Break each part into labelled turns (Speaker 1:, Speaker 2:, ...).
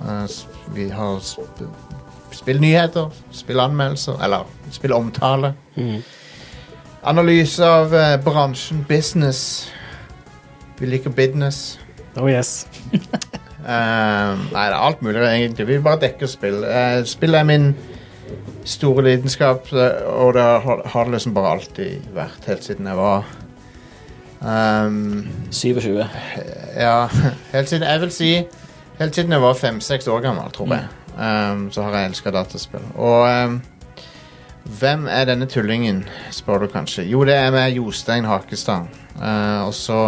Speaker 1: Eh, s- Vi har sp spillnyheter, spillanmeldelser, eller spillomtale. Analyse av eh, bransjen, business. Vi liker business.
Speaker 2: Oh yes.
Speaker 1: Eh, nei, det er alt mulig egentlig. Vi bare dekker spill. Eh, spill er min store lidenskap, eh, og det har, har det liksom bare alltid vært, helt siden jeg var ehm,
Speaker 3: 27.
Speaker 1: Ja, helt siden Jeg vil si Helt siden jeg var fem-seks år gammel, tror jeg, ehm, så har jeg elska dataspill. Og ehm, hvem er denne tullingen, spør du kanskje. Jo, det er meg, Jostein Hakestad. Eh, og så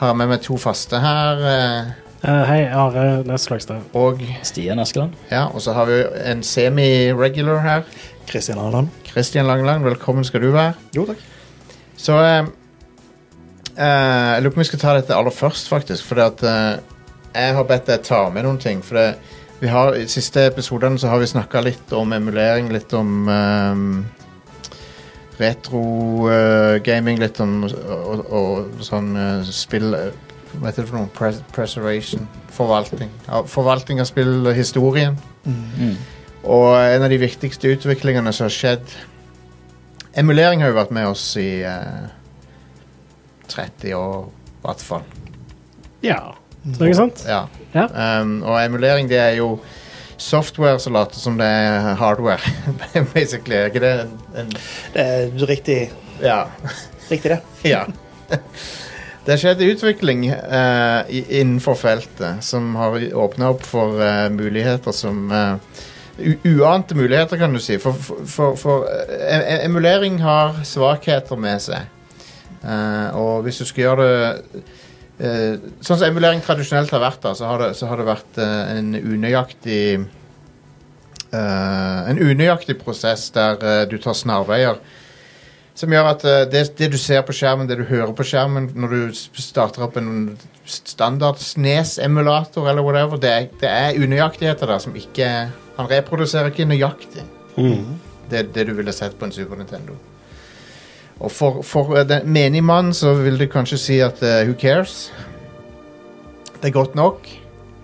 Speaker 1: har jeg med meg to faste her, eh,
Speaker 2: Eh, hei, Are Næss Slagstad.
Speaker 1: og
Speaker 3: Stian Askeland.
Speaker 1: Ja, og så har vi en semi-regular her.
Speaker 4: Kristian Arland.
Speaker 1: Kristian Langeland, velkommen skal du være.
Speaker 4: Jo, takk.
Speaker 1: Så eh, eh, Jeg lurer på om vi skal ta dette aller først, faktisk. For at, eh, jeg har bedt deg ta med noen ting. For det, vi har, I de siste episodene så har vi snakka litt om emulering, litt om eh, retro-gaming, eh, litt om og, og, sånn eh, spill eh, Hva heter det for noe? Pres preservation? Forvaltning. Ja, forvaltning av spillhistorien. Og en av de viktigste utviklingene som har skjedd Emulering har jo vært med oss i eh, 30 år, i hvert fall.
Speaker 2: Ja. Så, ikke sant?
Speaker 1: Ja.
Speaker 2: Ja.
Speaker 1: Um, og emulering, det er jo software som later som det er hardware, basically. Er ikke det en, en
Speaker 4: Det er Eh, riktig,
Speaker 1: Ja.
Speaker 4: riktig det.
Speaker 1: ja. Det har skjedd utvikling eh, i, innenfor feltet som har åpna opp for eh, muligheter som eh, u Uante muligheter, kan du si. For, for, for, for eh, em- emulering har svakheter med seg. Eh, og hvis du skal gjøre det eh, Sånn som emulering tradisjonelt har vært, da, så har det, så har det vært eh, en unøyaktig eh, En unøyaktig prosess der eh, du tar snarveier. Som gjør at eh, det, det du ser på skjermen, det du hører på skjermen når du s- starter opp en standard SNES-emulator eller whatever, det er, det er unøyaktigheter der som ikke Han reproduserer ikke nøyaktig det, det du ville sett på en Super Nintendo. Og for, for eh, den menige mann så vil du kanskje si at eh, who cares? Det er godt nok.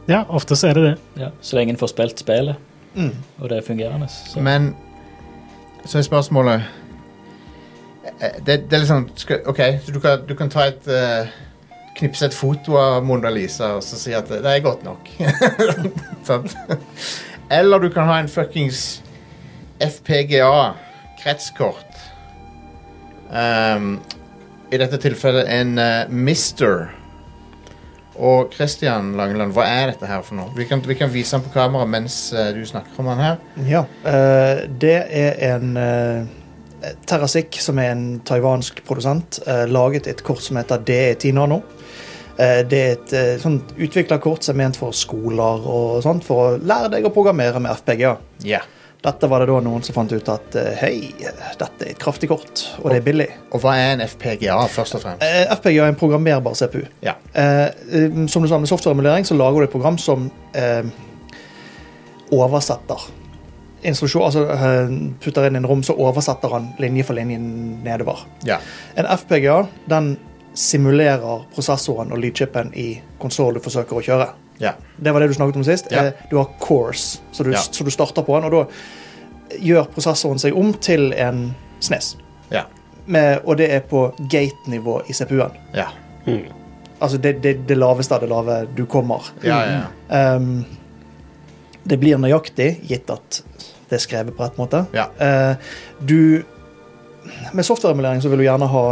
Speaker 2: Ja, ofte så er det det.
Speaker 3: Ja. Så lenge en får spilt spillet,
Speaker 4: Mm.
Speaker 3: og det er fungerende. Så.
Speaker 1: Men så er spørsmålet eh, Det, det er liksom skal, OK, så du kan, du kan ta et eh, knipse et foto av Mona Lisa og så si at eh, det er godt nok. Sant? Eller du kan ha en fuckings FPGA, kretskort. Ehm, I dette tilfellet en eh, Mister. Og Christian Langeland, hva er dette her for noe? Vi kan, vi kan vise han på kamera mens eh, du snakker om han her.
Speaker 4: Mm, Ja. eh, det er en uh, Terrasic, som er en taiwansk produsent, eh, laget et kort som heter DE10 Nano. Eh, det er et uh, sånt utvikla kort som er ment for skoler og sånt, for å lære deg å programmere med FPGA.
Speaker 1: Ja.
Speaker 4: Dette var det da noen som fant ut at eh, hei, dette er et kraftig kort, og det er billig.
Speaker 1: Og hva er en FPGA, først og fremst?
Speaker 4: Eh, FPGA er en programmerbar CPU.
Speaker 1: Ja.
Speaker 4: Eh, um, som du sa, med softwareemulering så lager du et program som eh, oversetter instruksjon, altså eh, putter inn en rom, så oversetter han linje for linje nedover.
Speaker 1: ja.
Speaker 4: En FPGA den simulerer prosessoren og lydchipen i konsollen du forsøker å kjøre.
Speaker 1: ja.
Speaker 4: Det var det du snakket om sist.
Speaker 1: Ja.
Speaker 4: Eh, Du har cores, så du,
Speaker 1: Ja.
Speaker 4: så du starter på den, og da gjør prosessoren seg om til en SNES.
Speaker 1: Ja.
Speaker 4: Med, og det er på gate-nivå i CPU-en.
Speaker 1: Ja.
Speaker 4: Altså det, det, det laveste av det lave du kommer.
Speaker 1: Ja, ja, ja.
Speaker 4: Ehm, det blir nøyaktig, gitt at det er skrevet på rett måte.
Speaker 1: Ja.
Speaker 4: Eh, du Med softwareemulering så vil du gjerne ha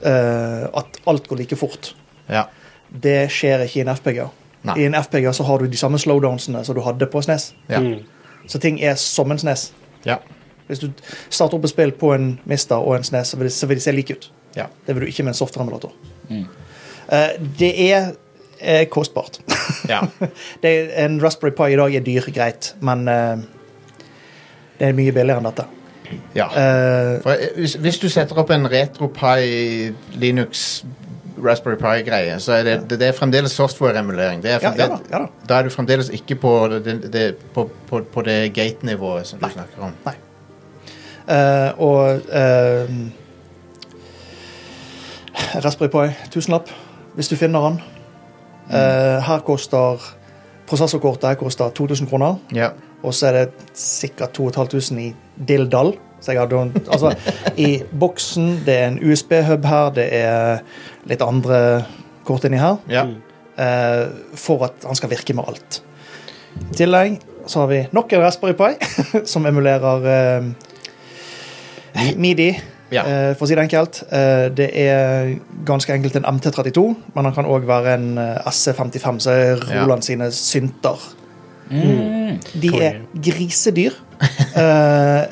Speaker 4: eh, at alt går like fort.
Speaker 1: ja.
Speaker 4: Det skjer ikke i en FPGA.
Speaker 1: Nei.
Speaker 4: I en FPGA så har du de samme slowdownsene som du hadde på SNES.
Speaker 1: ja.
Speaker 4: Så ting er som en SNES.
Speaker 1: ja.
Speaker 4: Hvis du starter opp et spill på en Mister og en SNES, så vil, det- så vil de se like ut.
Speaker 1: ja.
Speaker 3: Mm.
Speaker 4: Det vil du ikke med en softwareemulator. Eh, det er er kostbart.
Speaker 1: Ja.
Speaker 4: Det er, en Raspberry Pi i dag er dyr, greit, men eh, det er mye billigere enn dette.
Speaker 1: ja.
Speaker 4: Eh,
Speaker 1: For, eh, hvis, hvis du setter opp en RetroPie Linux Raspberry Pi-greie, så er det, det, det er fremdeles software-emulering. Det er
Speaker 4: ja, ja da.
Speaker 1: fremdeles,
Speaker 4: Ja da.
Speaker 1: Da er du fremdeles ikke på det, det, på, på, på det gate-nivået som du snakker om.
Speaker 4: Eh, og uh, Raspberry Pi, tusenlapp, hvis du finner den. Eh, her koster Prosessorkortet her koster 2000 kroner,
Speaker 1: Ja.
Speaker 4: og så er det sikkert 2500 i dilldall. Så jeg hadde, jo en- altså, I boksen, det er en USB-hub her, det er litt andre kort inni her.
Speaker 1: ja.
Speaker 2: Mm.
Speaker 4: eh, for at han skal virke med alt. I tillegg så har vi nok en Raspberry Pi som emulerer eh, Midi,
Speaker 1: Ja.
Speaker 4: eh, for å si det enkelt. Eh, det er ganske enkelt en MT32, men han kan òg være en eh, SC55, så er
Speaker 1: Ja.
Speaker 4: Roland sine synter.
Speaker 3: Mm.
Speaker 4: De er grisedyr. Eh,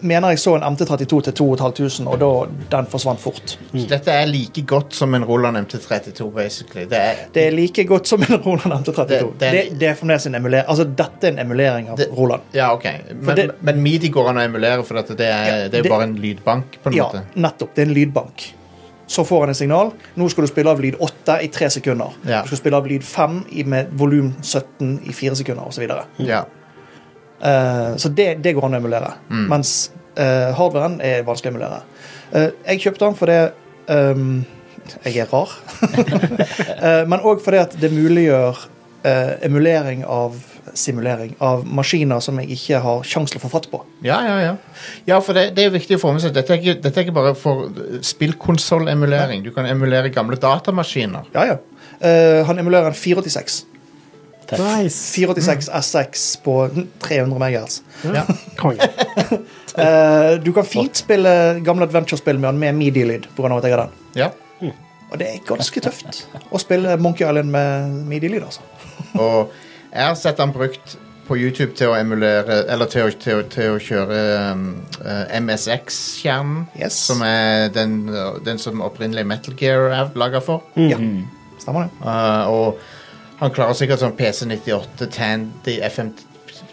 Speaker 4: jeg mener jeg så en MT32 til 2500, og da den forsvant fort.
Speaker 1: Så dette er like godt som en Roland MT32, basically. Det er,
Speaker 4: Det er like godt som en Roland MT32. Det,
Speaker 1: Det- det er-
Speaker 4: det, er fremdeles en emuler... Altså, dette er en emulering av
Speaker 1: Det-
Speaker 4: Roland.
Speaker 1: ja, OK. Men,
Speaker 4: det-
Speaker 1: men midi går an å emulere, for at det er,
Speaker 4: Ja,
Speaker 1: det er
Speaker 4: det-
Speaker 1: bare en lydbank, på en
Speaker 4: Ja,
Speaker 1: måte.
Speaker 4: nettopp. Det er en lydbank. Så får han et signal. Nå skal du spille av lyd 8 i 3 sekunder.
Speaker 1: Ja.
Speaker 4: Du skal spille av lyd 5 i, med volum 17 i 4 sekunder, osv. Så, videre.
Speaker 1: Ja.
Speaker 4: Eh, så det, det går an å emulere.
Speaker 1: Mm.
Speaker 4: Mens eh, hardwaren er vanskelig å emulere. Eh, jeg kjøpte den fordi ehm, jeg er rar. Eh, men òg fordi at det muliggjør eh, emulering av simulering av maskiner som jeg ikke har sjans til å få fatt på.
Speaker 1: Ja, ja, ja. ja for det, det er viktig å få med seg. Dette er ikke, dette er ikke bare for eh, spillkonsoll-emulering. Du kan emulere gamle datamaskiner.
Speaker 4: Ja, ja. Eh, han emulerer en 486.
Speaker 3: Tøff.
Speaker 2: Nice.
Speaker 4: 486 SX på 300 MHz.
Speaker 1: Ja.
Speaker 2: Konge.
Speaker 4: Eh, du kan fint spille gamle adventure-spill med den med midi-lyd. på grunn av at jeg har den.
Speaker 1: ja.
Speaker 4: Og det er ganske tøft å spille Monkey Island med midi-lyd. altså.
Speaker 1: Og jeg har sett han brukt på YouTube til å emulere Eller til å, til å, til å kjøre eh, MSX-skjermen.
Speaker 4: Yes,
Speaker 1: Som er den, eh, den som opprinnelig Metal Gear er laga for.
Speaker 4: Ja.
Speaker 3: Mm.
Speaker 4: stemmer det.
Speaker 1: Eh, og han klarer sikkert sånn PC98, Tandy, FM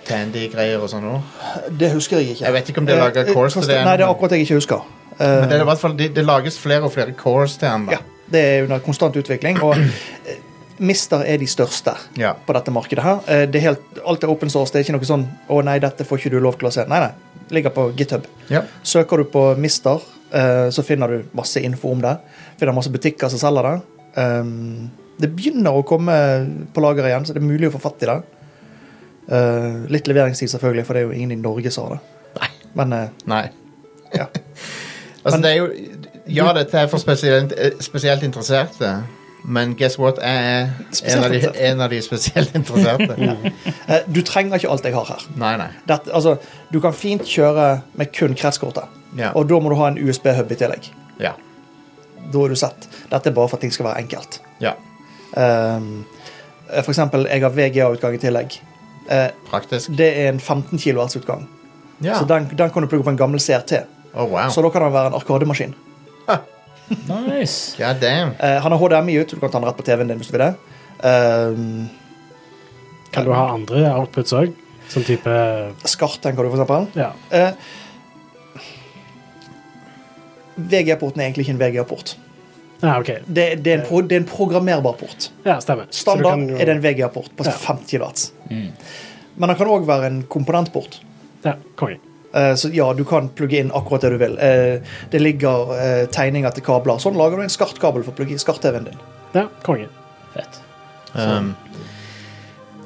Speaker 1: Tandy-greier og sånn òg.
Speaker 4: Det husker jeg ikke.
Speaker 1: Jeg vet ikke om det er laget
Speaker 4: Eh,
Speaker 1: cores til
Speaker 4: kost-
Speaker 1: det,
Speaker 4: Nei, det er
Speaker 1: men-
Speaker 4: akkurat det jeg ikke husker.
Speaker 1: Men det, er i hvert fall, det, det lages flere og flere cores til han.
Speaker 4: ja,
Speaker 1: da.
Speaker 4: det er under konstant utvikling, og eh, Mister er de største
Speaker 1: Ja.
Speaker 4: på dette markedet her. Eh, Det er helt, alt er open source. Det er ikke noe sånn 'Å nei, dette får ikke du lov til å se'. Nei, nei. Ligger på GitHub.
Speaker 1: Ja.
Speaker 4: Søker du på Mister, eh, så finner du masse info om det. Finner masse butikker som selger det. Um, det begynner å komme på lager igjen, så det er mulig å få fatt i det. Eh, litt leveringstid, selvfølgelig, for det er jo ingen i Norge som har det.
Speaker 1: Nei.
Speaker 4: Men eh,
Speaker 1: Nei.
Speaker 4: ja.
Speaker 1: Altså,
Speaker 4: Men-
Speaker 1: det er jo Ja, dette er for spesielt, eh, spesielt interesserte, men guess what? Jeg er en
Speaker 4: Spesielt
Speaker 1: av de,
Speaker 4: interessert.
Speaker 1: en av de spesielt interesserte.
Speaker 4: Eh, du trenger ikke alt jeg har her.
Speaker 1: Nei, nei.
Speaker 4: Dette, altså, du kan fint kjøre med kun kretskortet,
Speaker 1: Ja.
Speaker 4: og da må du ha en USB-hub i tillegg.
Speaker 1: ja.
Speaker 4: Da er du sett. Dette er bare for at ting skal være enkelt.
Speaker 1: ja.
Speaker 4: Um, eh, for eksempel, jeg har VGA-utgang i tillegg. Eh,
Speaker 1: Praktisk.
Speaker 4: Det er en 15 kWh-utgang.
Speaker 1: Ja.
Speaker 4: Så den, den kan du plugge på en gammel CRT.
Speaker 1: Oh, wow.
Speaker 4: Så da kan den være en arkademaskin.
Speaker 3: Nice.
Speaker 1: God damn.
Speaker 4: Eh, han har HDMI ut, du kan ta den rett på TV-en din hvis du vil det. Um,
Speaker 2: Kan du ha andre outputs òg? Sånn type
Speaker 4: SCART tenker du, for eksempel.
Speaker 2: Ja.
Speaker 4: Eh, VG-porten er egentlig ikke en VG-port.
Speaker 2: ja OK.
Speaker 4: Det, det,
Speaker 2: Eh.
Speaker 4: er en pro- det er en programmerbar port.
Speaker 2: Ja, stemmer. Så du
Speaker 4: Standard
Speaker 2: kan jo-
Speaker 4: er det en VG-port på
Speaker 2: Ja.
Speaker 4: 50 watt.
Speaker 3: Mm.
Speaker 4: Men den kan òg være en komponentport.
Speaker 2: Ja, konge.
Speaker 4: Eh, Så ja, du kan plugge inn akkurat det du vil. Eh, Det ligger eh, tegninger til kabler. Sånn lager du en SCART-kabel for å plugge i SCART-TV-en din.
Speaker 2: Ja, konge.
Speaker 3: Fett.
Speaker 1: Um,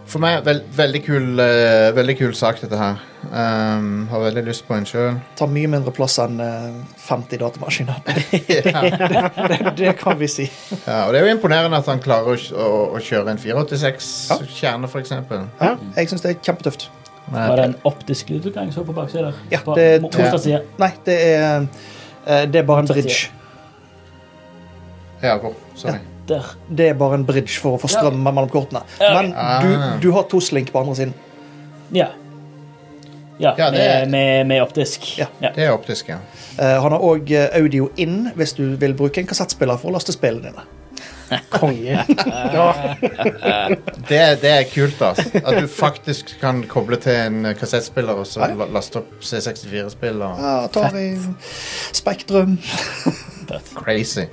Speaker 1: for meg vel- veldig, kul, eh, veldig kul sak, dette her. Um, har veldig lyst på en sjøl.
Speaker 4: Tar mye mindre plass enn eh, 50 datamaskiner.
Speaker 1: ja.
Speaker 4: det, det kan vi si.
Speaker 1: ja, og det er jo imponerende at han klarer å, å, å kjøre en 486-kjerne, for eksempel.
Speaker 4: Ja, jeg syns det er kjempetøft.
Speaker 3: Var
Speaker 1: Men-
Speaker 3: det en optisk lydutgang så på baksida der?
Speaker 4: Ja,
Speaker 3: På
Speaker 4: det er
Speaker 3: mo-
Speaker 4: to-
Speaker 3: motsatt side.
Speaker 4: Nei, det er, eh, det er bare en bridge.
Speaker 1: Ja, hvor? Sorry.
Speaker 3: Der.
Speaker 4: Det er bare en bridge for å få strøm mellom kortene. Men
Speaker 1: Ah.
Speaker 4: du, du har to slink på andre siden.
Speaker 3: Ja. Ja,
Speaker 1: Ja, det er-
Speaker 3: med, med, med optisk.
Speaker 4: Ja.
Speaker 3: Ja.
Speaker 1: Det er optisk, ja.
Speaker 4: Eh, Han har òg audio in hvis du vil bruke en kassettspiller for å laste spillene dine.
Speaker 2: Konge. Ja.
Speaker 1: Det, det er kult, altså. At du faktisk kan koble til en eh, kassettspiller og så la- laste opp C64-spill. og
Speaker 4: Ja, Atari, Spektrum
Speaker 1: Crazy.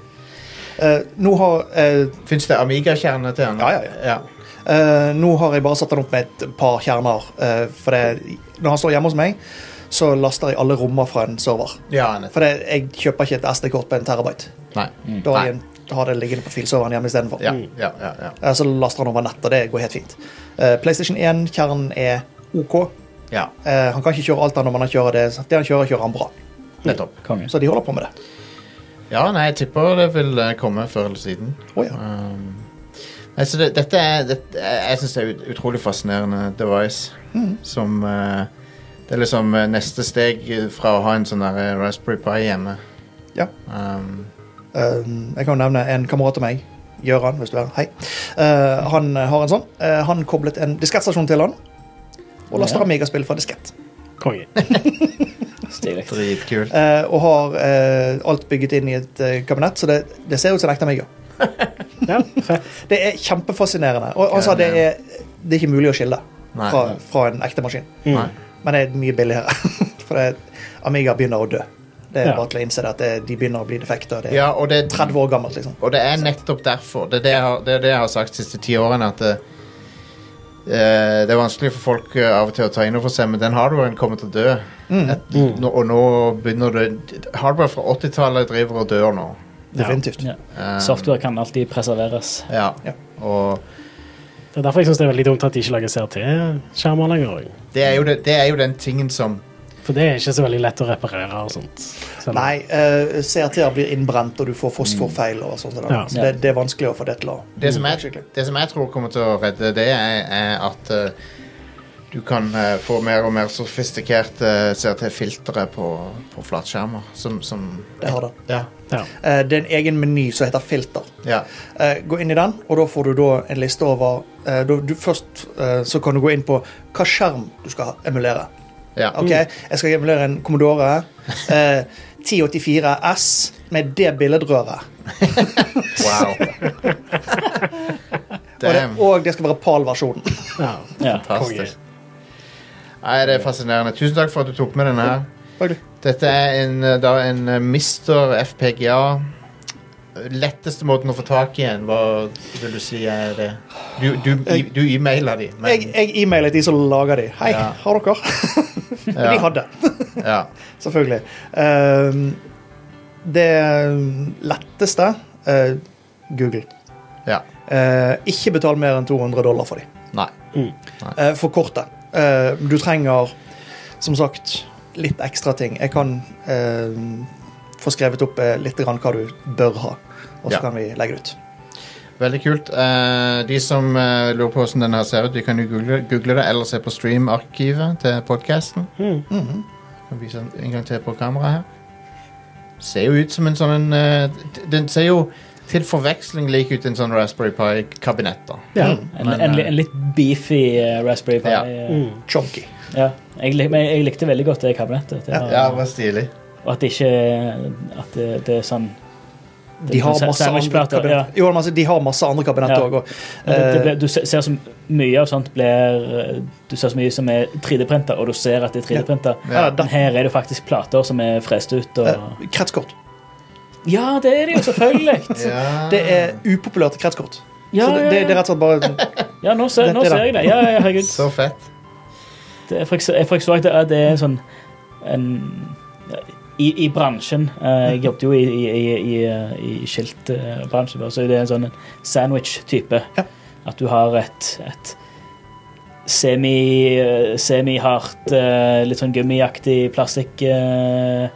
Speaker 4: Eh, nå, har, eh,
Speaker 1: Fins det Amiga-kjerne til den?
Speaker 4: Ja, ja,
Speaker 1: ja.
Speaker 4: eh, nå har jeg bare satt den opp med et par kjerner. eh, for det, når han står hjemme hos meg, så laster jeg alle rommene fra en server.
Speaker 1: Ja, nettopp.
Speaker 4: For det, jeg kjøper ikke et SD-kort på en terabyte.
Speaker 1: Nei.
Speaker 4: Mm. Da har
Speaker 1: Mm. Nei.
Speaker 4: jeg en- har det liggende på filserveren hjemme istedenfor.
Speaker 1: Ja, ja, ja, ja.
Speaker 4: Eh, Så laster han over nett, og det går helt fint. Eh, PlayStation 1-kjernen er OK.
Speaker 1: ja.
Speaker 4: Eh, han kan ikke kjøre alt annet når han kjører det. så Det han kjører, kjører han bra.
Speaker 1: Nettopp.
Speaker 3: Konge.
Speaker 4: Så de holder på med det.
Speaker 1: Ja, nei, jeg tipper det vil eh, komme før eller siden.
Speaker 4: Å, ja.
Speaker 1: Um, nei, så det, dette er dette, er- Jeg syns det er ut, utrolig fascinerende device.
Speaker 4: Mm.
Speaker 1: Som eh, Det er liksom eh, neste steg fra å ha en sånn der eh, Raspberry Pi hjemme.
Speaker 4: Ja.
Speaker 1: Um,
Speaker 4: Eh, jeg kan jo nevne en kamerat av meg. Gøran, hvis du er Hei. Eh, han har en sånn. Eh, han koblet en diskettstasjon til han. Og laster
Speaker 3: Ja.
Speaker 4: Amiga-spill fra diskett.
Speaker 2: Konge.
Speaker 3: Stilig.
Speaker 1: Dritkult.
Speaker 4: Eh, og har eh, alt bygget inn i et eh, kabinett, så det, det ser ut som en ekte Amiga.
Speaker 2: Ja, fett.
Speaker 4: Det er kjempefascinerende. Og altså, det er, det er ikke mulig å skille
Speaker 1: Nei.
Speaker 4: fra, Mm. fra en ekte maskin.
Speaker 2: Mm.
Speaker 1: Nei.
Speaker 4: Men det er mye billigere. For det, Amiga begynner å dø. Det er
Speaker 2: Ja.
Speaker 4: bare til å innse det at det, de begynner å bli defekte. og Det er
Speaker 1: Ja, og det,
Speaker 4: 30 år gammelt, liksom.
Speaker 1: og det er nettopp derfor. Det er det jeg har, det er det jeg har sagt de siste ti årene. At det, eh, det er vanskelig for folk eh, av og til å ta inn over seg, men den hardwaren kommer til å dø.
Speaker 4: Mm.
Speaker 1: Et, nå, og nå begynner det Hardware fra 80-tallet driver og dør nå.
Speaker 4: Definitivt.
Speaker 3: Ja.
Speaker 1: Um,
Speaker 3: Software kan alltid preserveres.
Speaker 1: Ja.
Speaker 4: Ja.
Speaker 1: Og
Speaker 2: Det er derfor jeg syns det er veldig dumt at de ikke lager CRT-skjermer lenger.
Speaker 1: det er, jo det, det er jo den tingen som
Speaker 2: For det er ikke så veldig lett å reparere og sånt. Selv om-
Speaker 4: Nei, eh, CRT-er blir innbrent, og du får fosforfeil og sånt. og det.
Speaker 2: Ja.
Speaker 4: Så det, det er vanskelig å få det til å
Speaker 1: Det som, jeg,
Speaker 4: skikkelig.
Speaker 1: det som jeg tror kommer til å redde det, er, er at eh, du kan eh, få mer og mer sofistikerte eh, CRT-filtre på, på flatskjermer. Som, som
Speaker 4: Det har det.
Speaker 1: Ja.
Speaker 2: Ja.
Speaker 4: Eh, det er en egen meny som heter filter.
Speaker 1: ja.
Speaker 4: Eh, gå inn i den, og da får du da en liste over eh, da, du, Først eh, så kan du gå inn på hva skjerm du skal emulere.
Speaker 1: ja.
Speaker 4: Ok, jeg skal emulere en Commodore eh, 1084 S med det billedrøret.
Speaker 1: Wow.
Speaker 4: Og det,
Speaker 1: Damn.
Speaker 4: og det skal være PAL-versjonen.
Speaker 2: ja.
Speaker 3: Ja.
Speaker 1: Fantastisk. Nei, det er fascinerende. Tusen takk for at du tok med denne. her.
Speaker 4: Bare-
Speaker 1: Dette er en, eh, da en eh, mister FPGA. Letteste måten å få tak i en, hva vil du si er det? Du, du, i- du e-maila de. men-
Speaker 4: Jeg, jeg e-mailet de som lager de. Hei,
Speaker 1: Ja.
Speaker 4: har dere? De
Speaker 1: ja,
Speaker 4: hadde,
Speaker 1: ja.
Speaker 4: selvfølgelig. Ehm, det letteste eh, Google.
Speaker 1: ja.
Speaker 4: Eh, ikke betal mer enn 200 dollar for dem.
Speaker 1: Nei.
Speaker 3: Mm.
Speaker 4: Eh, for kortet. Eh, du trenger, som sagt, litt ekstra ting. Jeg kan eh, få skrevet opp eh, litt grann hva du bør ha, og så
Speaker 1: Ja.
Speaker 4: kan vi legge det ut.
Speaker 1: Veldig kult. Eh, de som eh, lurer på hvordan denne her ser ut, de kan jo google, google det, eller se på streamarkivet til podkasten.
Speaker 2: Mm.
Speaker 4: Mhm.
Speaker 1: Kan vise den en gang til på kamera her. Ser jo ut som en sånn en, eh, d- Den ser jo til forveksling lik ut en sånn Raspberry Pi-kabinett, da.
Speaker 2: ja.
Speaker 4: Mm.
Speaker 3: En,
Speaker 1: Men,
Speaker 3: en, li-
Speaker 1: eh,
Speaker 3: en litt beefy eh, Raspberry Pi.
Speaker 1: Ja.
Speaker 3: eh,
Speaker 2: Mm.
Speaker 4: Chunky.
Speaker 3: Ja. Jeg, lik- men jeg likte veldig godt det kabinettet. Det
Speaker 4: Ja.
Speaker 3: var,
Speaker 1: Ja, det var stilig.
Speaker 3: Og at det ikke At det, det er sånn
Speaker 4: De har
Speaker 3: sa-
Speaker 4: masse andre
Speaker 3: sandwichplater,
Speaker 4: kabinetter. Jo, men altså, de har masse andre kabinetter
Speaker 3: Ja.
Speaker 4: òg.
Speaker 3: Ja. Det,
Speaker 4: Eh.
Speaker 3: det ble, du se- ser så mye av sånt blir Du ser så mye som er 3D-printa, og du ser at det er 3D-printa.
Speaker 1: Ja.
Speaker 3: Men her er det jo faktisk plater som er frest ut. Og...
Speaker 4: Kretskort.
Speaker 3: Ja, det er det jo, selvfølgelig!
Speaker 1: Ja.
Speaker 4: Det er
Speaker 1: Ah.
Speaker 4: upopulært kretskort.
Speaker 3: Ja,
Speaker 4: så det,
Speaker 3: ja,
Speaker 4: det, det er
Speaker 3: ja.
Speaker 4: rett og slett bare
Speaker 3: ja nå, ser, nå
Speaker 4: Dette da.
Speaker 3: ser jeg det. Ja, ja, herregud.
Speaker 1: Så fett.
Speaker 3: Det er for ekse- for eksempel at det er- det er en sånn en, i, I bransjen eh, Jeg jobbet jo i, i, i, i, eh, i skiltbransjen, før, så det er en sånn sandwich-type.
Speaker 4: Ja.
Speaker 3: At du har et, et semi, eh, semihardt, eh, litt sånn gummiaktig plastikk eh,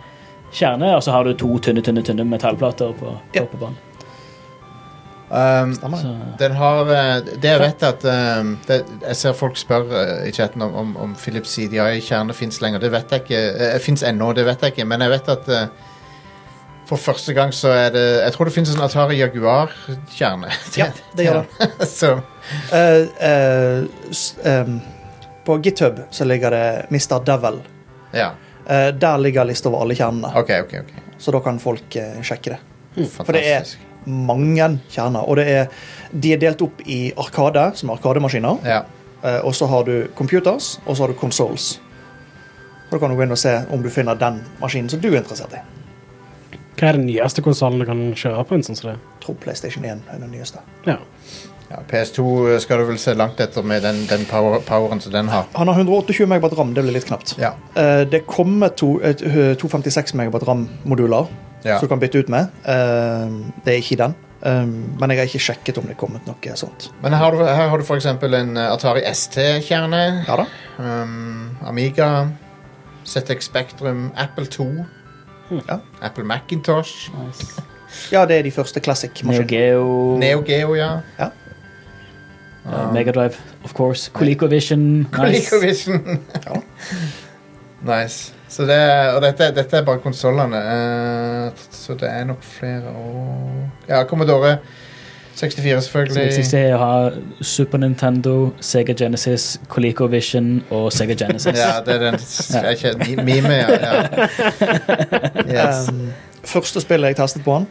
Speaker 3: kjerne, og så har du to tynne, tynne, tynne metallplater på,
Speaker 4: Ja.
Speaker 3: på bånn.
Speaker 1: Um,
Speaker 4: Stemmer det.
Speaker 3: Så
Speaker 1: Den har eh, Det jeg vet at eh, det, Jeg ser folk spør eh, i chatten om, om, om Philips CDI-kjerne fins lenger. Det vet jeg ikke. Uh, fins ennå, det vet jeg ikke. Men jeg vet at eh, for første gang så er det Jeg tror det fins en Atari Jaguar-kjerne.
Speaker 4: Ja, det gjør det.
Speaker 1: så
Speaker 4: Eh, eh, s- ehm, på GitHub så ligger det Mr. Devil.
Speaker 1: ja.
Speaker 4: Eh, der ligger lista over alle kjernene,
Speaker 1: OK, OK. ok
Speaker 4: så da kan folk eh, sjekke det. For det er
Speaker 1: Fantastisk.
Speaker 4: mange kjerner. Og det er, de er delt opp i Arkade, som er Arkademaskiner.
Speaker 1: Ja.
Speaker 4: Eh, Og så har du computers, og så har du consoles. Og Da kan du gå inn og se om du finner den maskinen som du er interessert i.
Speaker 2: Hva er den nyeste konsollen du kan kjøre på en sånn som det?
Speaker 4: Jeg tror PlayStation 1 er den nyeste.
Speaker 2: Ja.
Speaker 1: ja. PS2 uh, skal du vel se langt etter med den, den power, poweren som den har.
Speaker 4: Han har 128 megabyte ram, det blir litt knapt.
Speaker 1: Ja.
Speaker 4: Eh, Det kommer to, et, eh, 256 megabyte ram-moduler
Speaker 1: Ja.
Speaker 4: som du kan bytte ut med. Eh, Det er ikke den. Eh, Men jeg har ikke sjekket om det er kommet noe sånt.
Speaker 1: Men her har du, her har du f.eks. en eh, Atari ST-kjerne.
Speaker 4: Ja da.
Speaker 1: Um, Amiga. ZX Spectrum. Apple 2.
Speaker 4: Ja.
Speaker 1: Apple Macintosh.
Speaker 3: Nice.
Speaker 4: Ja, det er de første
Speaker 3: Neo
Speaker 4: classic-maskinene.
Speaker 3: Geo,
Speaker 1: Neo Geo, ja.
Speaker 3: eh, Megadrive, of course. ColecoVision. Nice.
Speaker 1: ColecoVision.
Speaker 4: Ja.
Speaker 1: nice. Så det er, og dette, dette er bare konsollene. eh, så det er nok flere år Ja, Commodore 64,
Speaker 3: Som
Speaker 1: selvfølgelig.
Speaker 3: siste er å ha Super Nintendo, Sega Genesis, ColecoVision og Sega Genesis.
Speaker 1: Ja, det er den s- jeg kjenner mime, ja. ja. Yes.
Speaker 4: Um, Første spillet jeg testet på han,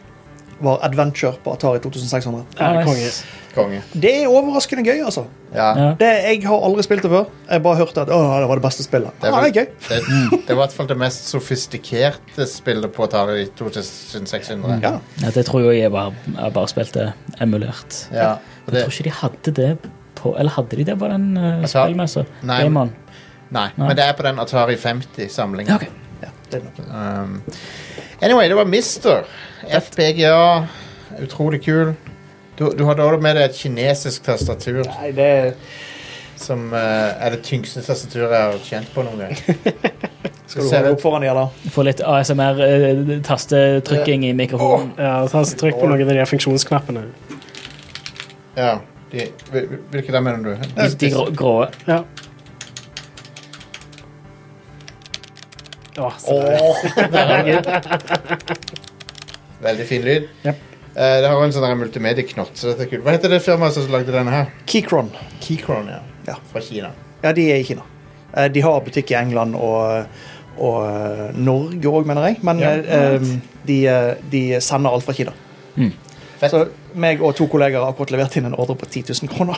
Speaker 4: var Adventure på Atari 2600.
Speaker 2: Ja,
Speaker 3: nice.
Speaker 1: Konge.
Speaker 4: Det er overraskende gøy, altså.
Speaker 1: Ja.
Speaker 3: Ja.
Speaker 4: Det, jeg har aldri spilt det før. Jeg bare hørte at Åh, det var det beste spillet.
Speaker 1: Det er
Speaker 4: ah,
Speaker 1: vel-
Speaker 4: det er gøy.
Speaker 1: Det, det var i hvert fall det mest sofistikerte spillet på Atari 2600.
Speaker 4: Ja.
Speaker 3: Ja, det tror jeg jeg bare, jeg bare spilte emulert.
Speaker 1: Ja, og det,
Speaker 3: Jeg tror ikke de hadde det på Eller hadde de det på den uh,
Speaker 1: Jeg tar-
Speaker 3: spillmessa?
Speaker 1: Nei,
Speaker 3: Gamon.
Speaker 1: nei, men det er på den Atari 50-samlingen.
Speaker 3: Ja, ok.
Speaker 4: Ja, det er nok.
Speaker 1: Um, anyway, det var Mister. FPGA. Utrolig kul. Du, du hadde også med deg et kinesisk tastatur
Speaker 4: Nei, det er
Speaker 1: som eh, er det tyngste tastaturet jeg har kjent på noen gang.
Speaker 4: Skal du holde opp foran dem, eller?
Speaker 3: Få litt ASMR-tastetrykking eh, i mikrofonen.
Speaker 2: ja så altså, Trykk på noen av de her funksjonsknappene.
Speaker 1: Ja, de, hvil- hvil- Hvilke der mener du?
Speaker 3: De, de grå, grå.
Speaker 2: Ja. Å, se der.
Speaker 1: Åh, Veldig fin lyd.
Speaker 2: Yep.
Speaker 1: Eh, det har også en sånn der multimedieknott. så dette er kult. Hva heter det firmaet som lagde denne her?
Speaker 4: Keychron.
Speaker 1: Keychron, ja.
Speaker 4: Ja.
Speaker 1: Fra Kina.
Speaker 4: Ja, de er i Kina. Eh, De har butikk i England og, og eh, Norge òg, mener jeg. Men
Speaker 1: Ja.
Speaker 4: eh, em, de, eh, de sender alt fra Kina.
Speaker 1: Fett.
Speaker 4: Så meg og to kolleger har akkurat levert inn en ordre på 10 000 kroner.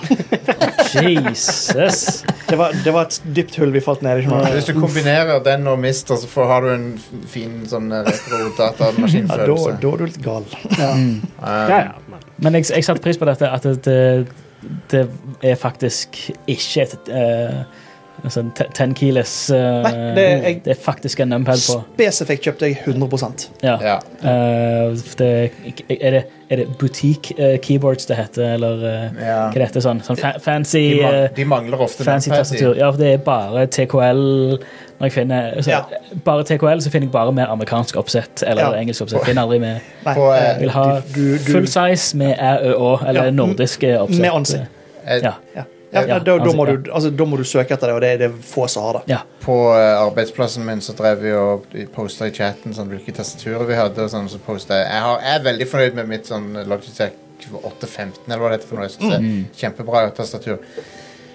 Speaker 3: Jesus!
Speaker 4: Det var, det var et dypt hull vi falt ned i. skjønner du.
Speaker 1: Hvis du kombinerer den og Mister, så får, har du en f- fin sånn eh,
Speaker 4: Ja, da, da
Speaker 1: retro-datamaskinfølelse.
Speaker 4: er du litt gal.
Speaker 3: Mm.
Speaker 1: Eh,
Speaker 2: Ja, ja. Men,
Speaker 3: Men jeg, jeg satte pris på dette, at det, det, det er faktisk ikke et eh, en sånn te- 10 kilos eh,
Speaker 4: Nei, det er- jeg-
Speaker 3: det er faktisk en numpad på.
Speaker 4: Spesifikt kjøpte jeg 100
Speaker 3: Ja.
Speaker 1: ja.
Speaker 3: Eh, det, er det, er det butikk eh, keyboards det heter, eller eh,
Speaker 1: Ja.
Speaker 3: hva det heter sånn? Sånn fa fancy
Speaker 1: De, man,
Speaker 3: eh,
Speaker 1: de mangler ofte
Speaker 3: Fancy
Speaker 1: numpad, de.
Speaker 3: tastatur. Ja, for det er bare TKL når jeg finner altså,
Speaker 4: Ja.
Speaker 3: Bare TKL, så finner jeg bare med amerikansk oppsett eller
Speaker 4: Ja.
Speaker 3: engelsk oppsett. Finner aldri med
Speaker 4: Nei,
Speaker 1: På, eh,
Speaker 3: Jeg vil ha
Speaker 4: du- du-
Speaker 3: full size med ÆØÅ, eller
Speaker 4: Ja,
Speaker 3: nordisk eh, oppsett.
Speaker 4: med ansikt.
Speaker 1: Eh,
Speaker 3: Ja.
Speaker 4: ja. Ja,
Speaker 3: Ja,
Speaker 4: da, da, må
Speaker 3: altså, ja.
Speaker 4: du, altså, da må du søke etter det, og det er det er få som har det.
Speaker 3: Ja.
Speaker 1: På eh, arbeidsplassen min så drev vi og posta i chatten sånn, hvilke tastaturer vi hadde. Og sånn, så postet jeg. Jeg, har, jeg er veldig fornøyd med mitt sånn Logitech 815, eller hva det heter. for noe. Jeg synes det er Kjempebra tastatur.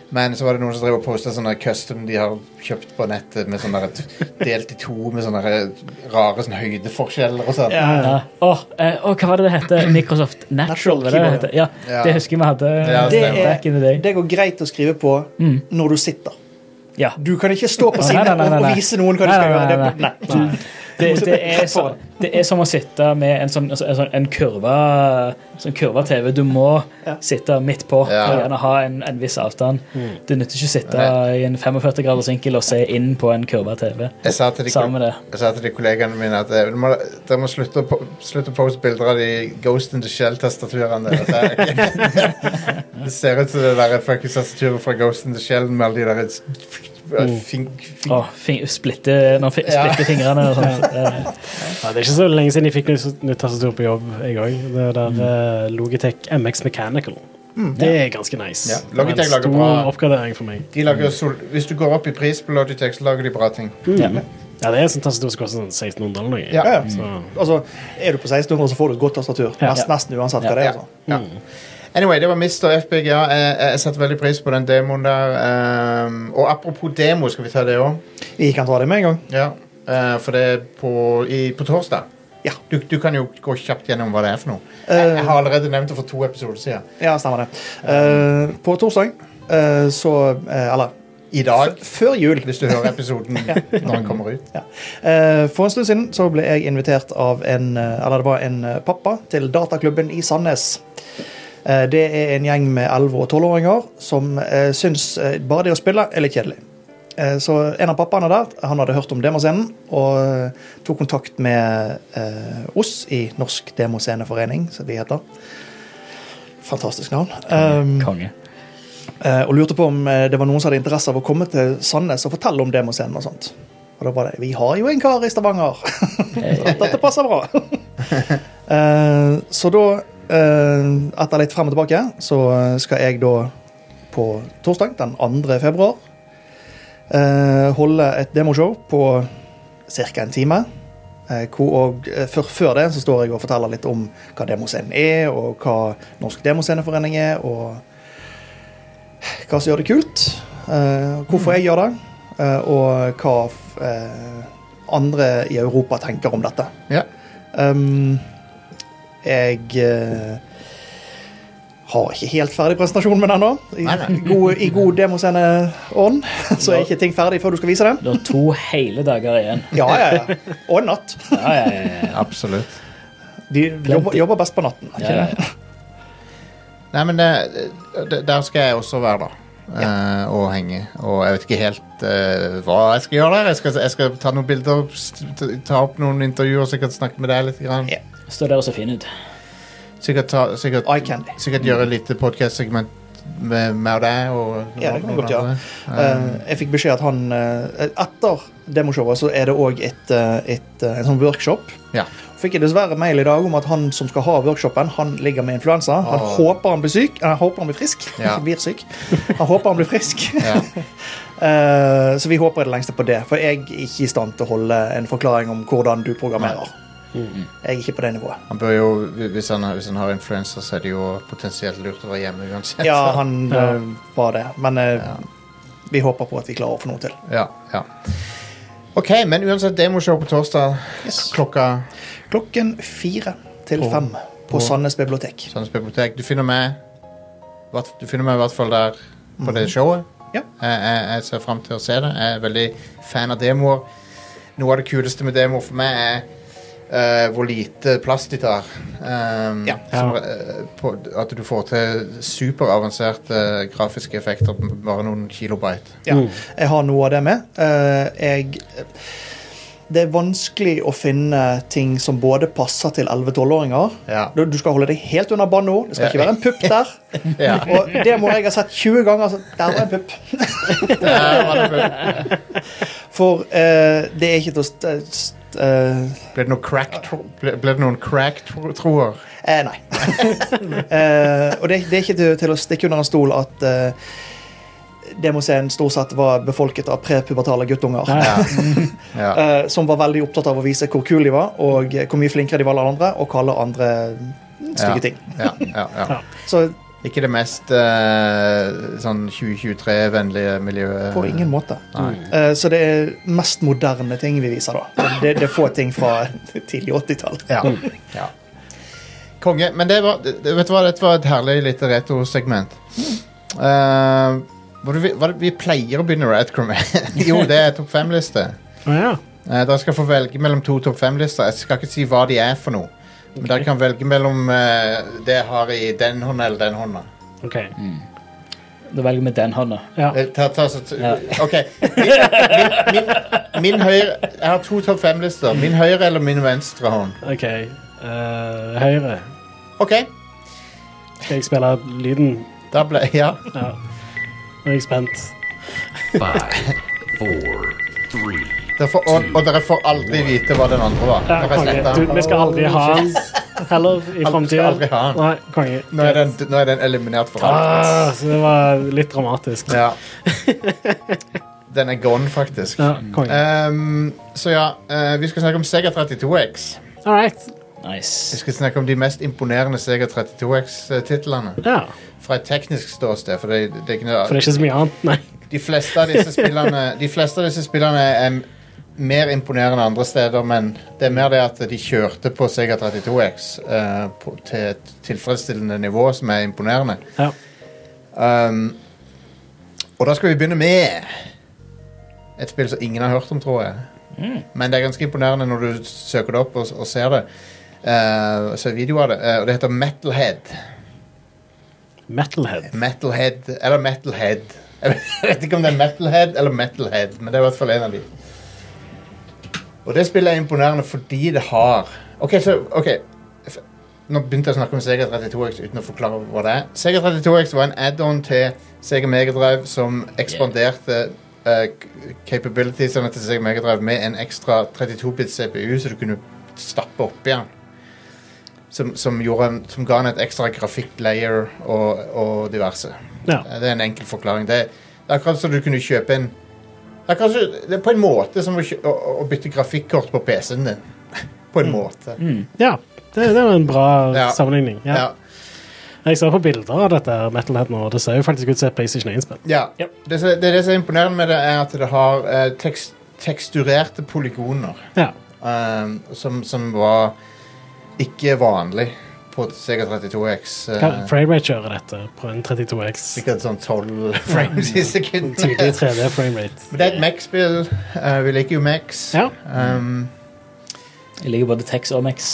Speaker 1: Men så var det noen som drev og posta sånne custom de har kjøpt på nettet, med sånne der, delt i to med sånne der rare sånne høydeforskjeller og sånn.
Speaker 4: Ja.
Speaker 3: Ja. Åh, eh, åh, hva var det det heter? Microsoft Natural?
Speaker 4: Natural
Speaker 3: Var det det,
Speaker 4: keyboard,
Speaker 3: heter? Ja,
Speaker 1: Ja.
Speaker 3: det husker jeg vi hadde
Speaker 1: Ja,
Speaker 4: Det,
Speaker 1: stemmer.
Speaker 3: back in the
Speaker 4: er,
Speaker 3: day. Mm.
Speaker 4: det går greit å skrive på når du sitter.
Speaker 3: Ja.
Speaker 4: Du kan ikke stå på
Speaker 3: Nei,
Speaker 4: siden
Speaker 3: nei, nei, nei,
Speaker 4: og
Speaker 3: nei.
Speaker 4: vise noen hva du
Speaker 3: Nei,
Speaker 4: skal
Speaker 3: nei,
Speaker 4: gjøre.
Speaker 3: nei,
Speaker 4: Det-
Speaker 3: nei.
Speaker 4: nei.
Speaker 3: Nei. Det, det, er så, det er som å sitte med en sånn, en sånn, en kurva, sånn kurva TV. Du må
Speaker 4: Ja.
Speaker 3: sitte midt på
Speaker 1: Ja.
Speaker 3: og gjerne ha en, en viss avstand. Det nytter ikke å sitte
Speaker 1: Nei.
Speaker 3: i en 45 graders vinkel og se inn på en kurva TV.
Speaker 1: Jeg sa til de,
Speaker 3: Samme det.
Speaker 1: jeg sa til de kollegene mine at eh, dere må, dere må slutte, å, po- slutte å poste bilder av de Ghost in the Shell-tastaturene deres. Det er ikke- Det ser ut som det der fuckings tastaturet fra Ghost in the Shell med alle de der s- fing, fing,
Speaker 3: Å, fing, splitte, når fi,
Speaker 1: Ja.
Speaker 3: splitte fingrene og sånt. Eh,
Speaker 2: ja, det er ikke så lenge siden jeg fikk nytt, nytt tastatur på jobb, jeg òg. Det der eh, Logitech MX Mechanical. Det er ganske nice.
Speaker 1: Mm. Ja,
Speaker 2: Det var en
Speaker 1: Logitech lager
Speaker 2: stor
Speaker 1: bra.
Speaker 2: oppgradering for meg.
Speaker 1: De lager sol, Hvis du går opp i pris på Logitech, så lager de bra ting.
Speaker 3: Ja.
Speaker 2: Ja, det er en sånn tastatur som koster sånn 1600 eller noe.
Speaker 1: Ja.
Speaker 4: Ja, ja.
Speaker 2: Så,
Speaker 4: Altså, er du på 1600, så får du et godt tastatur.
Speaker 2: Ja.
Speaker 4: Nest, nesten uansett hva det er. Altså.
Speaker 1: Ja.
Speaker 2: Mm.
Speaker 1: Anyway, det var Mr. FPGA. Jeg, jeg setter veldig pris på den demoen der. ehm, og apropos demo, skal vi ta det òg?
Speaker 4: Vi kan ta det med en gang.
Speaker 1: Ja, eh, for det er på, i, på torsdag.
Speaker 4: Ja.
Speaker 1: Du, du kan jo gå kjapt gjennom hva det er for noe. Jeg,
Speaker 4: Eh,
Speaker 1: jeg har allerede nevnt det for to episoder siden.
Speaker 4: Ja, stemmer det. Eh, på torsdag eh, så eh, Eller
Speaker 1: I dag,
Speaker 4: f- før jul.
Speaker 1: hvis du hører episoden når den kommer ut.
Speaker 4: Eh, for en stund siden så ble jeg invitert av en eh, Eller det var en eh, pappa til dataklubben i Sandnes. Eh, det er en gjeng med 11- og 12-åringer som eh, syns eh, bare det å spille er litt kjedelig. Eh, Så en av pappaene der han hadde hørt om demoscenen og eh, tok kontakt med eh, oss i Norsk Demosceneforening, som vi heter. Fantastisk navn. Um,
Speaker 3: Konge.
Speaker 4: Eh, og lurte på om eh, det var noen som hadde interesse av å komme til Sandnes og fortelle om demoscenen og sånt. Og da var det Vi har jo en kar i Stavanger! Dette passer bra! Eh, så da, eh, etter litt frem og tilbake, så eh, skal jeg da på torsdag den 2. februar eh, holde et demoshow på ca. en time. Eh, hvor, og, eh, før, før det så står jeg og forteller litt om hva demoscenen er, og hva Norsk Demosceneforening er, og hva som gjør det kult, eh, hvorfor jeg gjør det, eh, og hva f- eh, andre i Europa tenker om dette.
Speaker 1: Ja.
Speaker 4: Um, jeg eh, har ikke helt ferdig presentasjonen min ennå, i,
Speaker 1: Nei, nei.
Speaker 4: god- i god demosceneånd, så er ikke ting ferdig før du skal vise det.
Speaker 3: Du har to hele dager igjen.
Speaker 4: Ja, ja, ja. Og natt.
Speaker 3: Ja, ja, ja,
Speaker 1: Absolutt.
Speaker 4: De jobber, jobber best på natten.
Speaker 3: ja. ja, ja.
Speaker 1: Nei, men det, det, der skal jeg også være, da. Eh, og henge. Og jeg vet ikke helt eh, hva jeg skal gjøre der. Jeg skal, jeg skal ta noen bilder, st- ta opp noen intervjuer, så jeg kan snakke med deg litt. Grann.
Speaker 4: Ja.
Speaker 3: Står der og ser fin ut.
Speaker 1: Sikkert, ta, sikkert,
Speaker 4: Eye candy.
Speaker 1: sikkert gjøre et lite podcast-segment med meg og deg. Og,
Speaker 4: Ja, det kan
Speaker 1: og
Speaker 4: du godt gjøre.
Speaker 1: andre.
Speaker 4: Eh, jeg fikk beskjed at han eh, Etter demoshowet så er det òg et, eh, et, eh, en sånn workshop.
Speaker 1: Ja.
Speaker 4: Fikk jeg dessverre mail i dag om at han som skal ha workshopen, han ligger med influensa. Han
Speaker 1: Åh.
Speaker 4: håper han blir syk. Nei, Han håper han blir frisk.
Speaker 1: Ah. Ja.
Speaker 4: Ikke blir syk. Han håper han blir frisk.
Speaker 1: Ja.
Speaker 4: Eh, så vi håper i det lengste på det, for jeg er ikke i stand til å holde en forklaring om hvordan du programmerer.
Speaker 1: Mm.
Speaker 4: Jeg er ikke på det nivået.
Speaker 1: Han bør jo, hvis han, hvis han har influensa, så er det jo potensielt lurt å være hjemme uansett.
Speaker 4: Ja, han
Speaker 2: Ja.
Speaker 4: eh, var det, men eh,
Speaker 1: Ja.
Speaker 4: vi håper på at vi klarer å få noe til.
Speaker 1: Ja, ja. OK, men uansett, demoshow på torsdag klokka
Speaker 4: Klokken fire til
Speaker 1: På-
Speaker 4: fem
Speaker 1: på-
Speaker 4: på Sandnes bibliotek.
Speaker 1: Sandnes bibliotek. Du finner meg hva- Du finner meg i hvert fall der på det showet.
Speaker 4: Mhm. Ja.
Speaker 1: Jeg, jeg, jeg ser fram til å se det. Jeg er veldig fan av demoer. Noe av det kuleste med demoer for meg er eh, hvor lite plass de tar. Um,
Speaker 4: Ja.
Speaker 1: som, eh, på, at du får til superavanserte eh, grafiske effekter på bare noen kilobyte.
Speaker 4: Ja,
Speaker 2: Mm.
Speaker 4: jeg har noe av det med. Eh, jeg Det er vanskelig å finne ting som både passer til 11-12-åringer.
Speaker 1: Ja.
Speaker 4: Du, du skal holde deg helt under banneord. Det skal ikke
Speaker 1: Ja.
Speaker 4: være en pupp der.
Speaker 1: ja.
Speaker 4: Og det må jeg ha sett 20 ganger. Så der var en pupp.
Speaker 1: Der var det bra.
Speaker 4: For eh, det er ikke til å st st eh,
Speaker 1: Ble det noen crack tro- ble, ble det noen crack tro- troer?
Speaker 4: Eh, nei. eh, og det, det er ikke til, til å stikke under en stol at eh, demoscenen stort sett var befolket av prepubertale guttunger.
Speaker 2: Nei.
Speaker 1: Ja. ja.
Speaker 4: Eh, som var veldig opptatt av å vise hvor kule de var, og hvor mye flinkere de var enn alle andre, og kalle andre stygge
Speaker 1: Ja.
Speaker 4: ting.
Speaker 1: ja, ja, ja.
Speaker 4: Så
Speaker 1: Ikke det mest eh, sånn 2023-vennlige miljøet.
Speaker 4: på ingen måte.
Speaker 1: Nei.
Speaker 4: Eh, så det er mest moderne ting vi viser, da. Det, det er få ting fra tidlig 80-tall.
Speaker 1: Ja. ja. Konge. Men det var, det, vet du hva, dette var et herlig lite retrosegment. Uh, hva er det vi, hva er det vi pleier å begynne retro med? jo, det er topp fem-liste.
Speaker 2: Å ja.
Speaker 1: Eh, dere skal få velge mellom to topp fem-lister. Jeg skal ikke si hva de er for noe. Men dere kan velge mellom eh, det jeg har i den hånda eller den hånda.
Speaker 2: OK.
Speaker 1: Mm.
Speaker 3: Da velger vi den hånda.
Speaker 2: Ja.
Speaker 1: Eh, Ta, ta, så,
Speaker 3: Ja.
Speaker 1: ok. Min, min, min, min høyre Jeg har to topp fem-lister. Min høyre eller min venstre hånd.
Speaker 2: OK. Eh, høyre.
Speaker 1: OK.
Speaker 2: Skal jeg spille lyden?
Speaker 1: Da ble Ja.
Speaker 2: Ja. Nå er jeg spent.
Speaker 5: Five, four, three.
Speaker 1: Dere får, og, og dere får aldri vite hva den andre var.
Speaker 2: Ja,
Speaker 1: Dere
Speaker 2: konge.
Speaker 1: sletter
Speaker 2: Du,
Speaker 1: den.
Speaker 2: vi skal aldri ha han heller i
Speaker 1: skal
Speaker 2: framtida.
Speaker 1: aldri ha han.
Speaker 2: Nei, konge.
Speaker 1: Nå er den, nå er den eliminert for alt.
Speaker 2: Ah, så det var litt dramatisk.
Speaker 1: Ja. Den er gone, faktisk.
Speaker 2: Ja, konge.
Speaker 1: Ehm, så ja, eh, vi skal snakke om Sega 32X.
Speaker 2: All right.
Speaker 1: Vi
Speaker 3: Nice.
Speaker 1: skal snakke om de mest imponerende Sega 32X-titlene.
Speaker 2: Ja.
Speaker 1: Fra et teknisk ståsted, for det, det er ikke noe
Speaker 2: For det er ikke så mye annet, nei.
Speaker 1: De fleste av disse spillene De fleste av disse spillene er, mer imponerende andre steder, men det er mer det at de kjørte på Sega 32X eh, på, til et tilfredsstillende nivå som er imponerende.
Speaker 2: Ja.
Speaker 1: Um, og da skal vi begynne med et spill som ingen har hørt om, tror jeg. Men det er ganske imponerende når du søker det opp og, og ser det. Eh, ser video av det. Eh, og det heter Metalhead.
Speaker 2: Metalhead.
Speaker 1: Metalhead eller Metalhead. Jeg vet ikke om det er Metalhead eller Metalhead, men det er i hvert fall en av de. Og det spillet er imponerende fordi det har Ok, så ok F- Nå begynte jeg å snakke om Sega 32X uten å forklare hva det er. Sega 32X var en add-on til Sega Megadrive som ekspanderte eh, k- capabilitiesene til Sega Megadrive med en ekstra 32-bit CPU, så du kunne stappe oppi den som, som, gjorde en, som ga han et ekstra grafikk-layer og, og diverse.
Speaker 2: Ja.
Speaker 1: Eh, Det er en enkel forklaring. Det, det er akkurat som du kunne kjøpe en det er, akkurat som- det er på en måte som å, kjø- å, å bytte grafikkort på PC-en din. På
Speaker 2: Mm.
Speaker 1: en måte.
Speaker 3: Mm.
Speaker 2: ja. Det, det var en bra
Speaker 1: Ja.
Speaker 2: sammenligning. Ja.
Speaker 1: Ja.
Speaker 2: Jeg ser på bilder av dette her Metalhead nå, og det ser jo faktisk ut som et PlayStation 1-spill.
Speaker 1: Ja.
Speaker 3: Ja.
Speaker 1: Det, som- det, det som er imponerende med det, er at det har eh, tekst, teksturerte polygoner.
Speaker 2: Ja.
Speaker 1: eh, som, som var ikke vanlig på Sega 32X.
Speaker 2: Hva
Speaker 1: eh,
Speaker 2: frame rate kjører dette på en 32X?
Speaker 1: sikkert sånn 12 frames i sekundet.
Speaker 2: Tidlig 3D frame rate.
Speaker 1: Men det er et Max-spill. Eh, vi liker jo Max.
Speaker 2: Ja.
Speaker 1: Um,
Speaker 3: Jeg liker både Tex og Mex.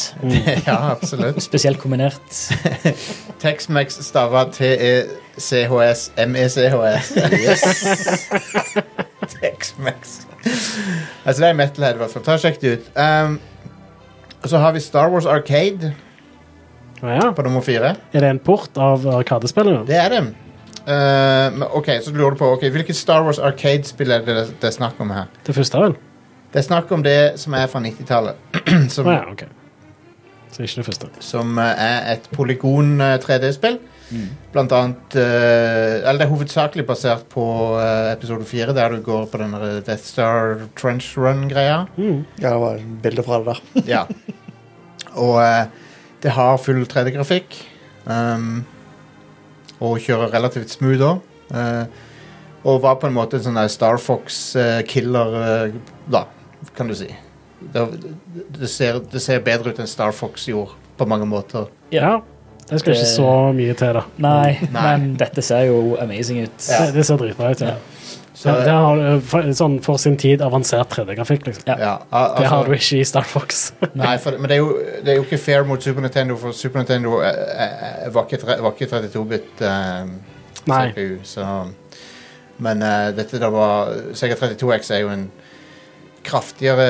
Speaker 1: ja, absolutt.
Speaker 3: Spesielt kombinert.
Speaker 1: Tex-Mex E stava E T-E-C-H-S-M-E-C-H-S. Tex-Mex. altså, det er metalhead, i hvert fall. Ta og Sjekk det ut. Um, og så har vi Star Wars Arcade
Speaker 2: Å Ja.
Speaker 1: på nummer fire.
Speaker 2: Er det en port av Arkadespillet?
Speaker 1: Det er det. Eh, men ok, så lurer du på ok, Hvilket Star Wars Arcade-spill er det det er snakk om her?
Speaker 2: Det første, vel?
Speaker 1: Det er snakk om det som er fra 90-tallet.
Speaker 2: Å
Speaker 1: som
Speaker 2: ja, OK. Så ikke det første.
Speaker 1: som eh, er et polygon eh, 3D-spill. Blant annet eh, Eller det er hovedsakelig basert på eh, episode 4, der du går på den der Death Star Trench Run-greia.
Speaker 2: Mm.
Speaker 4: Ja, det var bilder fra det der.
Speaker 1: Ja. Og eh, det har full 3D-grafikk. ehm, og kjører relativt smooth òg. og var på en måte en sånn der Star Fox-killer, eh, da, kan du si. Det, det, ser, det ser bedre ut enn Star Fox gjorde på mange måter.
Speaker 2: Ja. Det skal
Speaker 3: Det-
Speaker 2: ikke så mye til, da.
Speaker 3: Nei,
Speaker 1: Nei.
Speaker 3: men dette ser jo amazing ut.
Speaker 1: Ja.
Speaker 2: Det, det ser dritbra ut. Ja.
Speaker 3: Ja.
Speaker 1: Så,
Speaker 2: det, det har, eh, for, sånn for sin tid avansert 3D-grafikk, liksom.
Speaker 3: Ja.
Speaker 1: Ja, al-
Speaker 2: Det har
Speaker 1: altså,
Speaker 2: du ikke i Star Fox.
Speaker 1: nei, for, men det er, jo, det er jo ikke fair mot Super Nintendo, for Super Nintendo eh, eh, var ikke tre- var ikke 32-bit eh,
Speaker 2: Nei.
Speaker 1: CPU. Så, men eh, dette da var Sega 32X er jo en kraftigere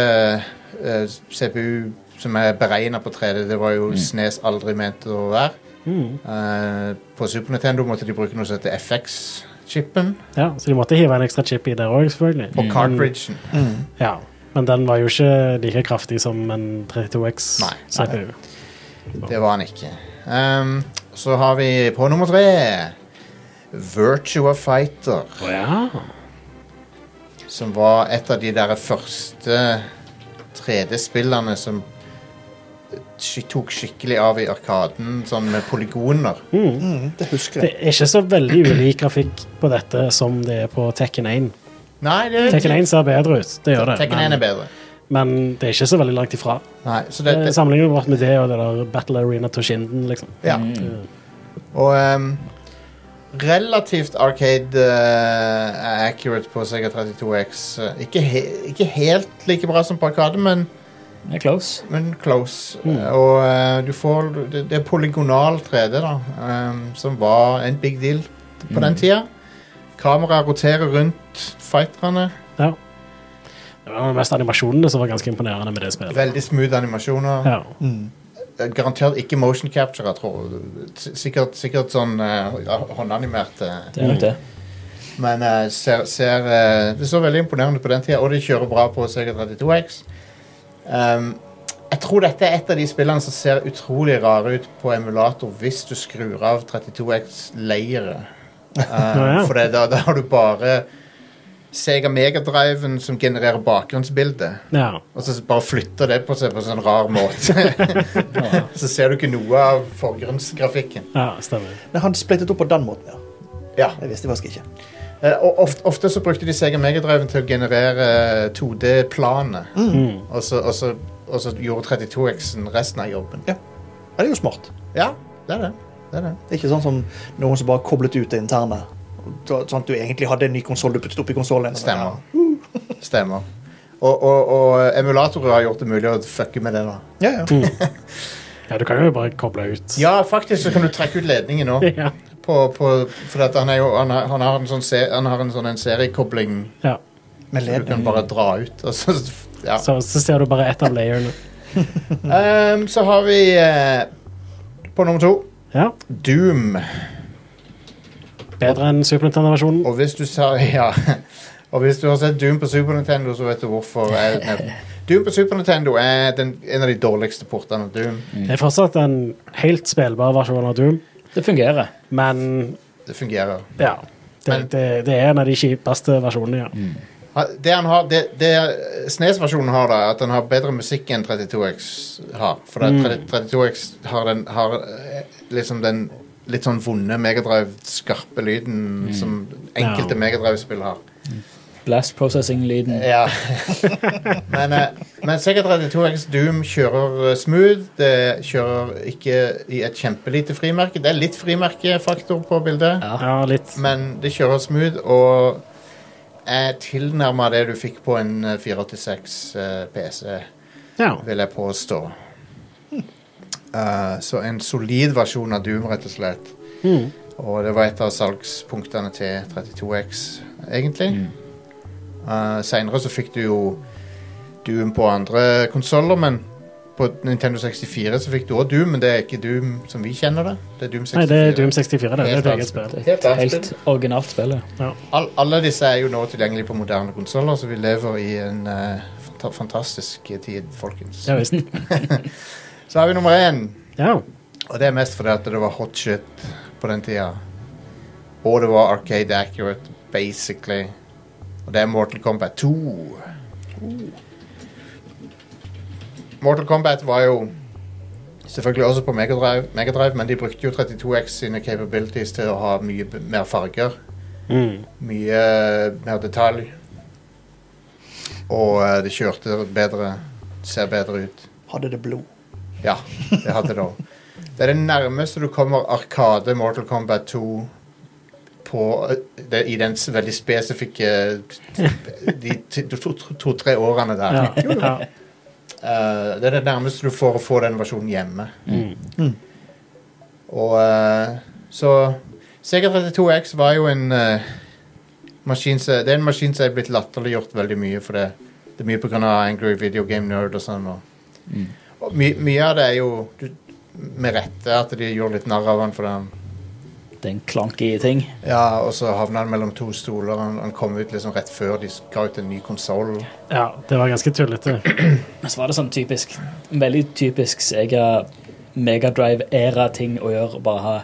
Speaker 1: eh, CPU som er beregna på 3D. Det var jo Snes aldri ment å være.
Speaker 2: Mm.
Speaker 1: Eh, på Super Nintendo måtte de bruke noe som heter FX-chipen,
Speaker 2: Ja, så de måtte hive en ekstra chip i der òg, selvfølgelig.
Speaker 1: og cartridgen.
Speaker 4: Mm.
Speaker 2: Ja. Men den var jo ikke like kraftig som en 32X
Speaker 1: Nei.
Speaker 2: CPU.
Speaker 1: Det var han ikke. Ehm, så har vi på nummer tre Virtua Fighter,
Speaker 2: Å ja.
Speaker 1: som var et av de der første 3D-spillene som sk- tok skikkelig av i Arkaden, sånn med polygoner.
Speaker 4: Mm, det husker
Speaker 2: Det
Speaker 4: jeg.
Speaker 2: er ikke så veldig ulik grafikk på dette som det er på Tekken 1.
Speaker 1: Nei, det er
Speaker 2: Tekken 1 ser bedre ut, det gjør det.
Speaker 1: Tekken 1 er
Speaker 2: Men,
Speaker 1: bedre.
Speaker 2: men det er ikke så veldig langt ifra.
Speaker 1: Nei, så
Speaker 2: Eh,
Speaker 1: det, det,
Speaker 2: Sammenlignet vårt med det og det der Battle Arena Toshinden, liksom.
Speaker 1: ja.
Speaker 3: Mm.
Speaker 1: Og ehm, relativt arcade eh, accurate på Sega 32X. Ikke, he ikke helt like bra som på Arkade, men
Speaker 3: Det er close.
Speaker 1: men close. Og eh, du får det, det er polygonal 3D, da, eh, som var en big deal på den tida. Kameraet roterer rundt fighterne.
Speaker 2: Ja. Det var mest animasjonene som var ganske imponerende med det spillet.
Speaker 1: Veldig smooth animasjoner.
Speaker 2: Ja.
Speaker 4: Mm.
Speaker 1: Eh, Garantert ikke motion capture, jeg tror. S- Sikkert, sikkert sånn eh, ja, håndanimerte.
Speaker 3: Det er nok det.
Speaker 1: Men eh, ser, ser, eh, det så veldig imponerende ut på den tida, og det kjører bra på Sega 32X. Um, jeg tror dette er et av de spillene som ser utrolig rare ut på emulator hvis du skrur av 32X-layeret. Um,
Speaker 2: ja.
Speaker 1: For det, da, da har du bare Sega Megadriven som genererer bakgrunnsbildet,
Speaker 2: ja.
Speaker 1: og så bare flytter det på seg på en sånn rar måte. så ser du ikke noe av forgrunnsgrafikken.
Speaker 2: Ja, stemmer.
Speaker 4: Men han splittet opp på den måten, ja.
Speaker 1: Ja.
Speaker 4: Det visste jeg faktisk ikke.
Speaker 1: Eh, og ofte, ofte så brukte de Sega Megadriven til å generere 2D-planet. Og, så- og, så- og så gjorde 32X-en resten av jobben.
Speaker 4: Ja, det er jo smart.
Speaker 1: Ja, det er det. det, er det.
Speaker 4: Det er ikke sånn som noen som bare koblet ut det interne. Sånn at du egentlig hadde en ny konsoll du puttet oppi konsollen.
Speaker 1: Stemmer. Stemmer. Og, og, og emulatorer har gjort det mulig å fucke med det. da
Speaker 4: Ja, ja.
Speaker 2: Mm. Ja, du kan jo bare koble ut.
Speaker 1: Ja, faktisk så kan du trekke ut ledningen nå.
Speaker 2: Ja.
Speaker 1: På, på, for at han, er jo, han, har, han har en sånn, se, han har en sånn en seriekobling
Speaker 2: ja.
Speaker 4: Med
Speaker 1: du
Speaker 4: leden.
Speaker 1: kan bare dra ut. Og så, ja.
Speaker 2: Så, så ser du bare ett av layerne.
Speaker 1: Ehm, så har vi eh, på nummer to
Speaker 2: Ja.
Speaker 1: Doom.
Speaker 2: Bedre enn Super Nintendo-versjonen.
Speaker 1: Og hvis du sa Ja. Og hvis du har sett Doom på Super Nintendo, så vet du hvorfor. Jeg nevner. Doom på Super Nintendo er den, en av de dårligste portene av Doom.
Speaker 2: Det er fortsatt en helt spillbar versjon av Doom,
Speaker 3: Det fungerer.
Speaker 2: men
Speaker 1: Det fungerer.
Speaker 2: ja. Det,
Speaker 1: Men- Mm.
Speaker 2: det, det er en av de kjipeste versjonene, ja.
Speaker 1: Ha- Det han har det, det SNES-versjonen har, da, er at den har bedre musikk enn 32X har. For det, er 32X har, den, har eh, liksom den litt sånn vonde megadrive-skarpe lyden som enkelte
Speaker 2: Ja.
Speaker 1: megadrive-spill har.
Speaker 3: Blast processing-lyden.
Speaker 1: Ja. men, eh, men Sega 32X Doom kjører eh, smooth. Det kjører ikke i et kjempelite frimerke. Det er litt frimerkefaktor på bildet,
Speaker 2: Ja, litt.
Speaker 1: men det kjører smooth og er tilnærma det du fikk på en eh, 486 eh, PC,
Speaker 2: Ja.
Speaker 1: vil jeg påstå. Eh, så en solid versjon av Doom, rett og slett.
Speaker 2: Mm.
Speaker 1: Og det var et av salgspunktene til 32X, egentlig. Eh, senere så fikk du jo Doom på andre konsoller, men på Nintendo 64 så fikk du òg Doom, men det er ikke Doom som vi kjenner det. Det er Doom 64.
Speaker 2: Nei, det er Doom 64, det. Det er et eget spill.
Speaker 3: Det er
Speaker 1: Helt
Speaker 3: Et
Speaker 1: annet
Speaker 3: helt originalt spill. ja.
Speaker 1: All, alle disse er jo nå tilgjengelige på moderne konsoller, så vi lever i en eh, fanta fantastisk tid, folkens.
Speaker 2: Ja visst.
Speaker 1: Så har vi nummer én,
Speaker 2: Ja.
Speaker 1: og det er mest fordi at det var hot shit på den tida. Og det var Arcade Accurate, basically. Og det er Mortal Kombat 2. Mortal Kombat var jo selvfølgelig også på Megadrive, Megadrive men de brukte jo 32X sine capabilities til å ha mye b- mer farger.
Speaker 2: Mm.
Speaker 1: mye eh, mer detalj. Og eh, det kjørte bedre. Ser bedre ut.
Speaker 4: Hadde det blod.
Speaker 1: Ja, det hadde det òg. Det er det nærmeste du kommer Arkade Mortal Kombat 2 på, eh, det, i den s- veldig spesifikke De to-tre to, to, to-tre årene der.
Speaker 2: Ja. ja.
Speaker 1: Eh, det er det nærmeste du får å få den versjonen hjemme.
Speaker 2: Mm.
Speaker 1: Og eh, så Sega 32X var jo en eh, maskin som Det er en maskin som er blitt latterliggjort veldig mye for det. Det er mye pga. Angry Video Game Nerd og sånn. Og,
Speaker 3: Mm.
Speaker 1: og my, mye av det er jo du, med rette at de gjorde litt narr av han for den.
Speaker 3: Det er en clunky ting.
Speaker 1: Ja, og så havna han mellom to stoler. Han, han kom ut liksom rett før de ga ut en ny konsoll.
Speaker 2: ja, det var ganske tullete.
Speaker 3: Men så var det sånn typisk Veldig typisk Sega Megadrive-æra-ting å gjøre. å Bare ha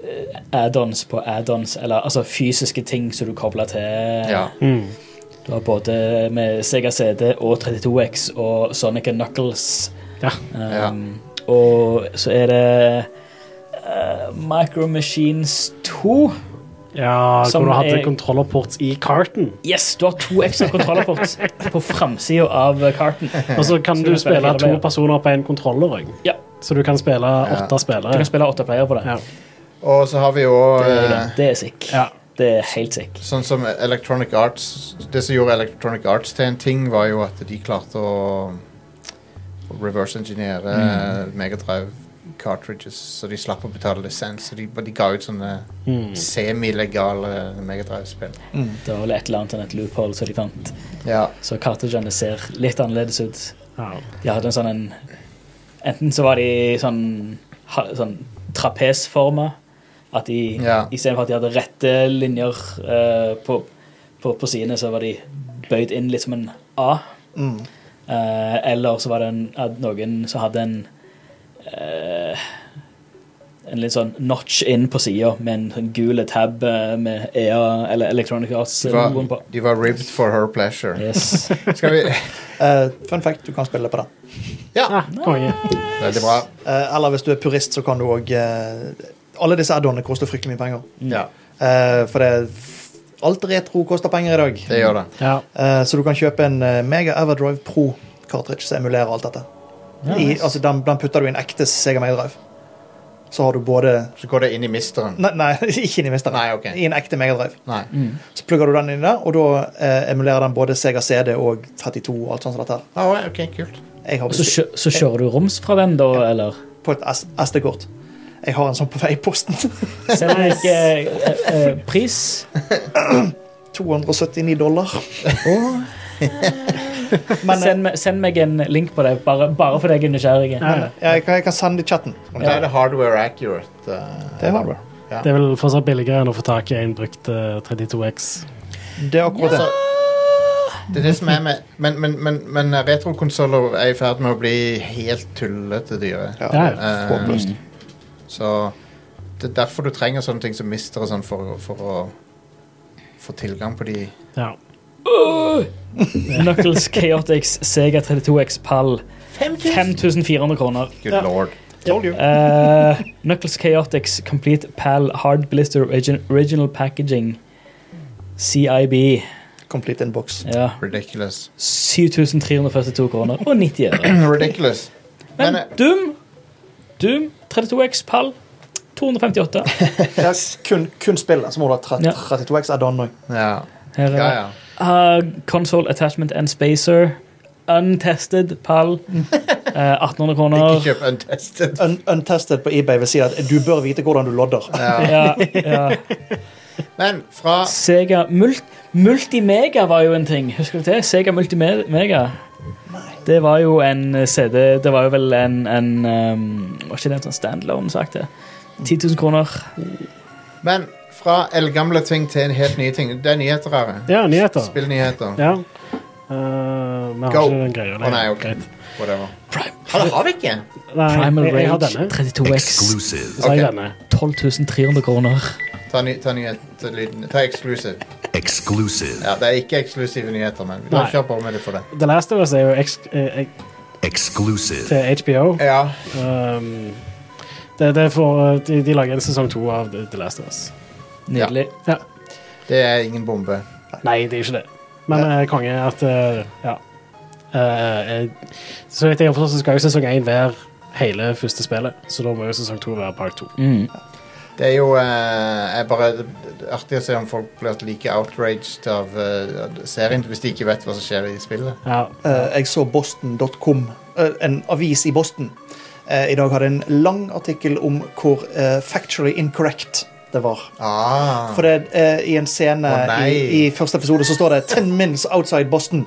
Speaker 3: eh, add-ons på add-ons, eller altså fysiske ting som du kobler til.
Speaker 1: Ja.
Speaker 2: Mm.
Speaker 3: Du har både med Sega CD og 32X og Sonic and Knuckles.
Speaker 2: Ja.
Speaker 3: Um, Og så er det uh, Micro Machines 2.
Speaker 2: Ja,
Speaker 3: Som
Speaker 2: hvor du hadde
Speaker 3: er-
Speaker 2: kontrollerports i carton.
Speaker 3: Yes, du har to ekstra kontrollerport på framsida av karten.
Speaker 2: Og så kan
Speaker 3: Så
Speaker 2: du
Speaker 3: du spiller
Speaker 2: spille
Speaker 3: hele
Speaker 2: to
Speaker 3: veien.
Speaker 2: personer på én kontroller òg.
Speaker 3: Ja.
Speaker 2: Så du kan spille åtte
Speaker 3: Du
Speaker 2: spillere.
Speaker 3: kan spille åtte playere på det.
Speaker 2: Ja.
Speaker 1: Og så har vi jo
Speaker 3: Det er,
Speaker 1: eh,
Speaker 3: det. Det er sick.
Speaker 2: Ja.
Speaker 3: Det er helt sick.
Speaker 1: Sånn som Electronic Arts Det som gjorde Electronic Arts til en ting, var jo at de klarte å å reverse engineere mm. Megadrive cartridges, så de slapp å betale lisens. Så de, de ga ut sånne
Speaker 2: Mm.
Speaker 1: semilegale Megadrive-spill.
Speaker 3: Det var vel et eller annet enn et loophole som de fant.
Speaker 1: Ja.
Speaker 3: Så kartridgene ser litt annerledes ut.
Speaker 2: Ja.
Speaker 3: De hadde en sånn en Enten så var de sånn, ha- sånn trapesforma. At de
Speaker 1: Ja.
Speaker 3: istedenfor at de hadde rette linjer eh, på, på, på sidene, så var de bøyd inn litt som en A.
Speaker 4: Mm.
Speaker 3: Eh, eller så var det en, at noen som hadde en eh, En litt sånn notch inn på sida med en sånn gul tab eh, med EA eller Electronic
Speaker 1: De var,
Speaker 3: Arts-logoen på.
Speaker 1: de var ribbed for her pleasure.
Speaker 3: Yes.
Speaker 1: Skal vi
Speaker 4: Eh, fun fact, du kan spille på den.
Speaker 1: Ja!
Speaker 2: Ah, konge.
Speaker 1: Veldig bra.
Speaker 4: Eh, eller hvis du eh, er purist, så kan du òg Alle disse add-onene koster fryktelig mye penger.
Speaker 1: Ja.
Speaker 4: Eh, for det alt retro koster penger i dag.
Speaker 1: Det gjør det.
Speaker 2: Ja.
Speaker 4: Eh, så du kan kjøpe en eh, Mega Everdrive Pro cartridge som emulerer alt dette. I, altså, den, den putter du i en ekte Sega Mega Drive. Så har du både
Speaker 1: Så går det inn i misteren.
Speaker 4: Nei, nei ikke inn i misteren.
Speaker 1: Nei, ok.
Speaker 4: I en ekte Mega Drive.
Speaker 1: Nei.
Speaker 4: Så plugger du den inn der, og da eh, emulerer den både Sega CD og 32 og alt sånt som dette her.
Speaker 1: Ah, ok, kult.
Speaker 4: Jeg
Speaker 3: Og
Speaker 4: har
Speaker 3: så, kjø- så kjører du roms fra den, da, eller?
Speaker 4: på et S- SD-kort. Jeg har en sånn på vei i posten.
Speaker 3: Selv om ikke eh, eh, pris
Speaker 4: 279 dollar. Men eh,
Speaker 3: send, meg- send meg en link på det, bare, bare fordi jeg er nysgjerrig.
Speaker 2: Ja, ja.
Speaker 4: eh, jeg kan, jeg kan sende det i chatten.
Speaker 1: Men da er det hardware accurate. eh,
Speaker 4: Det har du.
Speaker 2: Det er vel fortsatt billigere enn å få tak i en brukt eh, 32X.
Speaker 4: Det er akkurat det.
Speaker 1: Altså, det er det som er med Men, men, men, men retrokonsoller er i ferd med å bli helt tullete dyre. Eh,
Speaker 4: Ja,
Speaker 2: Ja,
Speaker 4: det er håpløst.
Speaker 1: Så det er derfor du trenger sånne ting som mister og sånn for, for å få tilgang på de
Speaker 2: Ja.
Speaker 3: Knuckles Chaotix Sega 32X Pall. 5400 kroner.
Speaker 1: Good lord.
Speaker 4: Told you.
Speaker 3: Eh, Knuckles Chaotix Complete Pal Hard Blister origin, Original Packaging. CIB.
Speaker 4: Complete inbox.
Speaker 3: Ja.
Speaker 1: Ridiculous.
Speaker 3: 7342 kroner og 90 øre.
Speaker 1: Ridiculous.
Speaker 3: Men
Speaker 1: Men eh,
Speaker 3: Doom, Doom 32X Pall 258.
Speaker 4: Det er kun, kun spillet, så må du ha tre-
Speaker 3: Ja.
Speaker 4: 32X add-on òg.
Speaker 1: Ja,
Speaker 3: Her er
Speaker 1: ja.
Speaker 3: det.
Speaker 1: ja.
Speaker 3: Uh, console Attachment and Spacer. Untested Pall. eh, 1800
Speaker 1: Ikke
Speaker 3: kroner.
Speaker 1: kjøp untested.
Speaker 4: Un untested på eBay vil si at du bør vite hvordan du lodder.
Speaker 1: Ja.
Speaker 3: Ja, ja.
Speaker 1: Men fra
Speaker 3: Sega Mult Multimega var jo en ting. Husker du det? Sega Multimega. Det var jo en eh, CD Det var jo vel en, en um, Var ikke det en sånn standalone-sak? det? 10 000 kroner.
Speaker 1: Men fra eldgamle ting til en helt nye ting. Det er nyheter her.
Speaker 2: ja, nyheter.
Speaker 1: Spillnyheter.
Speaker 2: Ja. Eh, vi har
Speaker 1: Go.
Speaker 2: ikke den greia.
Speaker 1: Å
Speaker 2: lenger.
Speaker 1: nei, ok.
Speaker 2: Greit.
Speaker 1: Whatever.
Speaker 3: Prime,
Speaker 1: Ja, det har vi ikke.
Speaker 2: Nei,
Speaker 3: Primal
Speaker 2: jeg, jeg har
Speaker 3: Rage
Speaker 2: denne.
Speaker 3: 32X.
Speaker 5: Exclusive.
Speaker 2: Så har jeg
Speaker 1: Ok.
Speaker 2: denne.
Speaker 3: 12 300 kroner.
Speaker 1: Ta, ny, ta nyhetslyden. Ta exclusive.
Speaker 5: Exclusive.
Speaker 1: Ja, det er ikke eksklusive nyheter, men vi
Speaker 2: Nei.
Speaker 1: kjør på med det for det.
Speaker 2: The Last of Us er jo eks eh, ek
Speaker 5: Exclusive.
Speaker 2: til HBO.
Speaker 1: Ja.
Speaker 2: Um, det, det får, de, de lager en sesong to av The The Last of Us.
Speaker 3: Nydelig.
Speaker 2: Ja.
Speaker 1: Det er ingen bombe.
Speaker 2: Nei, det er ikke det. Men eh, konge er at eh, Ja. Eh, eh, så vidt jeg har forstått, så skal jo sesong én være hele første spillet. Så da må jo sesong to være part to.
Speaker 3: Mm.
Speaker 1: Det er jo eh, er bare det er artig å se om folk blir like outraged av eh, serien hvis de ikke vet hva som skjer i spillet.
Speaker 2: Ja.
Speaker 4: Eh, jeg så boston.com, eh, en avis i Boston, eh, i dag hadde en lang artikkel om hvor eh, factually incorrect det var.
Speaker 1: Ah.
Speaker 4: For det, eh, i en scene
Speaker 1: Å, nei.
Speaker 4: i, i første episode så står det 10 minutes outside Boston.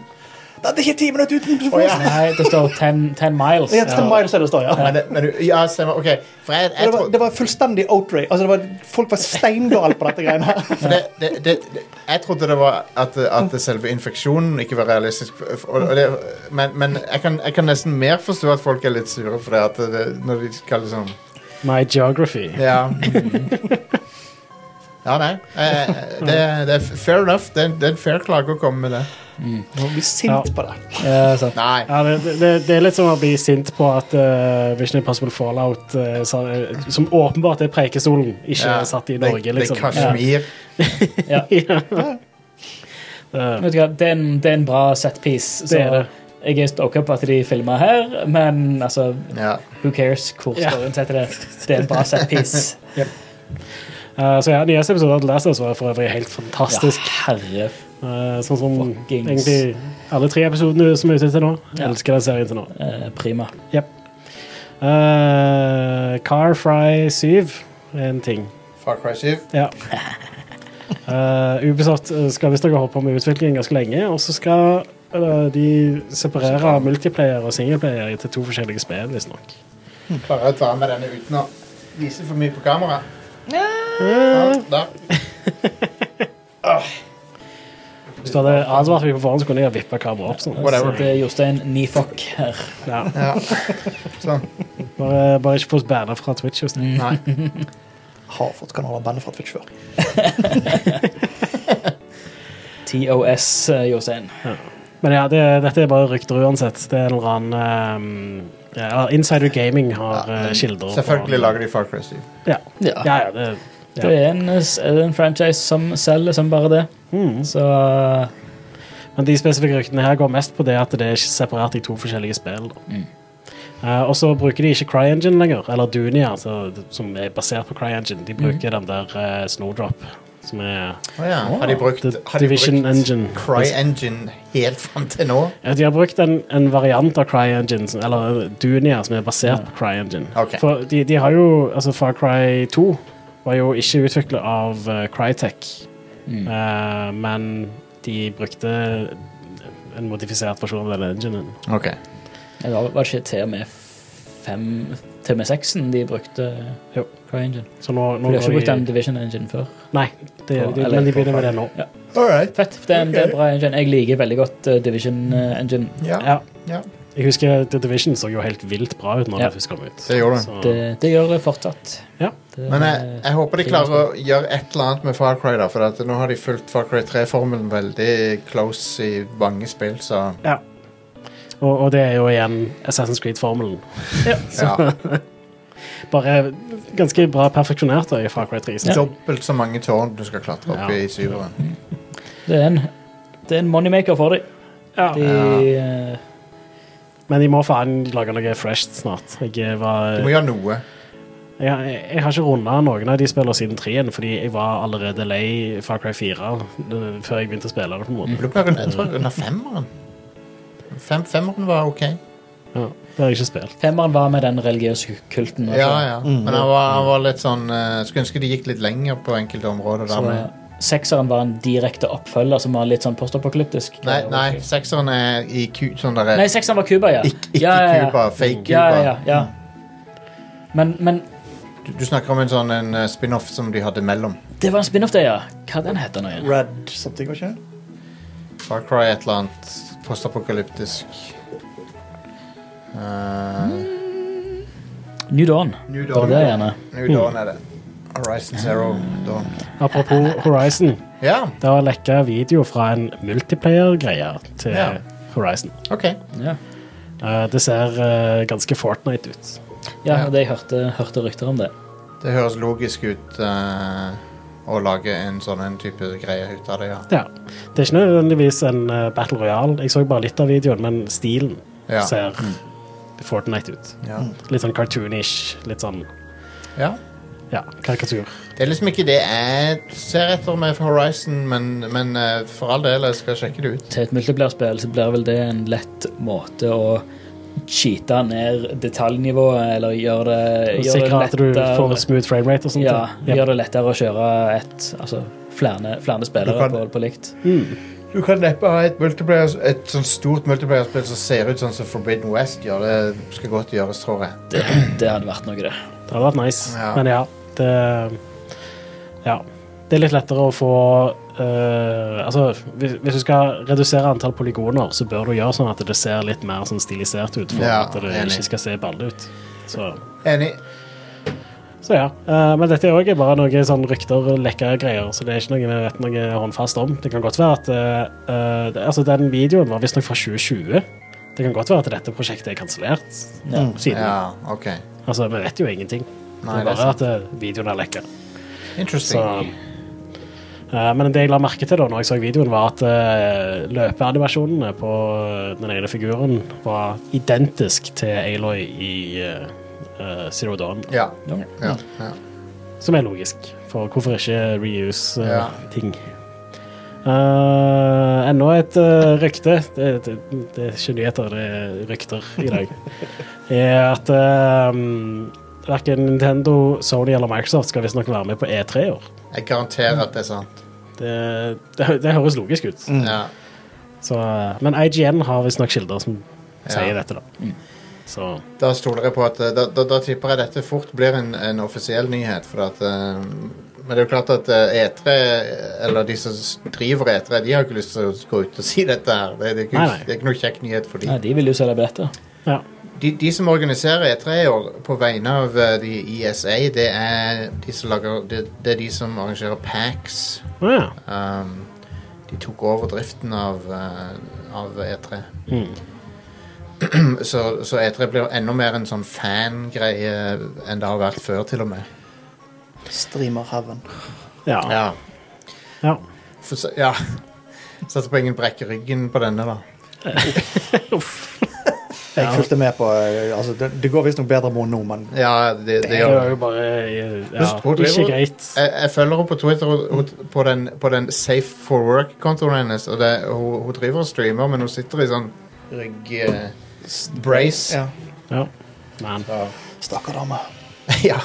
Speaker 4: Det er ikke ti minutter utenfor
Speaker 1: Å,
Speaker 4: Boston!
Speaker 1: ja.
Speaker 3: Nei, det står 10, 10 miles.
Speaker 4: Ja, 10 miles er det står, ja.
Speaker 1: Men, det, men du- ja, stemmer. OK. For jeg,
Speaker 4: Det
Speaker 1: jeg
Speaker 4: var,
Speaker 1: tror
Speaker 4: det var fullstendig outrage. Altså, det var, folk var steingale på dette greiene her.
Speaker 1: For det, det, det, det, jeg trodde det var at, at det selve infeksjonen ikke var realistisk. Og, og det, men men jeg, kan, jeg kan nesten mer forstå at folk er litt sure for det, at det når de skal liksom
Speaker 2: My Geography.
Speaker 1: Ja. Ja, nei. Eh, Det, det er fair enough. Det, er- det er en fair klage å komme med det.
Speaker 4: Man blir sint på det.
Speaker 3: Ja, sant.
Speaker 1: Nei.
Speaker 2: Ja, det, det, det er litt som å bli sint på at eh, Mission Impossible Fallout, eh, sa- eh, som åpenbart er Preikestolen, ikke
Speaker 1: Ja,
Speaker 2: er satt i
Speaker 1: det-
Speaker 2: Norge, liksom.
Speaker 1: Det er Kashmir.
Speaker 2: Ja.
Speaker 3: Vet du hva, det er en, det er en bra setpiece.
Speaker 2: Det er det.
Speaker 3: Jeg er ok på at de filmer her, men altså,
Speaker 1: Ja.
Speaker 3: who cares hvor
Speaker 2: Ja.
Speaker 3: storyen setter det. Det er en bra setpiece.
Speaker 2: Eh, så ja, Nyeste episode av The Last of Us var for øvrig helt fantastisk.
Speaker 3: herre
Speaker 2: Eh, sånn som
Speaker 3: Fuckings.
Speaker 2: egentlig alle tre episodene som er ute til nå. Jeg
Speaker 3: Ja.
Speaker 2: elsker den serien til nå.
Speaker 3: eh, prima.
Speaker 2: Eh, Car Fry 7 er en ting.
Speaker 1: Far Cry 7.
Speaker 2: Ja. Eh, Ubisoft eh, skal visstnok ha holdt på med utviklingen ganske lenge, og så skal eh, de separere multiplayer og singleplayer til to forskjellige spill, visstnok.
Speaker 1: Klarer jeg å ta med denne uten å vise for mye på kamera? Ja, der.
Speaker 2: Hvis du hadde advart meg på forhånd, så kunne jeg ha vippa kameraet opp. sånn.
Speaker 1: Whatever.
Speaker 3: Så det er Jostein Nifok her.
Speaker 2: Ja.
Speaker 1: Sånn.
Speaker 2: Bare, bare ikke få oss banna fra Twitch. altså. Just. nå.
Speaker 1: Nei.
Speaker 4: Har fått kanaler bandet fra Twitch før.
Speaker 3: TOS eh, Jostein.
Speaker 2: Men ja, det, dette er bare rykter uansett. Det er en eller annen ehm, ja, eller Insider Gaming har eh, kilder. på-
Speaker 1: Selvfølgelig lager de Far Cry 7.
Speaker 2: Ja, ja, ja det,
Speaker 3: Det er en, eh, s- en franchise som selger som bare det.
Speaker 2: Hmm.
Speaker 3: Så eh,
Speaker 2: Men de spesifikke ryktene her går mest på det at det er ikke separert i to forskjellige spill. da. Eh, og så bruker de ikke CryEngine lenger, eller Dunia, altså, som er basert på CryEngine. De bruker den der eh, Snowdrop, som er
Speaker 1: Å ja. Har de brukt,
Speaker 2: The
Speaker 1: har de
Speaker 2: Division
Speaker 1: brukt
Speaker 2: Engine.
Speaker 1: CryEngine helt fram til nå?
Speaker 2: Ja, De har brukt en, en variant av CryEngine, som- eller Dunia, som er basert på CryEngine.
Speaker 1: Mm. Ok.
Speaker 2: For de, de har jo Altså, Far Cry 2 var jo ikke utvikla av eh, Crytek,
Speaker 1: Mm.
Speaker 2: Eh, men de brukte en modifisert versjon av den enginen.
Speaker 1: Ok.
Speaker 3: det var var ikke til og med fem Til og med seksen de brukte
Speaker 2: Jo.
Speaker 3: CryEngine.
Speaker 2: Så nå, nå
Speaker 3: For de har
Speaker 2: går
Speaker 3: ikke brukt
Speaker 2: de-
Speaker 3: den Division Engine før.
Speaker 2: Nei, det,
Speaker 3: På-
Speaker 2: de,
Speaker 3: eller
Speaker 2: men de
Speaker 3: på
Speaker 2: begynner med det nå.
Speaker 4: All right.
Speaker 3: Fett, for det er en, det er en
Speaker 4: Ok.
Speaker 3: bra engine. Jeg liker veldig godt eh, Division eh, Engine.
Speaker 1: Ja.
Speaker 2: Ja.
Speaker 1: Ja.
Speaker 2: Jeg husker The Division så jo helt vilt bra ut når
Speaker 3: Ja.
Speaker 2: det først kom ut.
Speaker 1: Det gjorde det.
Speaker 2: Så-
Speaker 3: Det, eh, det gjør det fortsatt.
Speaker 2: Ja.
Speaker 3: Det,
Speaker 1: Men jeg,
Speaker 3: eh,
Speaker 1: jeg håper de klarer å gjøre et eller annet med Far Cry, da, for at nå har de fulgt Far Cry 3-formelen veldig close i mange spill, så
Speaker 2: ja. Og, og det er jo igjen Assassin's Creed-formelen.
Speaker 1: ja.
Speaker 2: Bare ganske bra perfeksjonert da, i Far Cry 3. synes jeg.
Speaker 1: Dobbelt så mange tårn du skal klatre opp
Speaker 2: Ja.
Speaker 1: i i syveren.
Speaker 3: det er en, det er en moneymaker for dem.
Speaker 2: Ja.
Speaker 3: De, eh,
Speaker 2: Men de må faen lage noe fresh snart. Jeg, eh, var,
Speaker 1: Du må
Speaker 2: jeg,
Speaker 1: gjøre noe.
Speaker 2: jeg har ikke runda noen av de spillene siden 3-en, fordi jeg var allerede lei Far Cry 4 eh, før jeg begynte å spille det. på en måte.
Speaker 1: Jeg tror jeg er under femmeren. Fem, femmeren var ok.
Speaker 2: Ja, det har jeg ikke spilt.
Speaker 3: femmeren var med den religiøse kulten. altså.
Speaker 1: Ja, ja. Men han var, han var litt sånn eh, Skulle ønske de gikk litt lenger på enkelte områder.
Speaker 3: Så,
Speaker 1: Der,
Speaker 3: eh,
Speaker 1: men,
Speaker 3: Sekseren var en direkte oppfølger som var litt sånn postapokalyptisk.
Speaker 1: nei, nei, sekseren er i ku, sånn der
Speaker 3: Nei, sekseren var Cuba, ja.
Speaker 1: Ikke, ikke
Speaker 3: ja, ja, ja.
Speaker 1: Cuba, fake Cuba.
Speaker 3: Ja, ja, ja. Men, men
Speaker 1: Du, du snakker om en sånn en eh, spin-off som de hadde mellom.
Speaker 3: det var en spin-off, det, ja. Hva den heter nå igjen?
Speaker 4: Red something, var ikke det?
Speaker 1: Far Cry et eller annet postapokalyptisk. Uh,
Speaker 3: New Dawn.
Speaker 1: New
Speaker 3: Mm. Var
Speaker 1: Dawn.
Speaker 3: det Mm. det, gjerne?
Speaker 1: New Dawn er det. Horizon Zero Dawn.
Speaker 2: Apropos Horizon.
Speaker 1: Ja,
Speaker 2: Det har lekka video fra en multiplayer-greie til
Speaker 1: Ja.
Speaker 2: Horizon.
Speaker 1: OK.
Speaker 3: Ja.
Speaker 2: Eh, det ser eh, ganske Fortnite ut.
Speaker 3: Ja, og det jeg hørte, hørte rykter om det.
Speaker 1: Det høres logisk ut eh, å lage en sånn en type greie ut av det, ja.
Speaker 2: Ja. Det er ikke nødvendigvis en eh, Battle Royale. Jeg så bare litt av videoen, men stilen
Speaker 1: Ja. Mm.
Speaker 2: ser Fortnite ut.
Speaker 1: Ja.
Speaker 3: Mm.
Speaker 2: Litt sånn cartoonish. Litt sånn
Speaker 1: ja.
Speaker 2: ja, karikatur.
Speaker 1: Det er liksom ikke det jeg ser etter med Horizon, men, men eh, for all del, jeg skal sjekke det ut.
Speaker 3: Til et multiplierspill så blir vel det en lett måte å cheate ned detaljnivået, eller gjøre det, Eh, gjør det
Speaker 2: Sikre at du får
Speaker 3: lettere
Speaker 2: smooth framerate og sånt.
Speaker 3: ja,
Speaker 2: ja.
Speaker 3: gjør det lettere å kjøre et Altså flere, flere spillere
Speaker 1: kan-
Speaker 3: på, på likt.
Speaker 1: Du kan neppe ha et, multiplayer, et sånn stort multiplayer-spill som ser ut sånn som Forbidden West gjør. Det skal godt gjøres, tror jeg.
Speaker 3: Det, det hadde vært noe, det.
Speaker 2: Det hadde vært nice.
Speaker 1: Ja.
Speaker 2: Men ja, det Ja. Det er litt lettere å få eh, Altså, hvis, hvis du skal redusere antall polygoner, så bør du gjøre sånn at det ser litt mer sånn stilisert ut, for
Speaker 1: Ja,
Speaker 2: at det
Speaker 1: enig.
Speaker 2: ikke skal se balle ut. Så,
Speaker 1: Enig.
Speaker 2: så ja. Eh, men dette er òg bare noen sånn rykter og lekre greier, så det er ikke noe vi vet noe håndfast om. Det kan godt være at eh, eh, det, Altså, den videoen var visstnok fra 2020. Det kan godt være at dette prosjektet er kansellert
Speaker 3: Ja.
Speaker 2: siden.
Speaker 1: Ja, OK.
Speaker 2: Altså, vi vet jo ingenting.
Speaker 1: Nei, det
Speaker 2: det er
Speaker 1: er
Speaker 2: bare at eh, videoen er lekker. Så,
Speaker 1: Interesting.
Speaker 2: Eh, men det jeg la merke til da når jeg så videoen, var at eh, løpeanimasjonene på eh, den ene figuren var identisk til Aloy i eh, eh, Zero Dawn,
Speaker 1: Ja.
Speaker 3: Ja.
Speaker 1: ja, ja.
Speaker 2: som er logisk. For hvorfor ikke reuse eh,
Speaker 1: Ja.
Speaker 2: ting? Eh, enda et eh, rykte det, det, det er ikke nyheter, det er rykter i dag. er at uh, verken Nintendo, Sony eller Microsoft skal visstnok være med på E3 i år.
Speaker 1: Jeg garanterer at det er sant.
Speaker 2: Det, det, hø- det høres logisk ut.
Speaker 1: Ja.
Speaker 2: Så, eh, men IGN har visstnok kilder som sier dette, da.
Speaker 1: Mm.
Speaker 2: Så
Speaker 1: Da stoler jeg på at eh, da, da, da tipper jeg dette fort blir en, en offisiell nyhet. For at, eh, men det er jo klart at eh, E3, eller de som s- driver E3, de har jo ikke lyst til å gå ut og si dette her. Det, det, er,
Speaker 2: Nei,
Speaker 1: ikke,
Speaker 2: nei.
Speaker 1: det er ikke noe kjekk nyhet for
Speaker 3: Nei,
Speaker 1: de.
Speaker 3: de vil jo selge billetter.
Speaker 2: ja.
Speaker 1: de. De som organiserer E3 i år på vegne av eh, de i ESA, det er de som, lager, det, det er de som arrangerer PAX.
Speaker 2: Å ja.
Speaker 1: Um, de tok over driften av, eh, av E3.
Speaker 2: Mm.
Speaker 1: Så, så E3 blir enda mer en sånn fangreie enn det har vært før, til og med.
Speaker 4: Streamer Heaven.
Speaker 2: Ja. ja.
Speaker 1: For, så- ja. Satser på ingen brekker ryggen på denne, da.
Speaker 4: Jeg fulgte med på eh, altså, det, det går visstnok bedre med henne nå, men
Speaker 1: Ja, det, det
Speaker 2: Det
Speaker 1: gjør
Speaker 2: er jo bare ja,
Speaker 1: Husk på det,
Speaker 2: ikke
Speaker 1: Leo.
Speaker 2: greit.
Speaker 1: jeg, jeg følger henne på Twitter hun- hun- på den, på den Safe for Work-kontoen hennes. Og det, hun, hun driver og streamer, men hun sitter i sånn rygg... eh, brace.
Speaker 4: ja.
Speaker 2: Ja. Men,
Speaker 1: Ja.
Speaker 4: Stakkar dame.
Speaker 1: ja.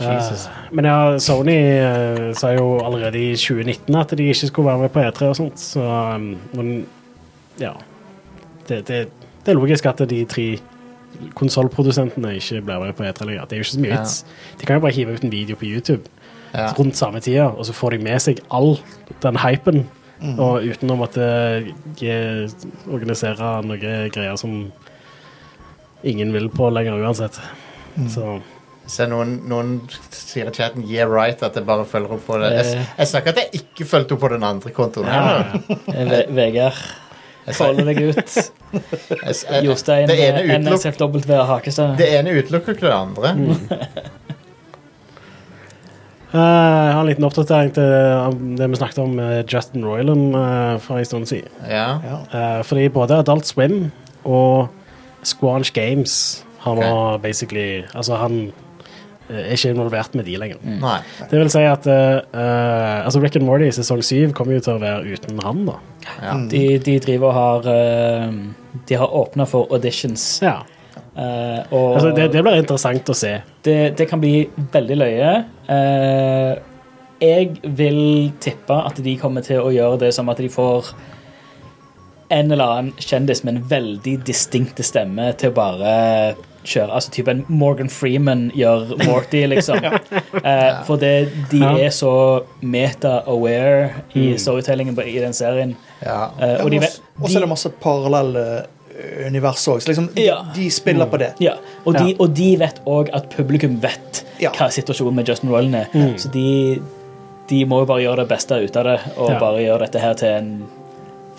Speaker 2: eh, men ja, Sony eh, sa jo allerede i 2019 at de ikke skulle være med på E3 og sånt, så um, men, ja. Det, det, det er logisk at de tre konsollprodusentene ikke blir med på E3 lenger. Det er jo ikke så mye
Speaker 1: Ja.
Speaker 2: vits. De kan jo bare hive ut en video på YouTube
Speaker 1: Ja.
Speaker 2: rundt samme tida, og så får de med seg all den hypen.
Speaker 1: Mm.
Speaker 2: Og utenom at de organiserer noen greier som ingen vil på lenger uansett.
Speaker 1: Mm.
Speaker 2: Så
Speaker 1: Se, noen, noen sier i chatten 'yeah right' at jeg bare følger opp på det. Jeg, jeg sa ikke at jeg ikke fulgte opp på den andre kontoen.
Speaker 2: ja,
Speaker 1: heller.
Speaker 2: ja.
Speaker 3: Eh, Ve Vegard,
Speaker 1: Jeg sa-
Speaker 3: folde deg ut.
Speaker 1: jeg- jeg-
Speaker 3: Jostein,
Speaker 1: det ene
Speaker 3: eh,
Speaker 1: utelukk-
Speaker 3: NSFW Hakestad.
Speaker 1: Det ene utelukker ikke det andre.
Speaker 2: Eh, jeg har en liten oppdatering til um, det vi snakket om med Justin Roiland eh, for en stund siden.
Speaker 1: Ja.
Speaker 4: Ja.
Speaker 2: Eh, fordi både Adult Swim og Squanch Games har nå basically Altså, han eh, er ikke involvert med de lenger.
Speaker 1: Nei.
Speaker 2: Det vil si at eh, eh, altså Rick and Morty i sesong 7 kommer jo til å være uten han, da.
Speaker 1: Ja.
Speaker 3: De, de driver og har eh, De har åpna for auditions.
Speaker 2: Ja.
Speaker 3: eh, og
Speaker 2: Altså, det, det blir interessant å se.
Speaker 3: det, det kan bli veldig løye. Eh, jeg vil tippe at de kommer til å gjøre det som at de får en eller annen kjendis med en veldig distinkte stemme til å bare kjøre. Altså type en Morgan Freeman gjør Morty, liksom. Eh, for det, de
Speaker 2: Ja.
Speaker 3: er så meta-aware i
Speaker 2: Mm.
Speaker 3: storytellingen på- i den serien.
Speaker 1: Ja.
Speaker 3: Eh,
Speaker 4: Ja,
Speaker 3: og de,
Speaker 4: men
Speaker 3: vet-
Speaker 4: også- også er det masse parallelle eh, univers òg. Liksom, de,
Speaker 3: Ja.
Speaker 4: de spiller på det.
Speaker 3: Ja, og de,
Speaker 2: Ja.
Speaker 3: og de vet òg at publikum vet
Speaker 4: Ja. Mm.
Speaker 3: hva situasjonen med Justin Roiland er. Så de, de må jo bare gjøre det beste ut av det, og
Speaker 2: Ja.
Speaker 3: bare gjøre dette her til en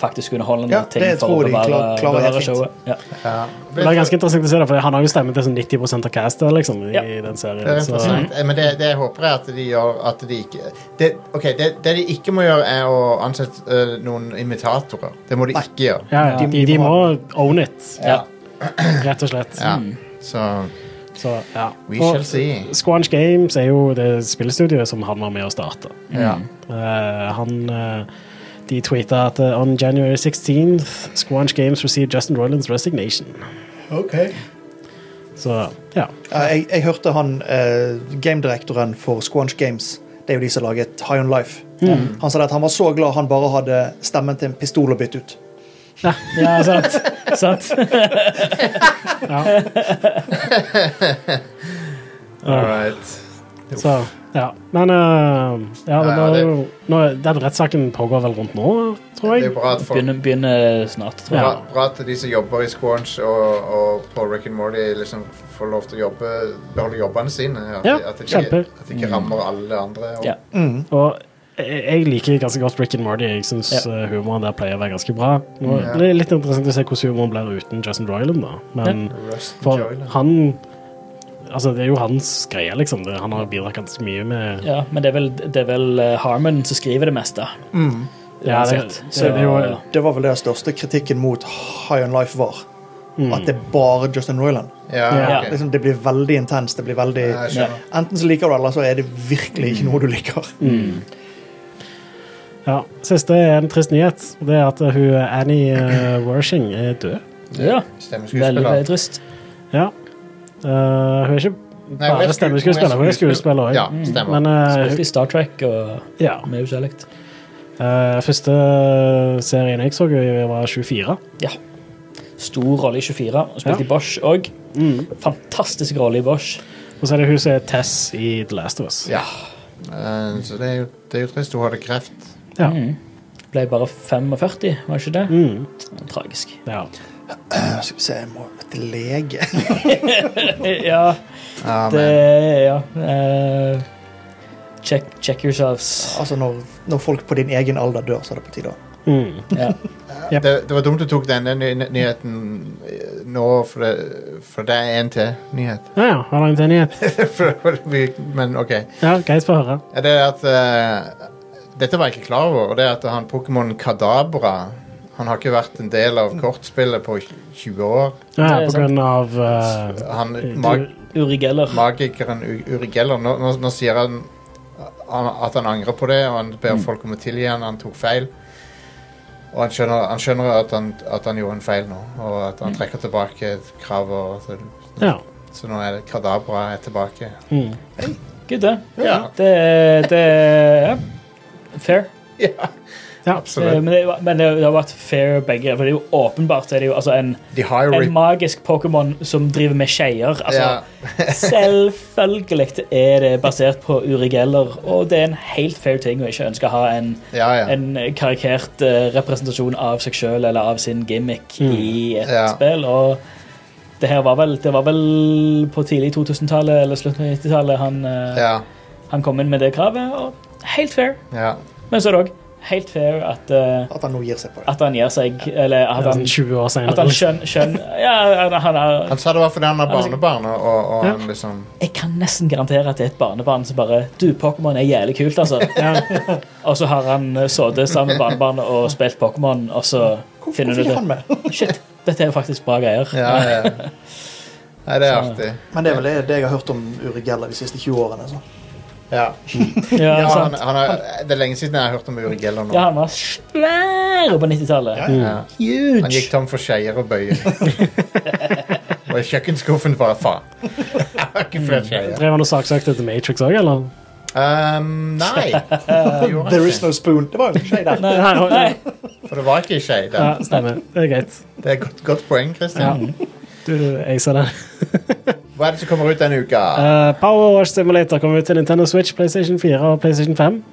Speaker 3: faktisk underholdende
Speaker 4: Ja,
Speaker 3: ting
Speaker 4: det
Speaker 3: for å
Speaker 4: tror de
Speaker 3: bevare,
Speaker 4: klar- klarer helt
Speaker 3: bevare
Speaker 4: fint.
Speaker 3: showet. Ja.
Speaker 1: ja.
Speaker 2: Det blir ganske interessant å se det, for han har jo stemmen til sånn 90 av castet liksom, i
Speaker 3: Ja.
Speaker 2: den
Speaker 1: Det er
Speaker 2: serien. Så,
Speaker 1: interessant. Eh, Men det, det jeg håper er at de gjør at de ikke det, Ok, det, det de ikke må gjøre, er å ansette eh, noen imitatorer. Det må de
Speaker 4: Nei.
Speaker 1: ikke gjøre.
Speaker 2: ja, ja, de, de må own it,
Speaker 3: Ja.
Speaker 2: rett og slett.
Speaker 1: Ja. Så
Speaker 2: Så, ja.
Speaker 1: we
Speaker 2: Og
Speaker 1: shall see.
Speaker 2: Squanch Games er jo det spillestudioet som han var med å starte.
Speaker 1: Mm. Ja.
Speaker 2: Eh, han eh, De tweeta at eh, on January 16th, Squanch Games received Justin Roilands resignation. Så ja.
Speaker 4: Ja, jeg, jeg hørte han eh, gamedirektoren for Squanch Games, det er jo de som laget High On Life, han sa at han var så glad han bare hadde stemmen til en pistol å bytte ut.
Speaker 3: ja, sant. sant.
Speaker 2: ja.
Speaker 1: All right.
Speaker 2: Så, ja. Men eh, ja, det
Speaker 1: Ja,
Speaker 2: var
Speaker 1: det-
Speaker 2: jo nå, Den rettssaken pågår vel rundt nå, tror
Speaker 1: Det er
Speaker 2: jeg.
Speaker 1: bra at folk
Speaker 3: Begynner, begynner snart, tror jeg.
Speaker 1: Bra, bra at de som jobber i Squanch og, og på Rick and Morty, liksom får lov til å jobbe, beholde jobbene sine. At,
Speaker 2: Ja,
Speaker 1: de- at, de, ikke,
Speaker 2: kjempe.
Speaker 1: at de ikke rammer alle andre. Og,
Speaker 3: Ja.
Speaker 2: Og jeg jeg liker ganske godt Rick and Morty. Jeg syns
Speaker 3: Ja.
Speaker 2: eh, humoren der pleier å være ganske bra. Nå,
Speaker 1: Ja.
Speaker 2: Det er litt interessant å se hvordan humoren blir uten Justin Roiland, da. Men
Speaker 1: Rust and
Speaker 2: for
Speaker 1: Joyland.
Speaker 2: han Altså, det er jo hans greie, liksom. Det, han har bidratt ganske mye med
Speaker 3: Ja, men det er vel, det er vel eh, Harmon som skriver det meste.
Speaker 2: Ja, det-
Speaker 3: Uansett.
Speaker 2: det- det er jo-
Speaker 4: Det var vel det største kritikken mot High On Life var.
Speaker 3: Mm.
Speaker 4: At det er bare Justin Roiland.
Speaker 1: Ja,
Speaker 2: Ja.
Speaker 1: ok.
Speaker 4: Liksom, det blir veldig intenst. Det blir veldig
Speaker 1: Jeg skjønner.
Speaker 4: Enten så liker du det, eller så er det virkelig
Speaker 3: Mm.
Speaker 4: ikke noe du liker. Mm.
Speaker 2: Ja. Siste er en trist nyhet. og Det er at eh, hun Annie eh, Wershing er død.
Speaker 3: ja. Veldig,
Speaker 1: Stemmeskuespiller.
Speaker 3: veldig trist.
Speaker 2: Ja. Eh, hun er ikke
Speaker 1: Nei, hun er
Speaker 2: bare
Speaker 1: sku-
Speaker 2: stemmeskuespiller, hun er skuespiller òg.
Speaker 1: Ja,
Speaker 3: Mm.
Speaker 1: stemmer.
Speaker 2: Men eh,
Speaker 3: Spilte i Star Trek og
Speaker 2: hun- ja.
Speaker 3: mye forskjellig.
Speaker 2: Eh, første serien jeg så, jeg var 24.
Speaker 3: Ja. Stor rolle i 24. og Spilte
Speaker 2: Ja.
Speaker 3: i Bosch òg. Fantastisk rolle i Bosch.
Speaker 2: Og så er det hun som er Tess i The Last of Us.
Speaker 1: Ja. Eh, så det er, jo, det er jo trist. Hun hadde kreft.
Speaker 2: Ja.
Speaker 3: Mm. Ble bare 45, var ikke det?
Speaker 2: Mm.
Speaker 3: Tragisk.
Speaker 2: ja.
Speaker 4: Jeg Skal vi se, jeg må til lege.
Speaker 3: Ja,
Speaker 1: Ja,
Speaker 3: det
Speaker 1: men,
Speaker 3: Ja. eh, check, check yourselves.
Speaker 4: Altså, når, når folk på din egen alder dør, så er det på tide.
Speaker 2: Mm.
Speaker 3: Ja.
Speaker 2: Yep.
Speaker 1: eh, det, det var dumt du tok denne ny nyheten eh, nå, for det, for det er en til nyhet.
Speaker 2: Ja, ja. Har dere en til nyhet?
Speaker 1: For- for vi- men OK.
Speaker 2: Ja, greit for å høre.
Speaker 1: Ja, Det er at eh, Dette var jeg ikke klar over, og det er at han Pokémon Kadabra Han har ikke vært en del av kortspillet på 20 år.
Speaker 2: Ja,
Speaker 3: Det er
Speaker 2: på
Speaker 3: sant.
Speaker 2: grunn av eh,
Speaker 1: Han, mag,
Speaker 3: Uri Geller.
Speaker 1: magikeren U- Uri Geller nå, nå, nå sier han han- at han angrer på det, og han ber
Speaker 3: Mm.
Speaker 1: folk om å tilgi han, han tok feil. Og han skjønner, han skjønner at, han, at han gjorde en feil nå, og at
Speaker 3: Mm.
Speaker 1: han trekker tilbake kravet. og Så,
Speaker 2: Ja.
Speaker 1: så nå er det Kadabra er tilbake.
Speaker 2: Mm.
Speaker 3: Gud, det.
Speaker 1: Ja.
Speaker 3: eh? Det, det ja. Fair.
Speaker 1: ja
Speaker 2: ja.
Speaker 3: Eh,
Speaker 1: absolutt.
Speaker 3: Men, det, men det, det har vært fair begge. For det er jo åpenbart er det jo, altså, en,
Speaker 1: De har jo
Speaker 3: en
Speaker 1: re-
Speaker 3: magisk Pokémon som driver med skeier. Altså,
Speaker 1: ja,
Speaker 3: Selvfølgelig er det basert på Uri Geller, og det er en helt fair ting å ikke ønske å ha en,
Speaker 1: ja, ja.
Speaker 3: en karikert eh, representasjon av seg sjøl eller av sin gimmick
Speaker 2: Mm.
Speaker 3: i et
Speaker 1: Ja.
Speaker 3: spill. Og det her var vel, det var vel på tidlig 2000-tallet eller slutten av 90-tallet han, eh,
Speaker 1: ja,
Speaker 3: han kom inn med det kravet, og helt fair.
Speaker 1: ja.
Speaker 3: Men så er det òg helt fair at, eh,
Speaker 4: At han nå gir seg på det.
Speaker 3: at han gir seg, eller at
Speaker 2: Sånn
Speaker 3: han,
Speaker 2: 20 år
Speaker 3: at han
Speaker 2: senere.
Speaker 3: skjønner skjøn, Ja, han, han er
Speaker 1: Han sa det var fordi han har barnebarn, og, og, og
Speaker 2: Altså- Ja.
Speaker 1: han liksom
Speaker 3: Jeg kan nesten garantere at det er et barnebarn som bare Du, Pokémon er jævlig kult, altså.
Speaker 2: Ja.
Speaker 3: Og så har han eh, sittet sammen med barnebarnet og spilt Pokémon, og så
Speaker 4: Hvorfor
Speaker 3: finner du det.
Speaker 4: hvorfor ikke han med?
Speaker 3: Shit, dette er jo faktisk bra greier.
Speaker 1: Ja, ja. Nei, det er
Speaker 2: Sånn.
Speaker 1: artig.
Speaker 4: Men det er vel det, det jeg har hørt om Uri Geller de siste 20 årene. Så.
Speaker 1: Ja.
Speaker 3: Ja,
Speaker 1: Ja, han,
Speaker 3: sant?
Speaker 1: han er, det er lenge siden jeg har hørt om Uri Geller nå.
Speaker 3: ja han var svær på 90-tallet.
Speaker 4: Ja,
Speaker 1: Ja.
Speaker 2: Mm.
Speaker 1: Han gikk
Speaker 3: Huge.
Speaker 1: tom for skeier og bøyer. og i kjøkkenskuffen bare faen. Jeg har ikke
Speaker 2: Mm.
Speaker 1: flere skeier.
Speaker 2: Drev han og saksøkte til Matrix òg, eller?
Speaker 1: Um, nei. Det gjorde
Speaker 4: There
Speaker 1: han
Speaker 4: is
Speaker 1: ikke.
Speaker 4: no spoon. Det var jo en skje der.
Speaker 3: Nei,
Speaker 2: Nei,
Speaker 3: nei.
Speaker 1: For det var ikke ei skje
Speaker 2: Ja,
Speaker 1: der.
Speaker 2: stemmer. Det er greit.
Speaker 1: Det er et godt, godt poeng,
Speaker 2: Ja.
Speaker 1: Christian.
Speaker 2: Du acer den.
Speaker 1: Hva er det som kommer ut denne uka?
Speaker 2: Eh, Power Wash Simulator kommer ut til Nintendo Switch, PlayStation 4 og PlayStation 5.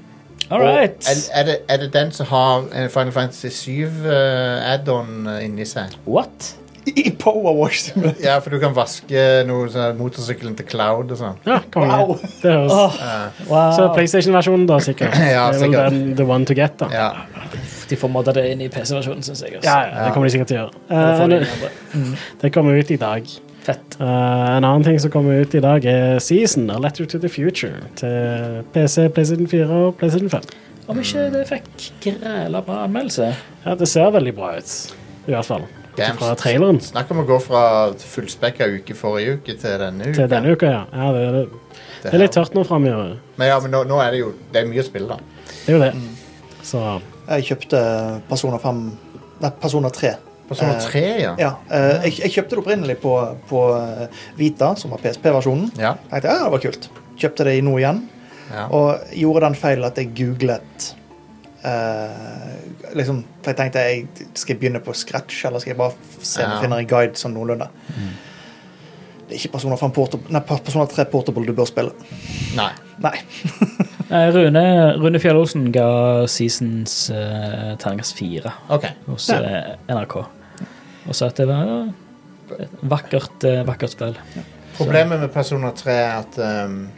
Speaker 3: All
Speaker 1: Og
Speaker 3: right.
Speaker 1: Er, er, det, er det den som har en Final Fantasy 7-add-on eh, inni seg?
Speaker 3: What?
Speaker 4: I Powerwash.
Speaker 1: Ja, for du kan vaske noe, sånn, motorsykkelen til Cloud og sånn.
Speaker 2: Ja, konge.
Speaker 4: Wow.
Speaker 2: Det høres.
Speaker 3: Åh, wow.
Speaker 2: Så PlayStation-versjonen, da, sikkert.
Speaker 1: Ja,
Speaker 2: det er vel
Speaker 1: sikkert.
Speaker 2: den the one to get, da. Ja,
Speaker 1: Ja.
Speaker 3: De får modda det inn i PC-versjonen, syns jeg.
Speaker 2: ja,
Speaker 3: Også.
Speaker 2: det kommer de sikkert til å gjøre.
Speaker 3: Da
Speaker 2: Eh,
Speaker 3: får de
Speaker 2: en-
Speaker 3: inn andre.
Speaker 2: det kommer ut i dag.
Speaker 3: Fett.
Speaker 2: Eh, en annen ting som kommer ut i dag, er Season, A Letter to the Future, til PC, PlayStation 4 og PlayStation 5.
Speaker 3: Om ikke det fikk græla bra anmeldelse.
Speaker 2: Ja, det ser veldig bra ut, i hvert fall. Ut
Speaker 1: Damn.
Speaker 2: fra traileren
Speaker 1: Snakk om å gå fra fullspekka uke forrige uke til denne uka.
Speaker 2: til denne uka, ja. ja det, er det.
Speaker 1: Det
Speaker 2: det er litt
Speaker 1: her.
Speaker 2: tørt nå framover.
Speaker 1: Men, ja, men nå, nå er det jo det er mye å spille, da.
Speaker 2: Det er jo det.
Speaker 1: Mm.
Speaker 2: Så
Speaker 4: Jeg kjøpte Persona 5 Nei, Persona 3.
Speaker 1: Persona
Speaker 4: Eh,
Speaker 1: 3, ja.
Speaker 4: Ja, eh, jeg, jeg kjøpte det opprinnelig på, på eh, Vita, som var PSP-versjonen.
Speaker 1: Ja.
Speaker 4: Jeg tenkte, ja, det var kult. Kjøpte det i nå igjen,
Speaker 1: ja.
Speaker 4: og gjorde den feilen at jeg googlet eh, liksom, for Jeg tenkte jeg skal jeg begynne på scratch, eller skal jeg bare f- se om
Speaker 1: Ja.
Speaker 4: jeg finner en guide sånn noenlunde. Det er ikke Persona, 5 Portab- nei, Persona 3 Portable du bør spille.
Speaker 1: Nei.
Speaker 4: Nei.
Speaker 3: Nei, Rune, Rune Fjell Olsen ga Seasons uh, terningkast fire
Speaker 1: OK.
Speaker 3: hos eh, NRK. Og sa at det var eh, et vakkert, eh, vakkert spill.
Speaker 1: Problemet med Persona 3 er at ehm,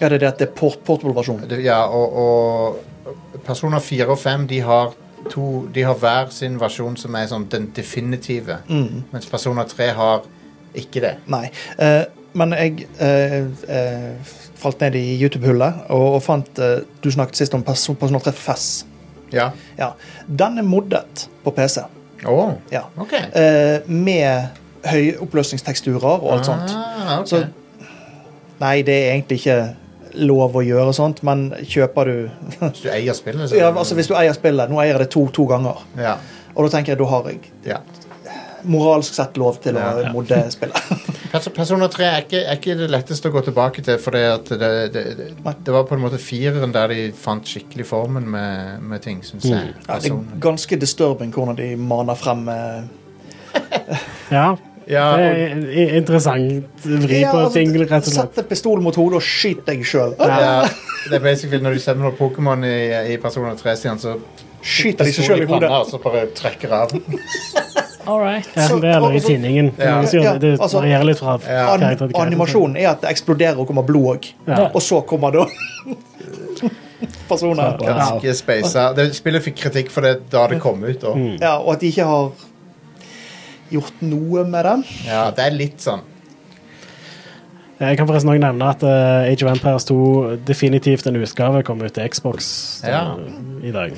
Speaker 4: Ja, det er det at det er port portable-versjonen.
Speaker 1: det, Ja, og, og Persona 4 og 5 de har, to, de har hver sin versjon som er sånn den definitive,
Speaker 4: Mm.
Speaker 1: mens Persona 3 har ikke det.
Speaker 4: Nei. Eh, men jeg eh, eh, falt ned i YouTube-hullet og, og fant eh, Du snakket sist om Perso- Persona 3 Fess.
Speaker 1: Ja.
Speaker 4: Ja. Den er moddet på PC.
Speaker 1: Å,
Speaker 4: Ja.
Speaker 1: OK.
Speaker 4: Eh, med høyoppløsningsteksturer og alt sånt.
Speaker 1: Ah, ok.
Speaker 4: Så Nei, det er egentlig ikke lov å gjøre sånt, men kjøper du
Speaker 1: Hvis du eier spillet, så
Speaker 4: ja, altså Hvis du eier spillet Nå eier jeg det to, to ganger.
Speaker 1: ja,
Speaker 4: Og da tenker jeg da har jeg
Speaker 1: ja.
Speaker 4: moralsk sett lov til å
Speaker 1: Ja.
Speaker 4: modde spillet.
Speaker 1: Perso- Persona 3 er ikke, er ikke det letteste å gå tilbake til, for det, det, det, det, det var på en måte fireren der de fant skikkelig formen med, med ting, syns jeg.
Speaker 4: Mm. Ja, det er
Speaker 1: Personlig.
Speaker 4: ganske disturbing hvordan de maner frem eh,
Speaker 2: Ja.
Speaker 1: Ja,
Speaker 2: det
Speaker 1: og,
Speaker 2: er i- interessant vri
Speaker 4: Ja,
Speaker 2: på
Speaker 4: altså,
Speaker 2: ting, rett og slett.
Speaker 4: Sett en pistol mot hodet og skyt deg sjøl.
Speaker 1: ja, det er basically når du sender Pokémon i, i Persona 3, Stian, så
Speaker 4: Skyter de seg sjøl i hodet.
Speaker 1: og så bare trekker av.
Speaker 3: All right.
Speaker 2: Ja, det er det i tinningen.
Speaker 1: Ja.
Speaker 2: Det, gjør det, det
Speaker 4: Ja, altså,
Speaker 2: varierer litt fra
Speaker 1: Ja.
Speaker 4: An
Speaker 2: karakter til karakter.
Speaker 4: animasjonen er at det eksploderer og kommer blod òg.
Speaker 2: Ja.
Speaker 4: Og så kommer da personer.
Speaker 3: Wow.
Speaker 1: Ganske speisa. Det- Spillet fikk kritikk for det da det kom ut. Og,
Speaker 4: Ja, og at de ikke har gjort noe med den.
Speaker 1: ja, det er litt sånn
Speaker 2: Eh, Jeg kan forresten også nevne at eh, Age of Empires 2 definitivt en utgave kom ut til Xbox eh,
Speaker 1: Ja.
Speaker 2: i dag.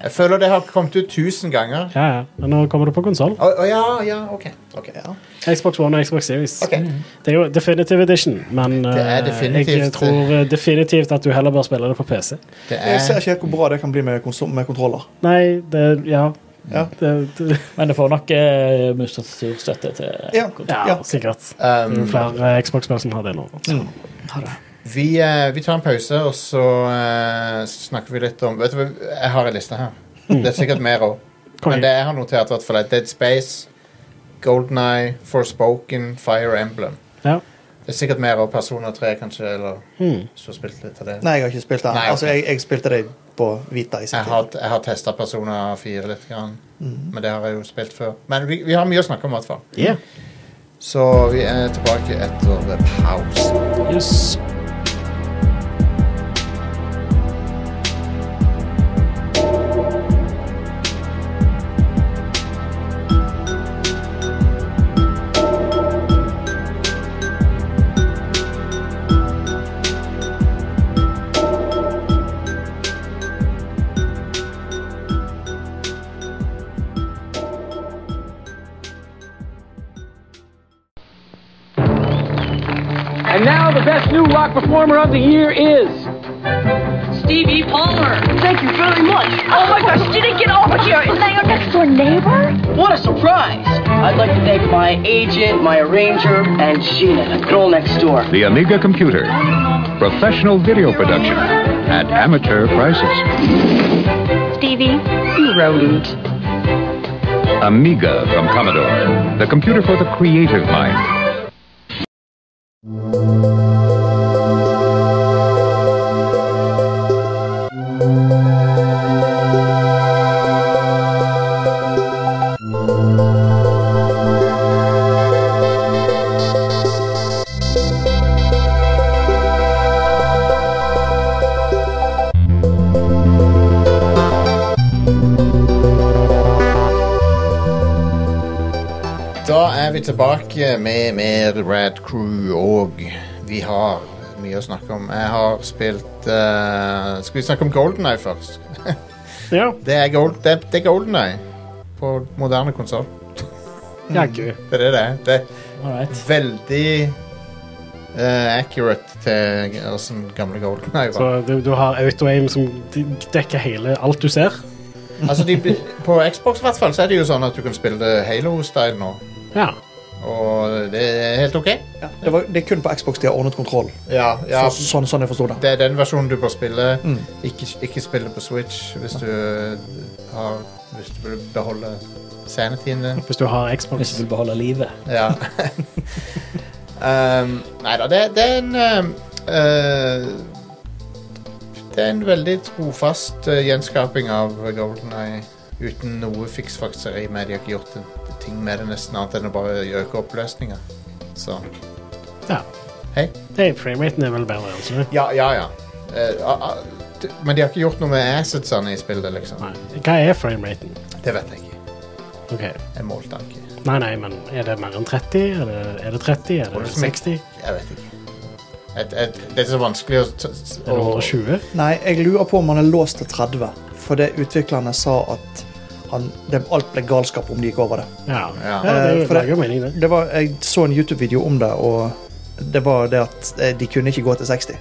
Speaker 1: Jeg føler det har kommet ut tusen ganger.
Speaker 2: Ja, ja. Men nå kommer det på konsoll.
Speaker 1: Å å, ja, ja, OK. ok.
Speaker 4: Ja.
Speaker 2: Xbox One og Xbox Series.
Speaker 1: Ok.
Speaker 2: Det er jo Definitive Edition, men eh,
Speaker 1: Det er definitivt-
Speaker 2: jeg tror eh, definitivt at du heller bør spille det på PC.
Speaker 1: Det
Speaker 4: Jeg ser
Speaker 1: er
Speaker 4: ikke helt hvor bra det kan bli med, konsol- med kontroller.
Speaker 2: Nei, det Ja.
Speaker 4: Ja.
Speaker 2: Det, det,
Speaker 3: Men det får nok eh, mustaturstøtte til
Speaker 4: Ja.
Speaker 2: ja,
Speaker 4: Ja.
Speaker 2: sikkert. Det er jo
Speaker 1: um,
Speaker 2: flere eh, Xbox-spill som har det nå.
Speaker 1: Mm. vi, eh, vi tar en pause, og så eh, snakker vi litt om Vet du hva, jeg har en liste her.
Speaker 2: Mm.
Speaker 1: Det er sikkert mer òg. Men det jeg har notert, i hvert fall, er Dead Space, Golden Eye, Forspoken, Fire Emblem.
Speaker 2: Ja.
Speaker 1: Det er sikkert mer av Persona 3, kanskje, eller
Speaker 2: Mm.
Speaker 1: så spilt litt av det.
Speaker 4: Nei, jeg har ikke spilt det.
Speaker 1: Nei, ok.
Speaker 4: Altså, jeg, jeg spilte det på Vita i sin
Speaker 1: Jeg
Speaker 4: tid.
Speaker 1: har, jeg har testa Persona 4 litt, grann. men det har jeg jo spilt før. Men vi, vi har mye å snakke om, i hvert fall.
Speaker 2: Yeah.
Speaker 1: Så vi er tilbake etter pause.
Speaker 3: Yes.
Speaker 6: And now the best new rock performer of the year is.
Speaker 7: Stevie Palmer. Thank you very much. Oh my gosh, you didn't get over here. Is that your next door neighbor? What a surprise. I'd like to thank my agent, my arranger, and Sheena, the girl next door.
Speaker 8: The Amiga Computer. Professional video production at amateur prices.
Speaker 7: Stevie, you rodent.
Speaker 8: Amiga from Commodore. The computer for the creative mind.
Speaker 1: Da er vi tilbake med mer Rad Crew, og vi har mye å snakke om. Jeg har spilt eh, Skal vi snakke om Golden Eye først?
Speaker 2: Ja.
Speaker 1: Det er, gold, det, det er Golden Eye på moderne konsoll.
Speaker 2: Jaggu.
Speaker 1: Det er det det er. Det er
Speaker 3: All right.
Speaker 1: veldig eh, accurate til hvordan gamle Golden Eye var.
Speaker 2: Så du, du har auto-aim som de- dekker hele alt du ser.
Speaker 1: Altså, de, på Xbox i hvert fall så er det jo sånn at du kan spille Halo-style nå.
Speaker 2: Ja.
Speaker 1: Og det er helt OK.
Speaker 4: Ja. Det, var, det er kun på Xbox de har ordnet kontroll.
Speaker 1: Ja, ja
Speaker 4: Så, sånn, sånn jeg forsto det. Mm.
Speaker 1: Det er den versjonen du bør spille. Ikke, ikke spille på Switch hvis du har Hvis du vil beholde sanityen din.
Speaker 2: Hvis du har
Speaker 3: Hvis
Speaker 2: Xbox.
Speaker 3: du vil beholde livet.
Speaker 1: Ja. um, nei da, det, det er en um, eh, Det er en veldig trofast eh, gjenskaping av Golden Eye. Uten noe fiksfakseri med det. De har ikke gjort en ting med det nesten annet enn å bare øke oppløsninga. Så
Speaker 2: Ja.
Speaker 1: hei.
Speaker 2: Hey, Frameraten er vel bedre, altså.
Speaker 1: Ja, ja, ja. Eh, a- a- d- men de har ikke gjort noe med assetsene i spillet, liksom.
Speaker 2: Nei. Hva er frameraten?
Speaker 1: Det vet jeg ikke.
Speaker 2: Ok.
Speaker 1: Jeg målte den ikke.
Speaker 2: Nei, nei, men er det mer enn 30? Er det, er det 30? Er det 60?
Speaker 1: Jeg vet ikke. Et, et, det er så vanskelig å t- s-
Speaker 2: Er det
Speaker 1: å-
Speaker 2: 120?
Speaker 4: Nei, jeg lurer på om han er låst til 30. For det utviklerne sa at han, det, alt ble galskap om de gikk over det.
Speaker 2: Ja.
Speaker 1: Ja.
Speaker 2: ja. Det
Speaker 4: Eh, for det-
Speaker 2: lager jo mening, det.
Speaker 4: det var, jeg så en YouTube-video om det, og det var det at eh, de kunne ikke gå til 60.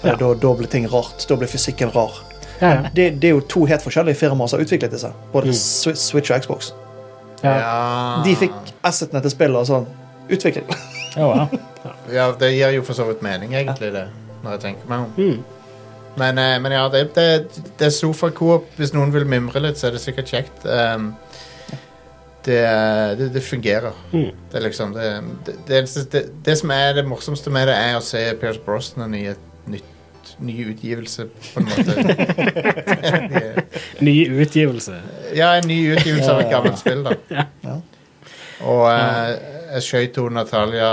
Speaker 4: For
Speaker 2: Ja.
Speaker 4: Da, da ble ting rart. Da ble fysikken rar.
Speaker 2: Ja, ja.
Speaker 4: Det, det er jo to helt forskjellige firmaer som har utviklet disse.
Speaker 1: Mm.
Speaker 4: Både Swi- Switch og Xbox.
Speaker 2: ja.
Speaker 1: Ja.
Speaker 4: De fikk assetene til spillet og sånn. Utvikling.
Speaker 3: Ja, wow.
Speaker 1: ja, det gir jo for så vidt mening, egentlig, det. Når jeg tenker meg om.
Speaker 2: Mm.
Speaker 1: Men, eh, men ja, det, det, det er sofa-coop. Hvis noen vil mimre litt, så er det sikkert kjekt. Um, det, det, det fungerer.
Speaker 2: Mm.
Speaker 1: Det er liksom det, det, det, eneste- det, det som er det morsomste med det, er å se Pierce Brosnan i et nytt ny utgivelse, på en måte.
Speaker 2: Ny utgivelse.
Speaker 1: ja, en ny utgivelse av et gammelt spill, da.
Speaker 4: Ja.
Speaker 1: Og eh, jeg skjøt to Natalia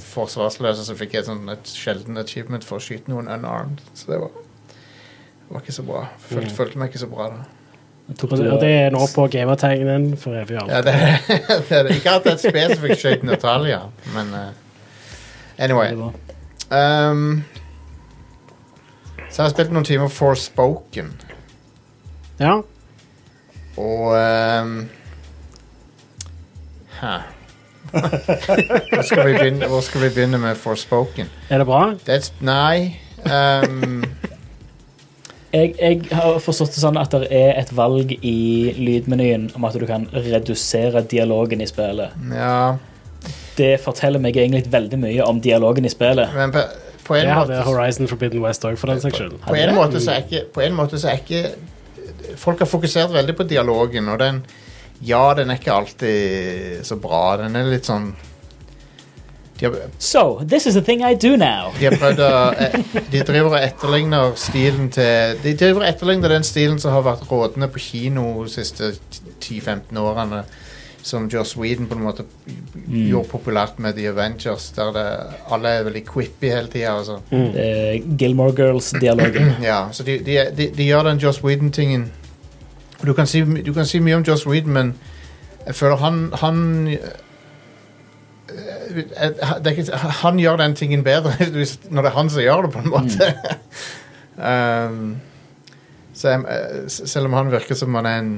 Speaker 1: forsvarsløse, så fikk jeg et, sånn, et sjelden achievement for å skyte noen unarmed. Så det var, var ikke så bra. Følte, følte meg ikke så bra da.
Speaker 3: Tok
Speaker 2: Og det,
Speaker 3: du-
Speaker 2: og det er nå på gamertegnen for evig og
Speaker 1: Ja,
Speaker 2: alltid.
Speaker 1: det, det, det, ikke at jeg spesifikt skjøt Natalia, men eh, Anyway.
Speaker 3: Det var-
Speaker 1: ehm, så har jeg spilt noen timer Forspoken.
Speaker 2: Ja.
Speaker 1: Og ehm, huh. hvor, skal vi begynne, hvor skal vi begynne med Forspoken?
Speaker 2: Er det bra?
Speaker 1: Det er et sp- Nei. ehm,
Speaker 3: Jeg, jeg har forstått det sånn at det er et valg i lydmenyen om at du kan redusere dialogen i spillet.
Speaker 2: Mm.
Speaker 1: ja
Speaker 3: Det forteller meg egentlig veldig mye om dialogen i spillet.
Speaker 1: Men på, på, en
Speaker 2: Det
Speaker 1: måte,
Speaker 2: hadde Horizon Forbidden West òg, for den saks skyld.
Speaker 1: på, en måte så er ikke, på en måte så er ikke Folk har fokusert veldig på dialogen, og den Ja, den er ikke alltid så bra. Den er litt sånn De har,
Speaker 3: So, this is the thing I do now.
Speaker 1: de har prøvd å eh, De driver og etterligner stilen til De driver og etterligner den stilen som har vært rådende på kino de siste 10-15 årene. Som Joss Whedon på en måte gjorde populært med The Avengers, der det, alle er veldig quippy hele tida. Altså.
Speaker 2: Mm.
Speaker 3: Eh, Gilmore Girls-dialogen.
Speaker 1: Ja, så de, de, de, de gjør den Joss Whedon-tingen. Du, kan si, du kan si mye om Joss Whedon, men jeg føler han Han, øh, eh, eh, det er ikke, han gjør den tingen bedre hvis- når det er han som gjør det, på en måte. um, så jeg, eh, s- selv om han virker som han er en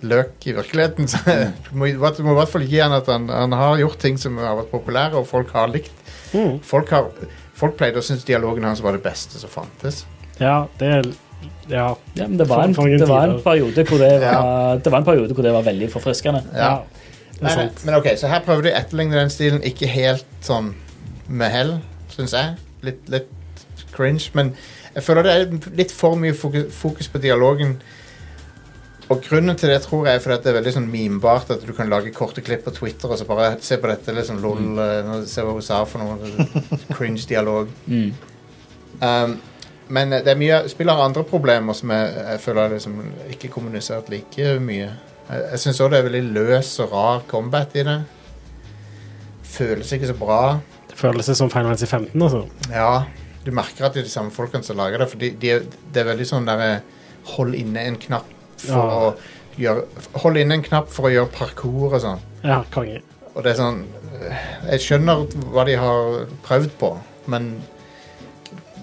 Speaker 1: løk i virkeligheten, så du må, i hvert- du må i hvert fall gi han at han, han har gjort ting som har vært populære, og folk har likt.
Speaker 2: Mm.
Speaker 1: Folk, har, folk pleide å synes dialogen hans var det beste som fantes.
Speaker 2: Ja, det er Ja.
Speaker 3: Ja, men det var en,
Speaker 2: For- for en
Speaker 3: det var en
Speaker 2: tid, da.
Speaker 3: periode hvor det var, det var, en periode hvor det var veldig forfriskende. Altså,
Speaker 1: Ja.
Speaker 2: Det er
Speaker 1: Men,
Speaker 2: sant.
Speaker 1: Eh, men ok, så her prøver de å etterligne den stilen ikke helt sånn med hell, syns jeg. Litt, litt cringe, men jeg føler det er litt for mye fokus, fokus på dialogen. Og grunnen til det tror jeg er fordi at det er veldig sånn memebart at du kan lage korte klipp på Twitter og så bare se på dette, liksom lol, eh, nå- se hva hun sa for noe, cringe dialog.
Speaker 3: Mm.
Speaker 1: Um, men det er mye spillet har andre problemer som jeg, jeg føler er liksom ikke kommunisert like mye. Jeg, jeg syns òg det er veldig løs og rar combat i det. Føles ikke så bra.
Speaker 2: Det føles som Final Fantasy 15, altså.
Speaker 1: Ja, du merker at det er de samme folkene som lager det, for de, de, er- det er veldig sånn derre Hold inne en knapp for
Speaker 2: Ja.
Speaker 1: å gjøre Hold inne en knapp for å gjøre parkour og sånn.
Speaker 2: Ja, konge.
Speaker 1: Og det er sånn Jeg skjønner hva de har prøvd på, men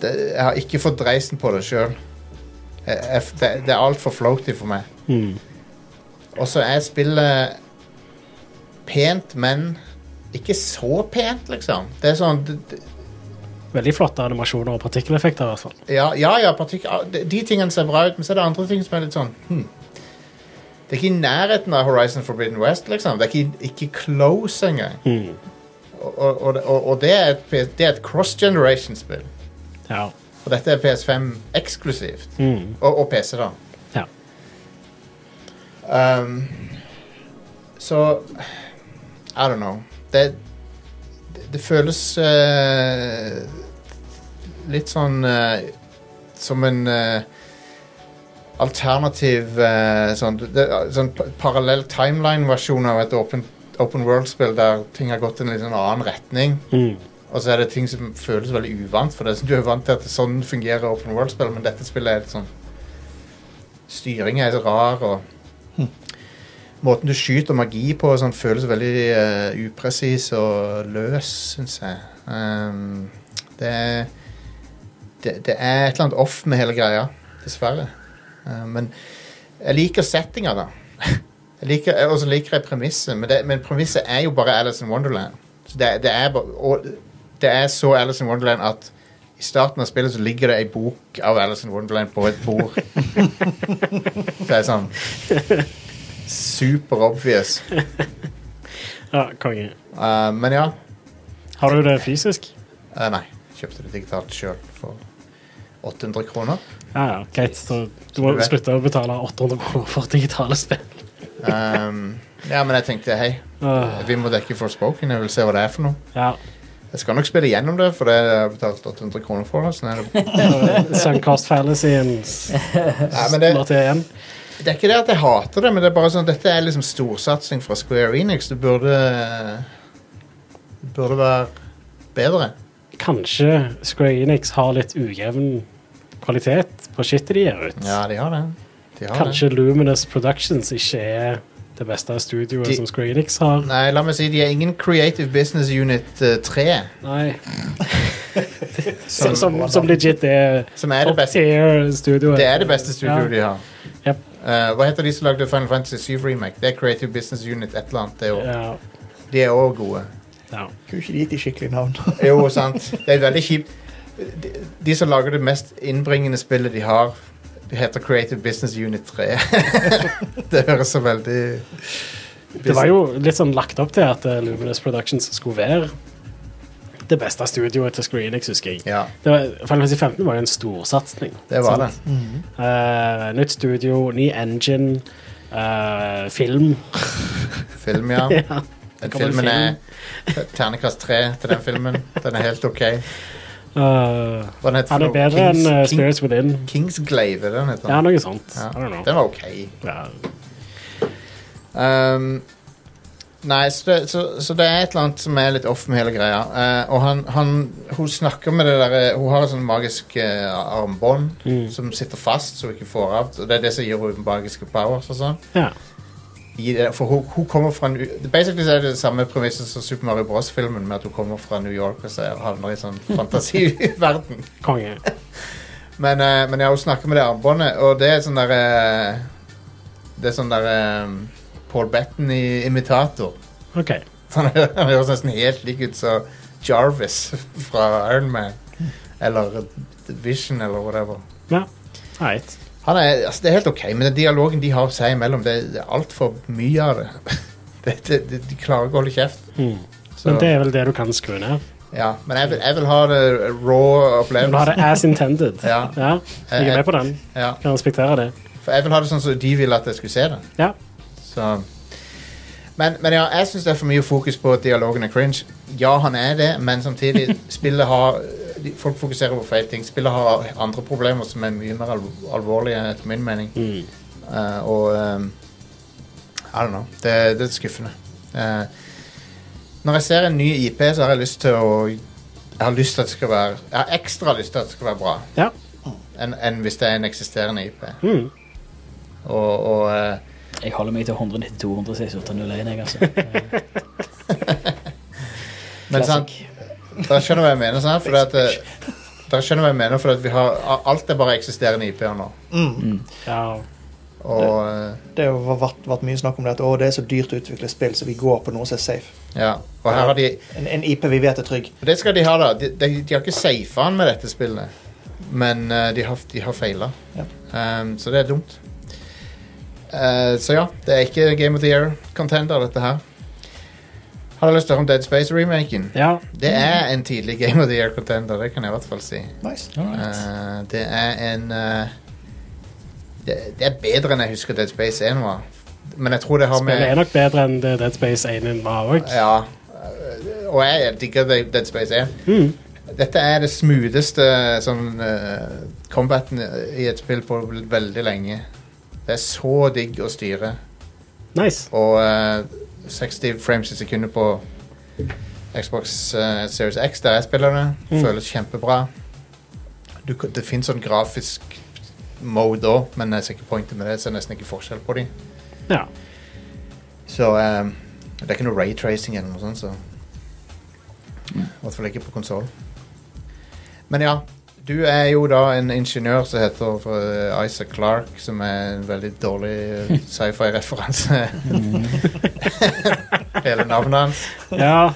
Speaker 1: det, jeg har ikke fått dreisen på det sjøl. Det, det er altfor floaty for meg.
Speaker 2: Mm.
Speaker 1: Og så er spillet pent, men ikke så pent, liksom. Det er sånn det- det-
Speaker 2: Veldig flotte animasjoner og altså. partikkeleffekter, i hvert fall.
Speaker 1: Ja, ja, ja partik de, de tingene ser bra ut, men så er det andre ting som er litt sånn hmm. Det er ikke i nærheten av Horizon Forbidden West, liksom. Det er ikke, ikke close engang.
Speaker 2: Mm.
Speaker 1: Og, og, og, og det er et, P- det er et cross-generation-spill.
Speaker 2: Ja.
Speaker 1: Og dette er PS5 eksklusivt.
Speaker 2: Mm.
Speaker 1: Og, og PC, da.
Speaker 2: Ja.
Speaker 1: Um, så I don't know. Det, det, det føles eh, litt sånn eh, som en eh, alternativ eh, sånn, det, sånn pa- parallell timeline-versjon av et open, open world-spill der ting har gått i en litt sånn annen retning.
Speaker 2: Mm.
Speaker 1: Og så er det ting som føles veldig uvant, for det er sånn- du er vant til at sånn fungerer open world-spill, men dette spillet er litt sånn Styring er så rar, og måten du skyter magi på, og sånn, føles veldig eh, upresis og løs, syns jeg. Ehm, det, er- det, det er et eller annet off med hele greia, dessverre. Eh, men jeg liker settinga, da. Jeg liker, og så liker jeg premisset, men, det- men premisset er jo bare Alice in Wonderland. Så det, det, er, bare- og det er så Alice in Wonderland at i starten av spillet så ligger det ei bok av Alice in Wonderland på et bord. så det er sånn Super obvious.
Speaker 2: ja, konge.
Speaker 1: Eh, men ja.
Speaker 2: Har du det fysisk?
Speaker 1: Eh, nei. Kjøpte det digitalt sjøl for 800 kroner.
Speaker 2: Ja, ja, greit. Så du må
Speaker 1: Du vet.
Speaker 2: slutte å betale 800 kroner for digitale spill.
Speaker 1: Ehm, ja, men jeg tenkte hei,
Speaker 2: Åh,
Speaker 1: vi må dekke Forspoken. Jeg vil se hva det er for noe.
Speaker 2: ja.
Speaker 1: Jeg skal nok spille gjennom det, for det jeg har betalt 800 kroner for. det, Så det er det
Speaker 2: Suncost Fallacyen slår
Speaker 1: Nei, men det,
Speaker 2: til igjen.
Speaker 1: det er ikke det at jeg hater det, men det er bare sånn dette er liksom storsatsing fra Square Enix. Det burde Det burde være bedre.
Speaker 2: Kanskje Square Enix har litt ujevn kvalitet på shitet de gir ut.
Speaker 1: Ja, de har det. De har
Speaker 2: Kanskje Luminous Productions ikke er det beste av studioet
Speaker 1: De-
Speaker 2: som Square Enix har. Nei.
Speaker 1: Nei, la meg si de er ingen Creative Business Unit eh, 3,
Speaker 2: Som, som, som legit er
Speaker 1: som er det beste.
Speaker 2: tier studioet.
Speaker 1: Det er det beste studioet de har.
Speaker 2: Jep.
Speaker 1: Eh, hva heter de som lagde Final Fantasy 7 Remake? Det er Creative Business Unit et eller annet. Det er også.
Speaker 2: Ja,
Speaker 1: De er òg gode.
Speaker 2: ja.
Speaker 4: Kunne ikke gitt de skikkelig navn.
Speaker 1: Jo, sant. Det er veldig kjipt. De, de som lager det mest innbringende spillet de har, det heter Creative Business Unit 3. det høres så veldig
Speaker 2: Det var jo litt sånn lagt opp til at eh, Luminous Productions skulle være det beste studioet til Square Enix, husker jeg.
Speaker 1: Ja,
Speaker 2: Det var, Final Fantasy 15 var jo en storsatsing.
Speaker 1: det var det.
Speaker 2: Eh, nytt studio, ny engine, eh, film.
Speaker 1: Film, ja.
Speaker 2: Ja.
Speaker 1: Den
Speaker 2: kommer en
Speaker 1: filmen er ternekast 3 til den filmen. Den er helt OK.
Speaker 2: Eh,
Speaker 1: Hva den heter
Speaker 2: han er
Speaker 1: for noe?
Speaker 2: bedre enn eh,
Speaker 1: Kings-
Speaker 2: Spirits Within.
Speaker 1: King- Kingsglaive, den heter
Speaker 2: Ja,
Speaker 1: den.
Speaker 2: noe sånt.
Speaker 1: Ja.
Speaker 2: I don't know.
Speaker 1: Den var OK.
Speaker 2: Ja.
Speaker 1: Um, nei, så det, så, så det er et eller annet som er litt off med hele greia. Eh, og han, han, hun snakker med det derre Hun har et sånn magisk eh, armbånd som sitter fast, så hun ikke får av. Og det er det som gir henne magiske powers og sånn.
Speaker 2: Ja.
Speaker 1: I det- For hun, hun kommer fra en, u- Basically så er det det samme premisset som Super Mario Bros-filmen, med at hun kommer fra New York og så havner i sånn fantasiverden.
Speaker 2: Konge.
Speaker 1: Men, eh, men jeg har jo snakket med det armbåndet, og det er sånn der eh, Det er sånn der eh, Paul Bettany-imitator.
Speaker 2: OK.
Speaker 1: Han hø- han høres nesten helt lik ut som Jarvis fra Iron Man. Eller The Vision, eller whatever.
Speaker 2: Ja. Right.
Speaker 1: Han er, altså, det er helt ok, men den dialogen de har seg imellom, det er- det er altfor mye av det. det, det, det. De klarer ikke å holde kjeft.
Speaker 2: Mm.
Speaker 1: Så,
Speaker 2: Men det er vel det du kan skru ned.
Speaker 1: ja, men jeg vil, jeg vil ha det raw
Speaker 2: Men du har det
Speaker 1: opplevelsen.
Speaker 2: as intended.
Speaker 1: Ja.
Speaker 2: Ja, Jeg er med på den.
Speaker 1: Ja,
Speaker 2: Kan respektere det.
Speaker 1: for jeg vil ha det sånn som de ville at jeg skulle se det.
Speaker 2: Ja.
Speaker 1: Så. Men, men ja, jeg syns det er for mye fokus på at dialogen er cringe. Ja, han er det, men samtidig spillet har de- Folk fokuserer på feil ting. Spillet har andre problemer som er mye mer alv- alvorlige, etter min mening. Eh, og um, I don't know. Det, det er skuffende. Eh, når jeg ser en ny IP, så har jeg lyst til å Jeg har lyst til at det skal være Jeg har ekstra lyst til at det skal være bra
Speaker 2: ja.
Speaker 1: enn enn hvis det er en eksisterende IP.
Speaker 2: Mm.
Speaker 1: Og, og eh,
Speaker 3: Jeg holder meg til 192, 168, 01, jeg, altså.
Speaker 1: Men sant, dere skjønner hva jeg mener, sant? Fordi at, eh, dere skjønner hva jeg mener, for at vi har, a- alt er bare eksisterende IP-er nå.
Speaker 2: ja.
Speaker 1: Og, eh,
Speaker 4: Det har jo vært, vært mye snakk om det at å, det er så dyrt å utvikle spill, så vi går på noe som er safe.
Speaker 1: ja. og her har de
Speaker 4: En, en IP vi vet er trygg.
Speaker 1: og Det skal de ha, da. De, de, de har ikke safa han med dette spillet, men eh, de har, de har feila.
Speaker 4: Ja.
Speaker 1: Um, så det er dumt. Eh, så ja, det er ikke Game of the Year contender, dette her. Har du lyst til å høre om Dead Space-remaken?
Speaker 2: ja.
Speaker 1: Det er en tidlig Game of the Year contender, det kan jeg i hvert fall si.
Speaker 4: Nice.
Speaker 1: Eh, det er en eh, det, det er bedre enn jeg husker Dead Space 1 var. Men jeg tror det har
Speaker 2: Spillet er
Speaker 1: med
Speaker 2: nok bedre enn det Dead Space 1 var òg.
Speaker 1: Ja. eh, Og jeg digger Dead Dead Space 1. Dette er det smootheste sånn, eh, combaten i et spill på veldig lenge. Det er så digg å styre.
Speaker 2: Nice.
Speaker 1: Og eh, 60 frames i sekundet på Xbox eh, Series X, der jeg spiller det, føles kjempebra. Du, kan- det fins sånn grafisk mode òg, men jeg ser ikke pointet med det. Så det er nesten ikke forskjell på dem.
Speaker 2: Ja.
Speaker 1: Så eh, det er ikke noe raytracing eller noe sånt, så I hvert fall ikke på konsoll. Men ja, du er jo da en ingeniør som heter eh, Isaac Clark, som er en veldig dårlig eh, sci-fi-referanse. Hele navnet hans.
Speaker 2: ja.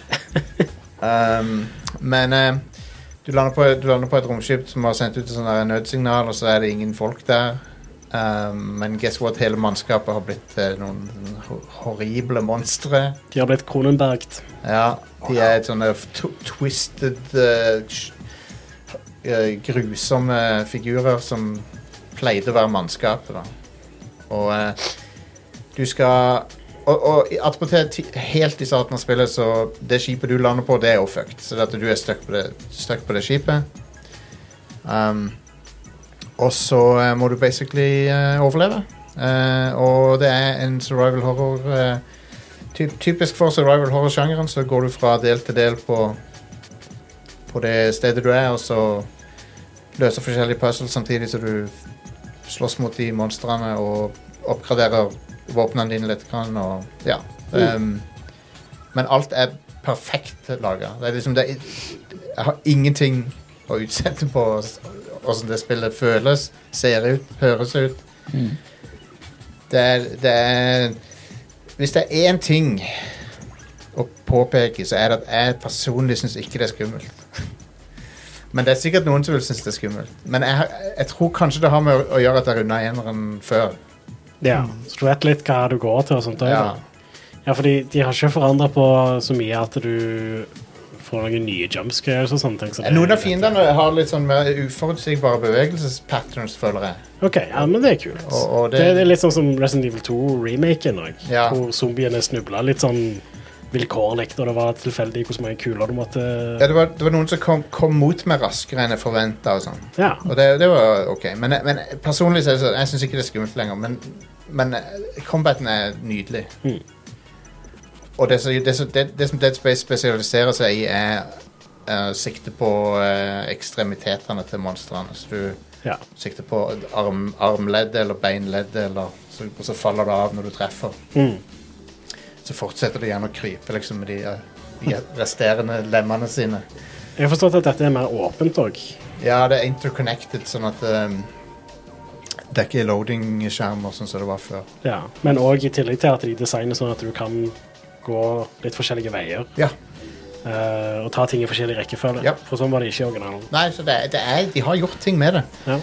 Speaker 1: Um, men eh, du, lander på, du lander på et romskip som har sendt ut et sånt der nødsignal, og så er det ingen folk der. Um, men guess what? Hele mannskapet har blitt eh, noen ho- horrible monstre.
Speaker 2: De har blitt Kronenbergt.
Speaker 1: Ja, de er et sånne f- tw- twisted eh, sh- eh, Grusomme figurer som pleide å være mannskapet, da. Og eh, du skal Og, og i- attpåtil, ti- helt i starten av spillet, så det skipet du lander på, det er jo fucked. Så det at du er stuck på det, stuck på det skipet. Um, og så eh, må du basically eh, overleve. Eh, og det er en survival horror eh, Ty- Typisk for survival horror-sjangeren så går du fra del til del på på det stedet du er, og så løser forskjellige puzzles samtidig som du slåss mot de monstrene og oppgraderer våpnene dine litt. Kan, og, ja. Ehm, men alt er perfekt laga. Det er liksom det, Jeg har ingenting å utsette på åssen det spillet føles, ser ut, høres ut. Det er, det er Hvis det er én ting å påpeke, så er det at jeg personlig syns ikke det er skummelt. Men det er sikkert noen som vil synes det er skummelt. Men jeg, har- jeg tror kanskje det har med å, å gjøre at jeg runda eneren før.
Speaker 2: Ja, så du vet litt hva du går til og sånt.
Speaker 1: Mm. Ja.
Speaker 2: Ja. ja, fordi de har ikke forandra på så mye at du får noen nye jumpscares og sånne ting. så det-
Speaker 1: Noen av fiendene har litt sånn mer uforutsigbare bevegelsespatterns, føler jeg.
Speaker 2: Ok, ja, men det er kult.
Speaker 1: Og- og det-
Speaker 2: det... er litt sånn som Resident Evil 2-remaken òg,
Speaker 1: Ja.
Speaker 2: hvor zombiene snubla litt sånn vilkårlig, og det var tilfeldig hvor mange kuler du måtte
Speaker 1: Ja, det, var, det var noen som kom, kom mot meg raskere enn jeg forventa. Og, sånn.
Speaker 2: Ja.
Speaker 1: og det, det var ok. Men, jeg- men personlig så er det sånn, jeg syns ikke det er skummelt lenger. Men, men eh, combaten er nydelig.
Speaker 2: Mhm.
Speaker 1: Og det, som- det, som- det, det som Dead Space spesialiserer seg i, er eh, sikte på eh, ekstremitetene til monstrene. Så du
Speaker 2: ja.
Speaker 1: sikter på arm, armledd eller beinledd, eller, så, og så faller det av når du treffer.
Speaker 2: Mm.
Speaker 1: Så fortsetter det gjerne å krype liksom, med de, eh, de resterende lemmene sine.
Speaker 2: Jeg har forstått at dette er mer åpent òg.
Speaker 1: Ja, det er interconnected, sånn at ehm, det er ikke loading-skjermer sånn som det var før.
Speaker 2: Ja. Men òg i tillegg til at de designer sånn at du kan gå litt forskjellige veier
Speaker 1: Ja,
Speaker 2: eh, og ta ting i forskjellig rekkefølge.
Speaker 1: Ja.
Speaker 2: For sånn var det ikke i originalen.
Speaker 1: nei, så det, er- det er, De har gjort ting med det.
Speaker 2: Ja.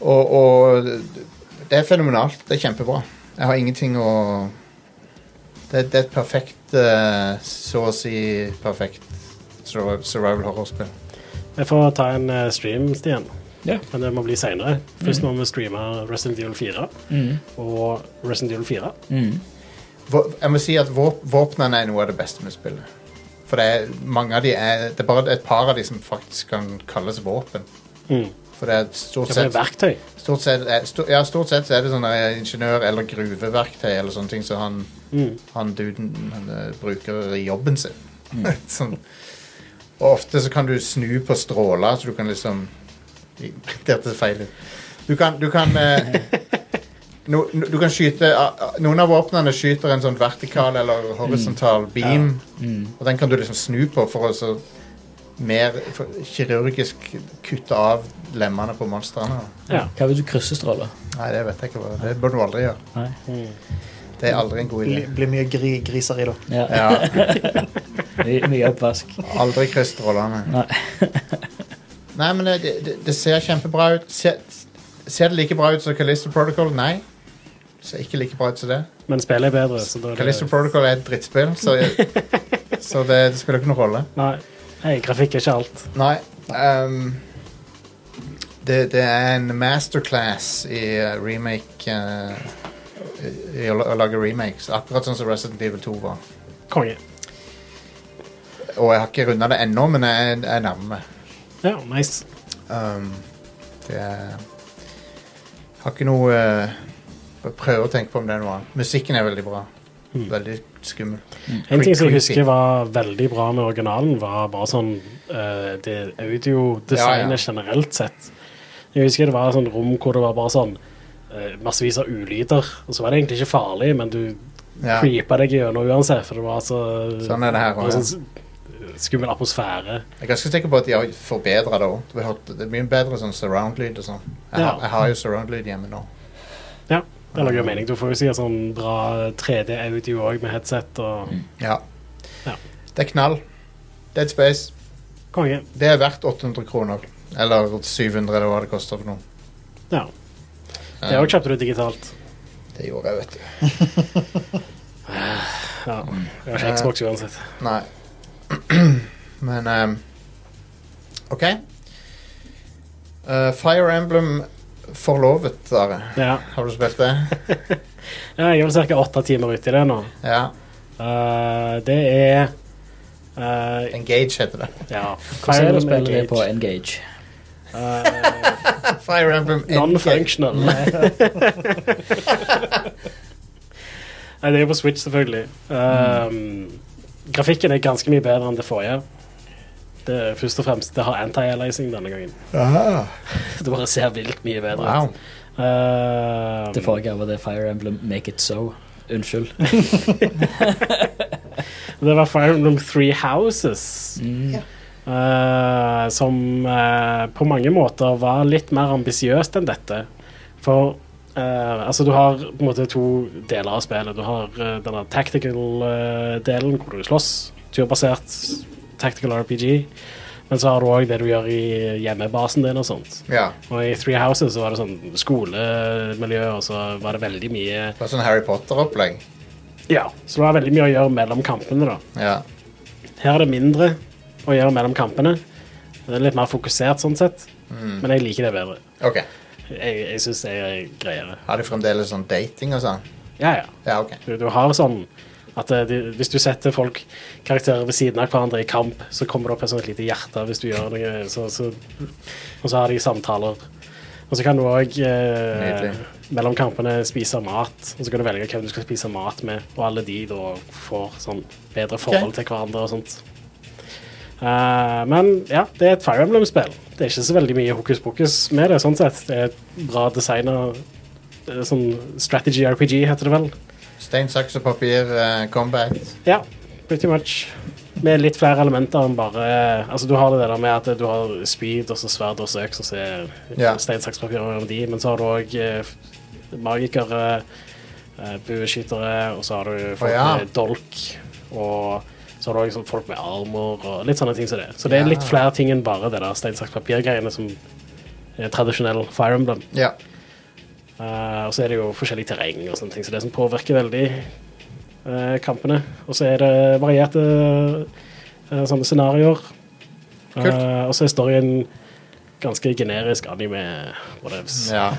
Speaker 1: Og, og det er fenomenalt. Det er kjempebra. Jeg har ingenting å Det, det er et perfekt, eh, så å si perfekt sur- survival horror-spill.
Speaker 2: Jeg får ta en eh, stream, Stian.
Speaker 3: Ja.
Speaker 2: Men det må bli seinere. Først må vi streame Resident Evil 4
Speaker 3: Mm.
Speaker 2: og Resident Evil 4.
Speaker 3: Mm.
Speaker 1: Vå- Jeg må si at våp- våpnene er noe av det beste med spillet. For det er, mange av de er, det er bare et par av de som faktisk kan kalles våpen.
Speaker 2: Mm.
Speaker 1: For det er stort
Speaker 2: Det
Speaker 1: sett,
Speaker 2: blir verktøy.
Speaker 1: stort sett, er- sto- ja, stort sett så er det sånne ingeniør- eller gruveverktøy eller sånne ting som han,
Speaker 2: Mm.
Speaker 1: han duden han, eh, bruker i jobben sin. sånn. Og ofte så kan du snu på stråler, så du kan liksom i- Dette er feil. Du kan, du kan eh, no, no, Du kan skyte ah, ah, Noen av våpnene skyter en sånn vertikal eller horisontal beam, og den kan du liksom snu på for å så mer for, kirurgisk kutte av lemmene på monstrene.
Speaker 2: Ja.
Speaker 3: Hva hvis du krysser stråler?
Speaker 1: Nei, det vet jeg ikke. hva- Det bør du aldri gjøre.
Speaker 3: Nei.
Speaker 1: Det er aldri en god idé.
Speaker 4: Blir blir mye gri, griser i det.
Speaker 3: Ja.
Speaker 1: Ja,
Speaker 3: Mye, mye oppvask.
Speaker 1: aldri kryss strålene.
Speaker 3: Nei.
Speaker 1: Nei, men det, det, det ser kjempebra ut. Ser, ser det like bra ut som Callisto Protocol? Nei. Ser ikke like bra ut som det.
Speaker 2: Men spillet er bedre, så da er
Speaker 1: Callisto Protocol er et drittspill, så, så det, det spiller ikke noen rolle.
Speaker 2: Nei. Nei, grafikk er ikke alt.
Speaker 1: Nei. ehm, det, det er en masterclass i eh, remake eh, I i å la- å lage remakes. Akkurat sånn som Resident Evil 2 var.
Speaker 2: Konge.
Speaker 1: Og jeg har ikke runda det ennå, men jeg, jeg er nærme.
Speaker 2: Ja, nice.
Speaker 1: Um, det er Har ikke noe eh, jeg Prøver å tenke på om det er noe annet. Musikken er veldig bra. Veldig skummel.
Speaker 2: Mm. En ting som jeg
Speaker 1: Creepy.
Speaker 2: husker var veldig bra med originalen, var bare sånn eh, det
Speaker 1: Ja,
Speaker 2: audiodesignet
Speaker 1: ja.
Speaker 2: generelt sett. Jeg husker det var sånn rom hvor det var bare sånn eh, massevis av ulyder, og så var det egentlig ikke farlig, men du
Speaker 1: Ja.
Speaker 2: creepa deg gjennom uansett, for det var så
Speaker 1: Sånn er det her også,
Speaker 2: var sånn s- skummel atmosfære.
Speaker 1: Jeg er ganske sikker på at de har forbedra det òg. Det er mye bedre sånn surround-lyd og sånn. Jeg,
Speaker 2: Ja.
Speaker 1: har- jeg har jo surround-lyd hjemme nå.
Speaker 2: Ja, det lager jo mening. Du får jo sikkert sånn bra 3D-audio òg med headset og
Speaker 1: Ja.
Speaker 2: Ja.
Speaker 1: Det er knall. Dead Space.
Speaker 2: konge.
Speaker 1: Det er verdt 800 kroner. Eller 700, eller hva det koster for noe. Eh,
Speaker 2: Ja. Det òg kjøpte du digitalt.
Speaker 1: Det gjorde jeg, vet du.
Speaker 2: Ja. Jeg har ikke Xbox uansett.
Speaker 1: Nei. Men ehm, OK. Eh, Fire Emblem Forlovet, Are.
Speaker 2: Ja.
Speaker 1: Har du spilt det?
Speaker 2: Ja, jeg er vel ca. åtte timer ute i det nå.
Speaker 1: Ja.
Speaker 2: Eh, det er eh,
Speaker 1: Engage heter det.
Speaker 2: Ja.
Speaker 3: Hvordan er det å
Speaker 2: Fire
Speaker 3: spille det
Speaker 2: Engage.
Speaker 3: på Engage?
Speaker 1: Fire Emblem Engage.
Speaker 2: Non-functional. Nei, det er jo på Switch, selvfølgelig.
Speaker 3: Mm.
Speaker 2: Um, Grafikken er ganske mye bedre enn det forrige. Det er først og fremst, det har anti-aliasing denne gangen.
Speaker 1: Ah,
Speaker 2: Det bare ser vilt mye bedre
Speaker 1: wow.
Speaker 2: ut. Eh,
Speaker 9: Det forrige var det Fire Emblem Make It So. Unnskyld.
Speaker 2: Mm. Eh, det var Fire Emblem Three Houses.
Speaker 3: Mm.
Speaker 2: Eh, som eh, på mange måter var litt mer ambisiøst enn dette. For eh, altså, du har på en måte to deler av spillet. Du har eh, denne tactical-delen hvor du slåss, turbasert tactical RPG. Men så har du òg det du gjør i hjemmebasen din og sånt.
Speaker 1: Ja.
Speaker 2: Og i Three Houses så var det sånn skolemiljø, og så var det veldig mye
Speaker 1: Det var sånn Harry Potter-opplegg.
Speaker 2: Ja, så det var veldig mye å gjøre mellom kampene, da.
Speaker 1: Ja.
Speaker 2: Her er det mindre å gjøre mellom kampene. Det er litt mer fokusert sånn sett. Men jeg liker det bedre.
Speaker 1: OK.
Speaker 2: Jeg, jeg syns det er greiere.
Speaker 1: Har de fremdeles sånn dating og sånn?
Speaker 2: Ja, ja.
Speaker 1: Ja, OK.
Speaker 2: Du, du har sånn at eh, de, hvis du setter folk karakterer ved siden av hverandre i kamp, så kommer det opp et sånt lite hjerte hvis du gjør noe, så, så, og så har de samtaler. Og så kan du òg eh,
Speaker 1: Nydelig.
Speaker 2: mellom kampene spise mat, og så kan du velge hvem du skal spise mat med, og alle de da får sånn bedre forhold til hverandre og sånt. Eh, men ja, det er et Fire Emblem-spill. Det er ikke så veldig mye hokus pokus med det. sånn sett. Det er et bra designa sånn strategy RPG, heter det vel.
Speaker 1: Stein, saks og papir, eh, combat.
Speaker 2: Ja, pretty much. Med litt flere elementer enn bare Altså, du har det der med at du har spyd, og så sverd og så øks, og så er
Speaker 1: Ja.
Speaker 2: stein, saks, papir om de, men så har du òg magikere, eh, bueskyttere, og så har du folk
Speaker 1: Å, ja.
Speaker 2: med dolk, og så har du òg sånn folk med armer og litt sånne ting som det. Så det er litt
Speaker 1: Ja.
Speaker 2: flere ting enn bare det der stein, saks, papir-greiene som er tradisjonell Fire Emblem.
Speaker 1: Ja.
Speaker 2: Eh, og så er det jo forskjellig terreng og sånne ting, så det som påvirker veldig eh, kampene. Og så er det varierte eh, sånne scenarioer.
Speaker 1: Kult.
Speaker 2: Eh, og så er storyen ganske generisk anime. whatevs.
Speaker 1: ja.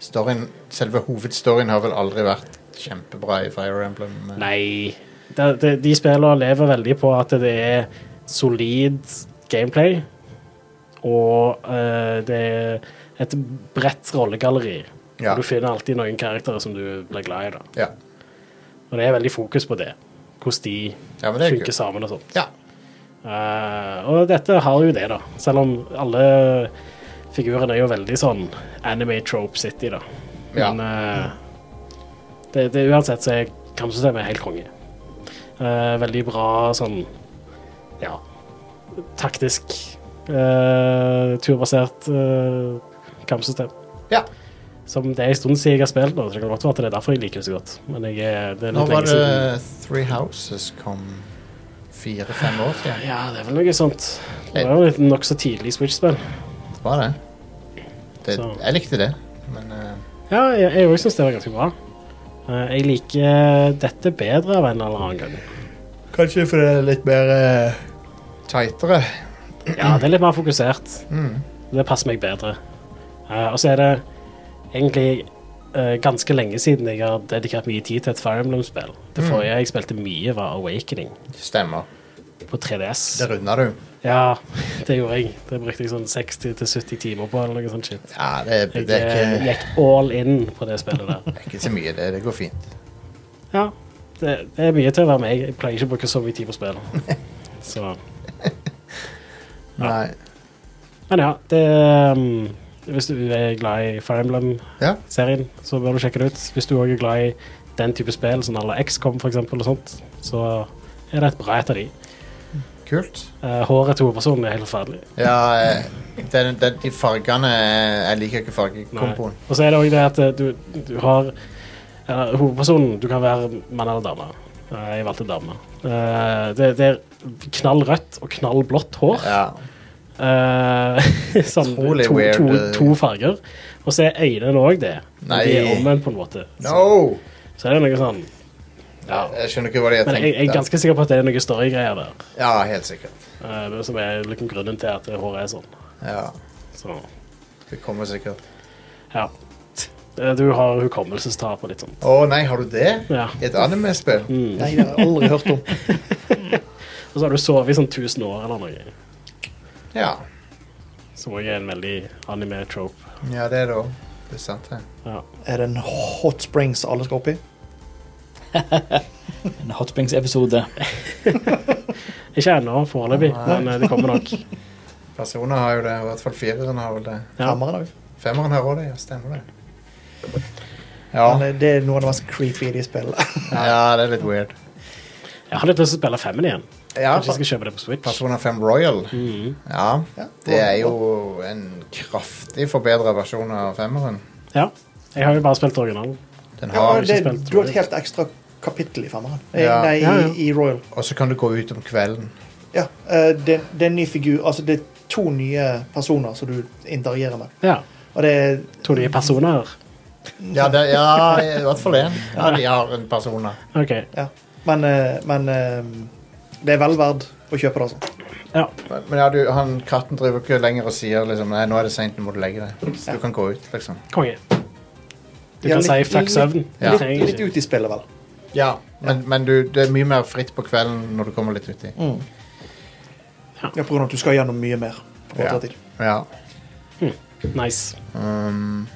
Speaker 1: Storyen, selve hovedstoryen har vel aldri vært kjempebra i Fire Emblem. eh.
Speaker 2: Nei. Det, det, de spillene lever veldig på at det er solid gameplay, og eh, det er et bredt rollegalleri.
Speaker 1: Ja.
Speaker 2: Og du finner alltid noen karakterer som du blir glad i. da.
Speaker 1: Ja.
Speaker 2: Og det er veldig fokus på det. Hvordan de
Speaker 1: Ja, men det er
Speaker 2: funker
Speaker 1: kult.
Speaker 2: sammen og sånn.
Speaker 1: Ja.
Speaker 2: Eh, og dette har jo det, da. Selv om alle figurene er jo veldig sånn anime trope city, da.
Speaker 1: Ja.
Speaker 2: Men eh, det, det uansett så er kampsystemet helt konge. Eh, veldig bra sånn ja taktisk eh, turbasert eh, kampsystem.
Speaker 1: ja.
Speaker 2: Som det er en stund siden jeg har spilt nå, så det kan godt være at det er derfor jeg liker det så godt. Men jeg, er- det er
Speaker 1: Nå
Speaker 2: litt
Speaker 1: var
Speaker 2: lenge siden.
Speaker 1: det Three Houses kom fire-fem år siden.
Speaker 2: Ja, det er vel noe sånt. Det var jo et nokså tidlig Switch-spill.
Speaker 1: Var det? det
Speaker 2: Så.
Speaker 1: jeg likte det, men eh,
Speaker 2: Ja, jeg- jeg òg syns det var ganske bra. Eh, Jeg liker dette bedre av en eller annen grunn.
Speaker 4: Kanskje for det er litt mer
Speaker 1: tightere.
Speaker 2: Ja, det er litt mer fokusert.
Speaker 1: Mm.
Speaker 2: Det passer meg bedre. Eh, Og så er det egentlig eh, ganske lenge siden jeg har dedikert mye tid til et Fire Emblem-spill.
Speaker 1: Mm.
Speaker 2: Det forrige jeg spilte mye, var Awakening
Speaker 1: Stemmer.
Speaker 2: på 3DS.
Speaker 1: Det runda du.
Speaker 2: Ja, det gjorde jeg. Det brukte jeg sånn 60-70 timer på, eller noe sånt shit.
Speaker 1: Ja, det,
Speaker 2: Jeg
Speaker 1: det er
Speaker 2: eh,
Speaker 1: ikke,
Speaker 2: gikk all in på det spillet der.
Speaker 1: det er ikke så mye, det. Det går fint.
Speaker 2: Ja, det, det er mye til å være med. Jeg pleier ikke å bruke så mye tid på spill. Så,
Speaker 1: Nei.
Speaker 2: men ja, det um, Hvis du er glad i Fire Emblem-serien,
Speaker 1: Ja.
Speaker 2: så bør du sjekke det ut. Hvis du òg er glad i den type spill, som alle XCOM for eksempel, og sånt, så er det et bra et av de.
Speaker 1: Kult.
Speaker 2: Eh, håret til hovedpersonen er helt forferdelig.
Speaker 1: Ja, eh, den, den, de fargene eh, Jeg liker ikke
Speaker 2: Nei.
Speaker 1: fargekomboen.
Speaker 2: Og så er det òg det at eh, du, du har eller, Hovedpersonen Du kan være mann eller dame. Eh, Jeg valgte dame. Eh, Det, det er knall rødt og knall blått hår.
Speaker 1: Ja.
Speaker 2: Eh, sånn to,
Speaker 1: Utrolig
Speaker 2: to,
Speaker 1: weird,
Speaker 2: to,
Speaker 1: eh.
Speaker 2: farger. Og så er øynene òg det. Men
Speaker 1: Nei.
Speaker 2: De er omvendt, på en måte.
Speaker 1: No!
Speaker 2: Så er det noe sånn
Speaker 1: Ja, jeg skjønner ikke hva de har
Speaker 2: Men jeg, jeg er
Speaker 1: tenkt.
Speaker 2: ganske sikker på at det er noe storygreier der.
Speaker 1: der. Ja, helt sikkert.
Speaker 2: eh, som er liksom grunnen til at håret er sånn.
Speaker 1: Ja,
Speaker 2: Så
Speaker 1: Det kommer sikkert.
Speaker 2: ja. Eh, Du har hukommelsestap og litt sånn.
Speaker 1: Å nei, har du det?
Speaker 2: Ja.
Speaker 1: I et anime-spill?
Speaker 4: Nei, det har jeg aldri hørt om.
Speaker 2: Og så har du sovet i sånn 1000 år eller noe.
Speaker 1: Ja.
Speaker 2: Som òg er en veldig anime-trope.
Speaker 1: ja, det er det òg. Det er sant, det.
Speaker 2: Ja.
Speaker 4: Er det en hot springs alle skal opp i?
Speaker 9: En Hot Springs-episode.
Speaker 2: Ikke ennå, foreløpig, men eh, det kommer nok.
Speaker 1: Personer har jo det, i hvert fall fireren har vel det.
Speaker 2: Ja.
Speaker 4: Hammeren òg.
Speaker 1: Femmeren her òg, det. Ja, stemmer det.
Speaker 4: Men
Speaker 1: Ja.
Speaker 4: eh, det er noe av det mest creepy i de spillene.
Speaker 1: ja, det er litt weird.
Speaker 2: Jeg har litt lyst til å spille femmen igjen.
Speaker 1: Ja,
Speaker 2: Kanskje jeg skal kjøpe det på Switch.
Speaker 1: Persona 5 Royal. Ja.
Speaker 4: Ja.
Speaker 1: Det er jo en kraftig forbedra versjon av femmeren.
Speaker 2: Ja. Jeg har jo bare spilt originalen.
Speaker 1: Den
Speaker 4: Ja,
Speaker 1: har, liksom-
Speaker 4: og det,
Speaker 2: spilt
Speaker 4: du har
Speaker 2: Royal.
Speaker 4: et helt ekstra kapittel i femmeren. Eh,
Speaker 1: Ja.
Speaker 4: Nei,
Speaker 2: Ja, ja.
Speaker 4: i, i Royal.
Speaker 1: og så kan du gå ut om kvelden.
Speaker 4: Ja, eh, det, det er en ny figur. Altså, det er to nye personer som du interagerer med.
Speaker 2: Ja.
Speaker 4: Og det er
Speaker 2: To nye personer.
Speaker 1: Ja, det, ja i hvert fall én. Ja, de har en person da.
Speaker 2: OK.
Speaker 4: Ja. Men, eh, men eh, det er vel verd å kjøpe det, altså.
Speaker 2: Ja.
Speaker 1: Men- Men ja, du, han, katten driver ikke lenger og sier liksom, Nei, nå er det seint, nå må du legge deg. Så du kan gå ut, liksom.
Speaker 2: Konge. Du
Speaker 4: Ja,
Speaker 2: kan si
Speaker 4: litt-
Speaker 2: fuck
Speaker 4: litt-
Speaker 2: søvn. Du
Speaker 1: Ja.
Speaker 2: trenger
Speaker 4: Litt, litt
Speaker 2: ikke-
Speaker 4: ut i spillet, vel.
Speaker 1: Ja, men, men du, det er mye mer fritt på kvelden når du kommer litt uti.
Speaker 2: Mm.
Speaker 4: Ja, på grunn av at du skal gjennom mye mer. på
Speaker 1: Ja.
Speaker 4: kortere tid.
Speaker 1: Ja.
Speaker 2: Nice.
Speaker 1: Um,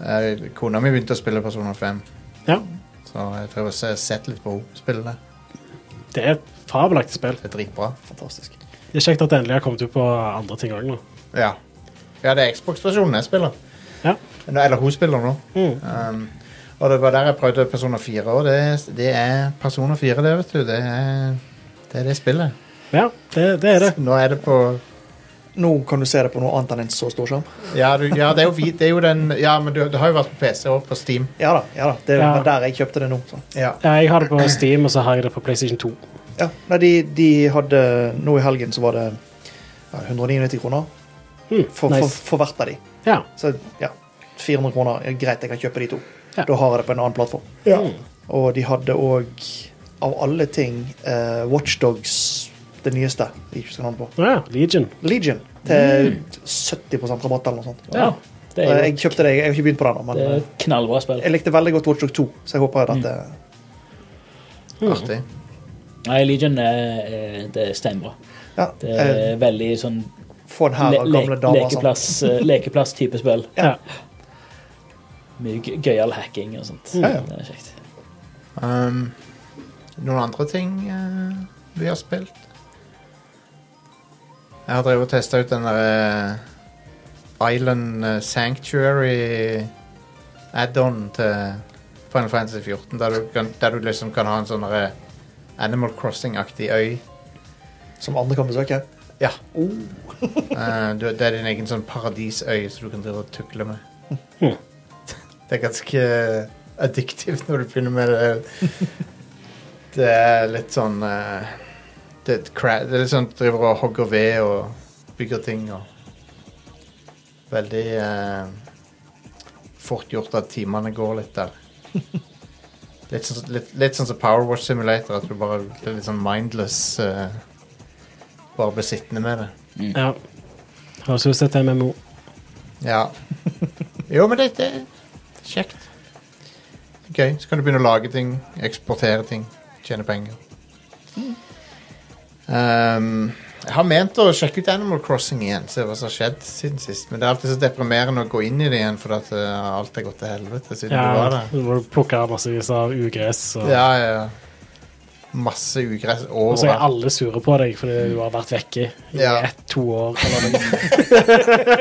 Speaker 1: eh, kona mi begynte å spille Persona 5,
Speaker 2: Ja.
Speaker 1: så jeg prøver å se, sett litt på henne spille det.
Speaker 2: Det er et fabelaktig spill.
Speaker 1: Det er dritbra.
Speaker 4: Fantastisk.
Speaker 2: Det er kjekt at det endelig har kommet ut på andre ting òg nå.
Speaker 1: Ja. ja, det er Xbox-versjonen jeg spiller.
Speaker 2: Ja.
Speaker 1: Nå- Eller hun spiller nå.
Speaker 2: Mm.
Speaker 1: Um, og det var der jeg prøvde Persona 4, og det, det er Persona 4, det, vet du. Det er det, er det spillet.
Speaker 2: Ja, det, det er det.
Speaker 1: Nå er det på
Speaker 4: Nå kan du se det på noe annet enn en så stor skjerm.
Speaker 1: Ja, du, ja det, er jo, vi- det er jo den Ja, men det, det har jo vært på PC og på Steam.
Speaker 4: Ja da. ja da. Det
Speaker 2: Ja.
Speaker 4: var der jeg kjøpte det nå. Så.
Speaker 1: Ja.
Speaker 2: Ja, Jeg har det på Steam, og så har jeg det på PlayStation 2.
Speaker 4: Ja, nei, de, de hadde Nå i helgen så var det ja, 199 kroner
Speaker 2: Mm,
Speaker 4: for, for,
Speaker 2: nice.
Speaker 4: for hvert av de.
Speaker 2: Ja.
Speaker 4: Så ja, 400 kroner er greit, jeg kan kjøpe de to.
Speaker 2: Ja.
Speaker 4: Da har jeg det på en annen plattform.
Speaker 2: Mm.
Speaker 4: Og de hadde òg, av alle ting, eh, Watchdogs, det nyeste. Jeg ikke husker navnet på.
Speaker 2: ja. Legion.
Speaker 4: Legion til 70 rabatt eller noe sånt.
Speaker 3: Ja, det
Speaker 4: Eh,
Speaker 3: er
Speaker 4: Jeg
Speaker 3: jo
Speaker 4: kjøpte det, jeg har ikke begynt på det ennå,
Speaker 3: det
Speaker 4: men
Speaker 3: er Mm.
Speaker 4: eh,
Speaker 3: et knallbra spill.
Speaker 4: jeg likte veldig godt Watchdog 2, så jeg håper at eh, dette
Speaker 1: Artig.
Speaker 3: Nei, Legion er, er- det er steinbra.
Speaker 4: ja,
Speaker 3: Det
Speaker 4: eh,
Speaker 3: er veldig sånn
Speaker 4: Få en hær
Speaker 3: le
Speaker 4: av gamle
Speaker 3: le-
Speaker 4: damer. sånn.
Speaker 3: lekeplass, eh, lekeplass-type spill.
Speaker 2: Ja.
Speaker 3: Mye gøy- gøyal hacking og sånt.
Speaker 4: Ja, ja.
Speaker 3: Det er kjekt.
Speaker 1: Um, noen andre ting eh, vi har spilt? Jeg har drevet og testa ut den derre Island eh, Sanctuary add-on til Final Fantasy 14, der du, kan, der du liksom kan ha en sånn derre Animal Crossing-aktig øy.
Speaker 4: Som andre kan besøke.
Speaker 1: Ja. Oh. Eh, du, det er din egen sånn paradisøy som du kan drive og tukle med. Det er ganske addiktivt når du begynner med det. Det er litt sånn eh, det, er et cra- det er litt sånn at du driver og hogger ved og bygger ting og Veldig eh, fort gjort at timene går litt der. Litt sånn, litt, litt sånn som Power Watch Simulator, at du bare det er litt sånn mindless eh, Bare blir sittende med det.
Speaker 2: Ja. Høres ut som et MMO.
Speaker 1: Ja. Jo, men det, det er kjekt. Gøy. Så kan du begynne å lage ting, eksportere ting, tjene penger. Ehm, jeg har ment å sjekke ut Animal Crossing igjen, se hva som har skjedd siden sist. Men det er alltid så deprimerende å gå inn i det igjen, for at eh, alt er gått til helvete siden du var
Speaker 2: Ja,
Speaker 1: der.
Speaker 2: hvor du plukker massevis av ugress. Og,
Speaker 1: Ja, ja, ja. Masse ugress
Speaker 2: og så er
Speaker 1: overalt.
Speaker 2: alle sure på deg fordi du har vært vekke i
Speaker 1: Ja.
Speaker 2: ett-to år. Eller noe.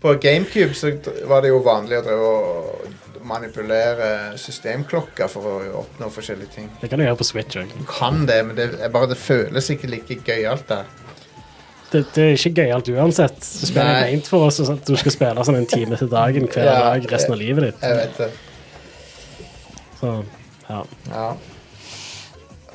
Speaker 1: På GameCube så d- var det jo vanlig å drive og manipulere systemklokka for å oppnå forskjellige ting.
Speaker 2: Det kan du gjøre på Switch òg.
Speaker 1: kan det, men det, er bare, det føles ikke like gøyalt der.
Speaker 2: Det, det er ikke gøyalt uansett. Spillet er
Speaker 1: Nei.
Speaker 2: meint for oss sånn at du skal spille sånn en time til dagen hver
Speaker 1: Ja.
Speaker 2: dag resten av livet ditt.
Speaker 1: Jeg vet det.
Speaker 2: Så, ja.
Speaker 1: Ja.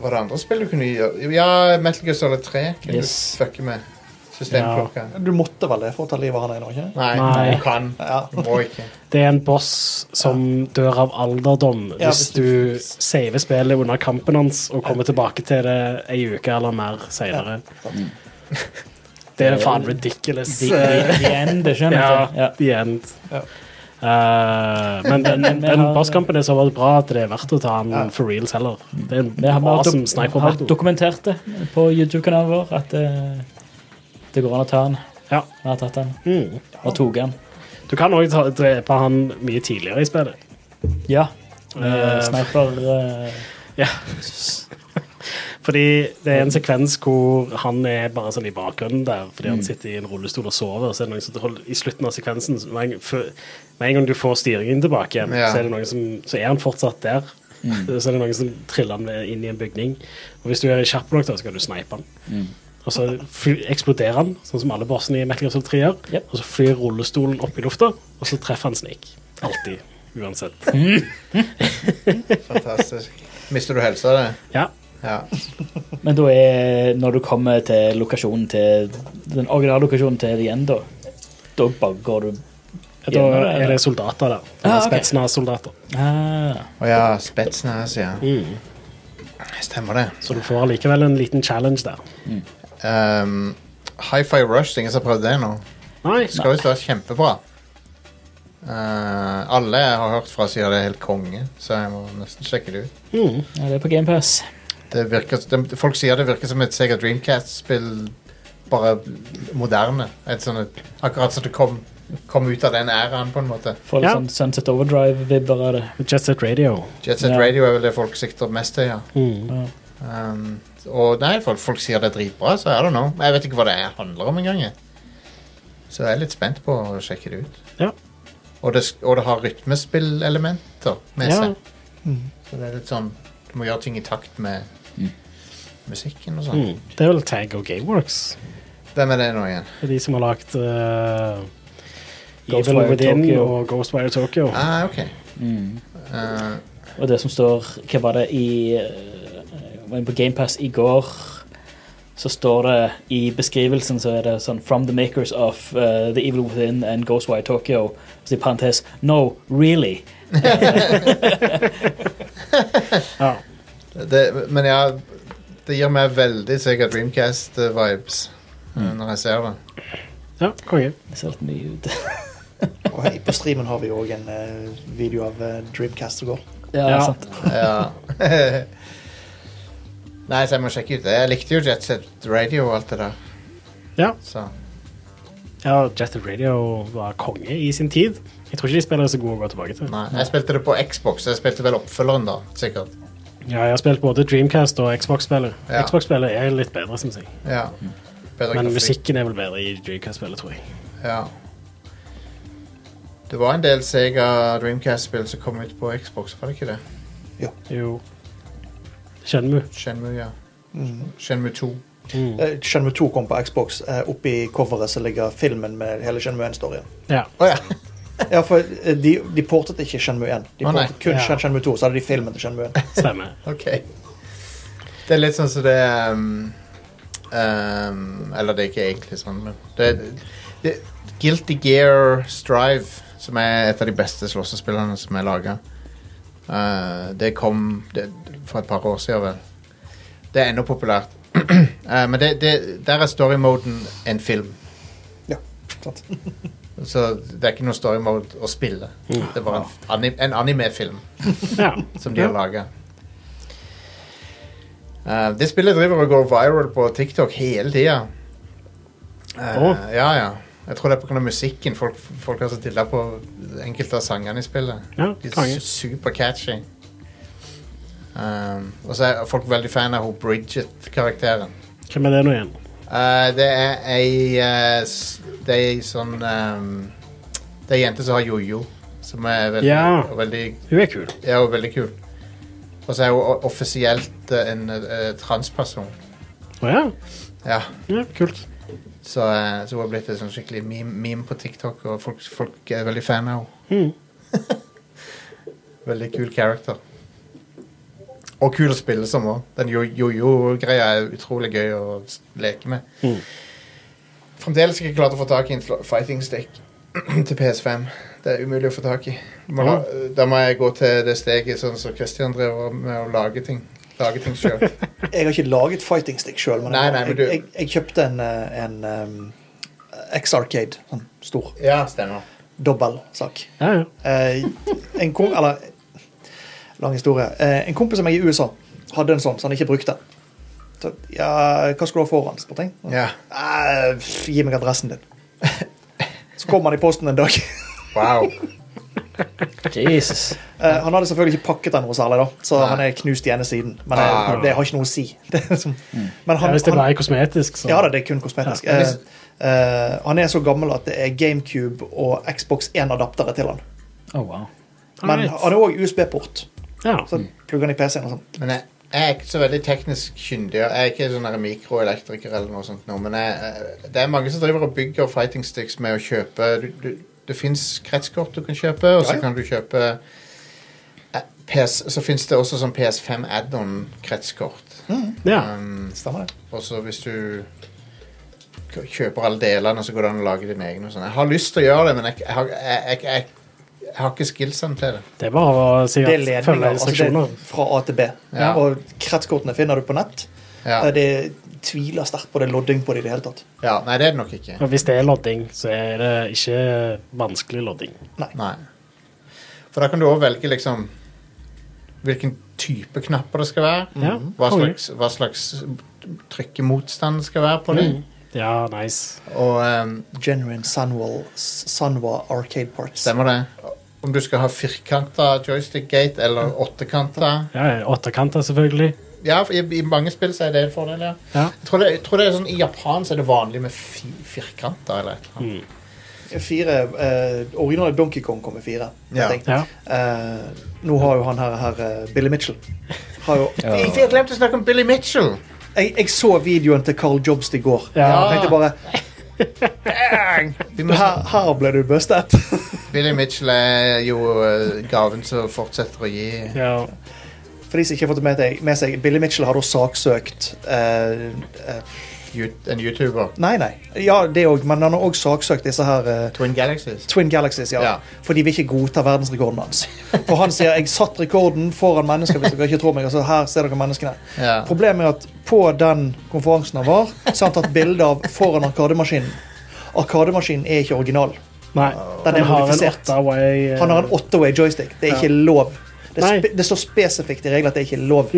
Speaker 1: Var det andre spill du kunne gjøre? Ja, Metal Gear Solid 3 kunne
Speaker 3: Yes.
Speaker 1: du fucke med. Systemklokka.
Speaker 4: Du måtte vel det for å ta livet av han ennå, ikke?
Speaker 1: Nei,
Speaker 2: Nei.
Speaker 1: du kan.
Speaker 4: Ja.
Speaker 1: Du må ikke.
Speaker 2: Det er en boss som dør av alderdom
Speaker 4: Ja,
Speaker 2: hvis
Speaker 4: hvis
Speaker 2: du saver spillet under kampen hans og kommer tilbake til det ei uke eller mer seinere. Det er faen ridiculous.
Speaker 3: The, the, the End, det skjønner
Speaker 2: Ja,
Speaker 3: jeg. Ja.
Speaker 2: the end.
Speaker 4: Ja.
Speaker 2: Eh, men den, den,
Speaker 3: Men vi har-
Speaker 2: bosskampen er såpass bra at det er verdt å ta den for reals heller. Det er en
Speaker 3: Vi har, vi har,
Speaker 2: awesome
Speaker 3: dok
Speaker 2: sniper
Speaker 3: har
Speaker 2: battle.
Speaker 3: dokumentert det på YouTube-kanalen vår, at eh, det går an å ta den.
Speaker 2: Ja.
Speaker 3: Vi har tatt den,
Speaker 2: Mm.
Speaker 3: og tok den.
Speaker 2: Du kan òg drepe han mye tidligere i spillet.
Speaker 3: Ja.
Speaker 2: Eh,
Speaker 3: Med sniper eh,
Speaker 2: Ja. Fordi det er en sekvens hvor han er bare sånn i bakgrunnen der, fordi
Speaker 3: Mm.
Speaker 2: han sitter i en rullestol og sover. Og så er det noen som holder, I slutten av sekvensen, så med en, gang- før- med en gang du får styringen tilbake igjen,
Speaker 1: Ja.
Speaker 2: så, er det noen som, så er han fortsatt der.
Speaker 3: Mm.
Speaker 2: Så er det noen som triller han med- inn i en bygning. Og hvis du er kjapp nok, da, så kan du snipe han.
Speaker 3: Mm.
Speaker 2: Og så fly, eksploderer han, sånn som alle bossene i Metal Gear Solid 3 gjør.
Speaker 3: Yep.
Speaker 2: Og så flyr rullestolen opp i lufta, og så treffer han Snake. Alltid. Uansett.
Speaker 1: Fantastisk. Mister du helsa av det?
Speaker 2: Ja.
Speaker 1: Ja.
Speaker 3: Men da er når du kommer til lokasjonen til den originale lokasjonen til The End, da, da bare går du
Speaker 2: Da er det soldater der.
Speaker 3: Ah, ok.
Speaker 2: Spetsnaz-soldater.
Speaker 3: ah,
Speaker 1: Å ja, Spetsnaz, ja.
Speaker 2: Mm.
Speaker 1: Stemmer det.
Speaker 2: Så du får allikevel en liten challenge der.
Speaker 1: Um, Hi-Fi Rush, ingen som har prøvd det nå.
Speaker 2: Nei,
Speaker 1: Det skal visst være kjempebra. Eh, alle jeg har hørt fra sier det er helt konge, så jeg må nesten sjekke det ut.
Speaker 3: ja, Det er på GamePass.
Speaker 1: Det virker, de, folk sier det virker som et Sega Dreamcast-spill, bare moderne. Et sånn et, akkurat som det kom, kom ut av den æraen, på en måte.
Speaker 3: Får litt
Speaker 2: Ja.
Speaker 3: sånn Sunset Overdrive-vibber av det.
Speaker 2: Jet Set Radio.
Speaker 1: Jet Set
Speaker 3: Ja.
Speaker 1: Radio er vel det folk sikter mest til, ja.
Speaker 3: Ja.
Speaker 1: Um, og nei, folk, folk sier det er dritbra, så er det noe. Jeg vet ikke hva det er, handler om engang. jeg. Så jeg er litt spent på å sjekke det ut.
Speaker 2: Ja.
Speaker 1: Og, det, sk- og det har rytmespillelementer med
Speaker 2: Ja.
Speaker 1: seg. Så det er litt sånn Du må gjøre ting i takt med musikken og sånn.
Speaker 2: Mm. Det er vel Tag og Gameworks.
Speaker 1: Hvem er det nå igjen?
Speaker 2: Det er de som har lagd eh, Evil
Speaker 3: Ghostwire
Speaker 2: Within
Speaker 3: Tokyo.
Speaker 2: og Ghostwire Tokyo.
Speaker 1: Ah, ok.
Speaker 3: Mm.
Speaker 1: Uh,
Speaker 3: Og det som står Hva var det i eh, Jeg var inne på GamePass i går. Så står det i beskrivelsen så er det sånn From the makers of eh, The Evil Within and Ghostwire Tokyo. Og så i parentes No, really.
Speaker 2: Ja.
Speaker 1: det, men ja, det gir meg veldig Sega Dreamcast-vibes eh, når jeg ser det.
Speaker 2: ja, konge.
Speaker 3: Det ser litt mye ut.
Speaker 4: Og hei, på streamen har vi jo òg en eh, video av eh, Dreamcast som går.
Speaker 3: ja,
Speaker 2: Ja.
Speaker 3: Sant.
Speaker 1: Ja. Nei, så jeg må sjekke ut det. Jeg likte jo Jet Set Radio og alt det der.
Speaker 2: Ja.
Speaker 1: Så.
Speaker 2: ja, Jet Set Radio var konge i sin tid. Jeg tror ikke de spiller så gode å gå tilbake til.
Speaker 1: Nei, jeg spilte det på Xbox. Jeg spilte vel oppfølgeren, da. Sikkert.
Speaker 2: Ja, jeg har spilt både Dreamcast og Xbox-spillet.
Speaker 1: Ja.
Speaker 2: Xbox-spillet er litt bedre, syns jeg.
Speaker 1: Ja. Bedre
Speaker 2: Men
Speaker 1: grafikk.
Speaker 2: musikken er vel bedre i Dreamcast-spillet, tror jeg.
Speaker 1: Ja. Det var en del Sega Dreamcast-spill som kom ut på Xbox, var det ikke det?
Speaker 2: Jo. Shenmue.
Speaker 1: Shenmue, ja. Shenmue 2.
Speaker 4: Eh, Shenmue 2 kom på Xbox. Eh, Oppi coveret så ligger filmen med hele Shenmue 1-storyen.
Speaker 2: Ja.
Speaker 1: Å ja.
Speaker 4: Ja, for eh, de, de portet ikke Shenmue 1. De
Speaker 1: Å, nei.
Speaker 4: portet kun
Speaker 2: Ja.
Speaker 4: Shenmue 2, så hadde de filmen til Shenmue 1.
Speaker 2: Stemmer.
Speaker 1: Ok. Det er litt sånn som det um, um, Eller det er ikke egentlig sånn, men det, det, Guilty Gear Strive, som er et av de beste slåssespillene som er laga, det kom det, for et par år siden, vel. Det er ennå populært. Eh, men det, det, der er story-moden en film.
Speaker 4: Ja, sant.
Speaker 1: Så det er ikke noe story mode å spille. Det var en, anim, en anime-film
Speaker 2: Ja.
Speaker 1: som de har laga. Eh, det spillet driver og går viral på TikTok hele tida. Eh,
Speaker 2: Åh.
Speaker 1: Ja, ja. Jeg tror det er pga. musikken. Folk, folk har så dilla på enkelte av sangene i spillet.
Speaker 2: Ja,
Speaker 1: de er
Speaker 2: konge.
Speaker 1: su- super catchy. Um, og så er folk veldig fan av hun Bridget-karakteren.
Speaker 2: Hvem er det nå igjen?
Speaker 1: Eh, det er ei eh, s- Det er ei sånn ehm, Det er ei jente som har jojo, som er veldig,
Speaker 2: Ja.
Speaker 1: veldig
Speaker 2: Hun er kul.
Speaker 1: er jo veldig kul. Og så er hun o- offisielt eh, en eh, transperson.
Speaker 2: Å ja.
Speaker 1: Ja,
Speaker 2: ja. Kult.
Speaker 1: så, eh, så hun har blitt en sånn skikkelig meme, meme på TikTok, og folk, folk er veldig fan av henne.
Speaker 2: Mm.
Speaker 1: Veldig kul character. Og kul å spille som òg. Den jo- jojo-greia er utrolig gøy å s- leke med.
Speaker 2: Mm.
Speaker 1: Fremdeles ikke klart å få tak i en fl- fighting stick til PS5. Det er umulig å få tak i. Du Må, la- Da må jeg gå til det steget sånn som Christian driver med å lage ting. Lage ting sjøl.
Speaker 4: Jeg har ikke laget Fighting Stick sjøl, men,
Speaker 1: Nei, nei, men du-
Speaker 4: jeg, jeg, jeg kjøpte en, eh, en em, X-Arcade. Sånn stor
Speaker 1: ja, stemmer.
Speaker 4: dobbeltsak.
Speaker 2: Ja, ja.
Speaker 4: Eh, en kom, eller Lang historie. Eh, en kompis av meg i USA hadde en sånn, så han ikke brukte den. Så, ja, hva skal du ha foran? spurte jeg.
Speaker 1: Ja.
Speaker 4: Eh, gi meg adressen din. Så kom han i posten en dag.
Speaker 1: Wow.
Speaker 3: Jesus.
Speaker 4: Eh, han hadde selvfølgelig ikke pakket den noe særlig, da, så han er knust i ene siden. Men det,
Speaker 1: Ah. Mm.
Speaker 4: det har ikke noe å si. Det er som, men
Speaker 2: Ja,
Speaker 4: han,
Speaker 2: hvis det
Speaker 4: han,
Speaker 2: bare er kosmetisk, så
Speaker 4: ja da, det er kun kosmetisk. Eh, eh, han er så gammel at det er GameCube og Xbox 1-adaptere til han.
Speaker 9: Oh, wow.
Speaker 1: Ah,
Speaker 4: Men
Speaker 2: Alright.
Speaker 4: han er òg USB-port.
Speaker 2: ja.
Speaker 4: Så
Speaker 1: Mm.
Speaker 4: plugger han i PC-en og sånn.
Speaker 1: Men jeg, jeg er ikke så veldig teknisk kyndig. og Jeg er ikke sånn her mikroelektriker eller noe sånt. nå, Men jeg, eh, det er mange som driver og bygger fighting sticks med å kjøpe du, du, Det fins kretskort du kan kjøpe, og så
Speaker 4: Ja, ja.
Speaker 1: kan du kjøpe eh, PS, Så fins det også sånn PS5 add-on-kretskort.
Speaker 2: ja.
Speaker 1: Um,
Speaker 4: Stemmer det?
Speaker 1: og så hvis du k- kjøper alle delene, så går det an å lage dine egne. og sånn. Jeg har lyst til å gjøre det, men jeg, jeg, har- jeg, jeg, jeg, jeg har ikke skillsene til det.
Speaker 2: Det er bare å si
Speaker 4: Det er
Speaker 2: at følge
Speaker 4: ledninger altså det
Speaker 2: instruksjoner.
Speaker 4: er fra A til B.
Speaker 1: Ja.
Speaker 4: Og kretskortene finner du på nett.
Speaker 1: Ja,
Speaker 4: Eh, Det tviler sterkt på det er lodding på det i det hele tatt.
Speaker 1: ja Nei, det er det nok ikke.
Speaker 2: Og hvis det er lodding, så er det ikke vanskelig lodding.
Speaker 1: Nei. For da kan du òg velge liksom hvilken type knapper det skal være.
Speaker 2: Ja,
Speaker 1: Hva
Speaker 2: konge.
Speaker 1: slags, hva slags trykkemotstand det skal være på dem.
Speaker 2: Mhm. Ja, nice.
Speaker 1: Og ehm,
Speaker 4: Genuine Sunwall, Sunwa Arcade Parts.
Speaker 1: stemmer det. Om du skal ha firkanta joystick-gate eller åttekanta.
Speaker 2: Ja, ja, Åttekanter, selvfølgelig.
Speaker 1: Ja, for i, i mange spill så er det en fordel, ja.
Speaker 2: Ja.
Speaker 1: Jeg tror det, jeg tror det er sånn, I Japan så er det vanlig med fi, firkanter eller et eller annet.
Speaker 2: Mm.
Speaker 4: Fire, eh, originale Donkey Kong kom med fire.
Speaker 1: Ja.
Speaker 4: vet jeg.
Speaker 2: Ja.
Speaker 4: Eh, nå har jo han her, her eh, Billy Mitchell har jo,
Speaker 1: Jeg, jeg glemte å snakke om Billy Mitchell!
Speaker 4: jeg, jeg så videoen til Carl Jobst i går.
Speaker 2: Ja.
Speaker 4: Jeg tenkte bare Bang!
Speaker 1: Vi må
Speaker 4: Her, her ble du bustet.
Speaker 1: Billy Mitchell er jo eh, gaven som fortsetter å gi.
Speaker 2: ja.
Speaker 4: For de som ikke har fått det med, deg- med seg, Billy Mitchell har da saksøkt eh, eh,
Speaker 1: Ju- En YouTuber.
Speaker 4: Nei, nei. Ja, det òg, men han har òg saksøkt disse her eh,
Speaker 1: Twin Galaxies.
Speaker 4: Twin Galaxies, ja.
Speaker 1: Ja.
Speaker 4: For de vil ikke godta verdensrekorden hans. For han sier 'jeg satt rekorden foran mennesker', hvis dere ikke tror meg. Altså, her ser dere menneskene.
Speaker 1: Ja.
Speaker 4: Problemet er at på den konferansen han var, så har han tatt bilde av foran arkademaskinen. Arkademaskinen er ikke original.
Speaker 2: Nei,
Speaker 4: Den er
Speaker 2: den har en
Speaker 4: modifisert.
Speaker 2: åttaway eh,
Speaker 4: Han har en åtteway joystick. Det er ikke lov. Det,
Speaker 2: Nei. Mm.
Speaker 4: spe det står spesifikt i reglene at det er ikke er lov.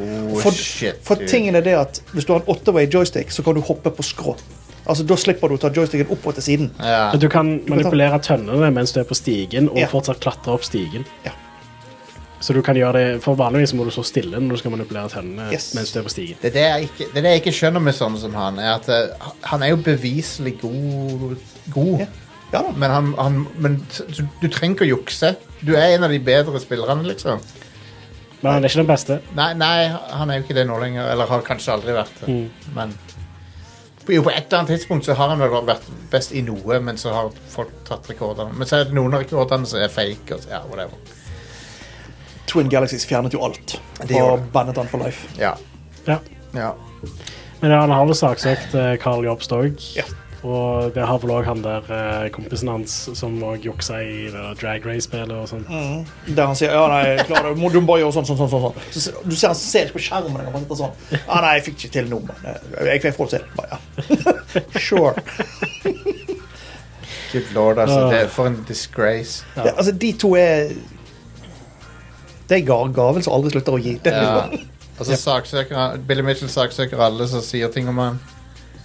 Speaker 1: Oh,
Speaker 4: For,
Speaker 1: shit,
Speaker 4: for
Speaker 1: dude.
Speaker 4: tingen er det at hvis du har en åtteway joystick, så kan du hoppe på skrå. Altså, Da slipper du å ta joysticken opp og til siden.
Speaker 1: Ja.
Speaker 2: Men Du kan manipulere tønnene mens du er på stigen, og
Speaker 4: Ja.
Speaker 2: fortsatt klatre opp stigen.
Speaker 4: Ja.
Speaker 2: Så du kan gjøre det, for Vanligvis må du stå stille når du skal manipulere tønnene
Speaker 4: Yes.
Speaker 2: mens du er på stigen.
Speaker 1: Det er det, jeg ikke, det er det jeg ikke skjønner med sånne som han, er at eh, han er jo beviselig god, god.
Speaker 4: Ja. Ja da.
Speaker 1: men, han, han, men t- du, du trenger ikke å jukse. Du er en av de bedre spillerne, liksom.
Speaker 2: Men han er ikke den beste.
Speaker 1: Nei, nei, han er jo ikke det nå lenger, eller har kanskje aldri vært det. Men jo, på et eller annet tidspunkt så har han vel vært best i noe, men så har folk tatt rekordene. Men så er det noen av rekordene som er fake. Og, så- ja, whatever.
Speaker 4: Twin Galaxies fjernet jo alt
Speaker 1: Det gjorde
Speaker 4: og
Speaker 1: det.
Speaker 4: bannet han for life.
Speaker 1: Ja.
Speaker 2: Ja.
Speaker 1: ja.
Speaker 2: Men ja, han har vel saksøkt eh, Carl Jobst òg.
Speaker 4: Ja.
Speaker 2: Og det har vel òg han der eh, kompisen hans som òg juksa i det der Drag Race-spillet og sånn.
Speaker 4: Mm. Der han sier ja, nei, klar, du, må, du må bare gjøre sånn, sånn, sånn. sånn, sånn. Så, ser- du ser han ser ikke på skjermen engang. Han sitter sånn. Ja, nei, jeg fikk ikke til noe. men, eh, Jeg fikk forhold til det. Bare, ja. Sure.
Speaker 1: Good lord,
Speaker 2: Ah.
Speaker 1: altså. Det er for en disgrace.
Speaker 4: Det, altså, de to er Det er ga- gaven som aldri slutter å gi. Det,
Speaker 1: Ja. Og så Altså, saksøker han Billy Mitchell saksøker alle som sier ting om han.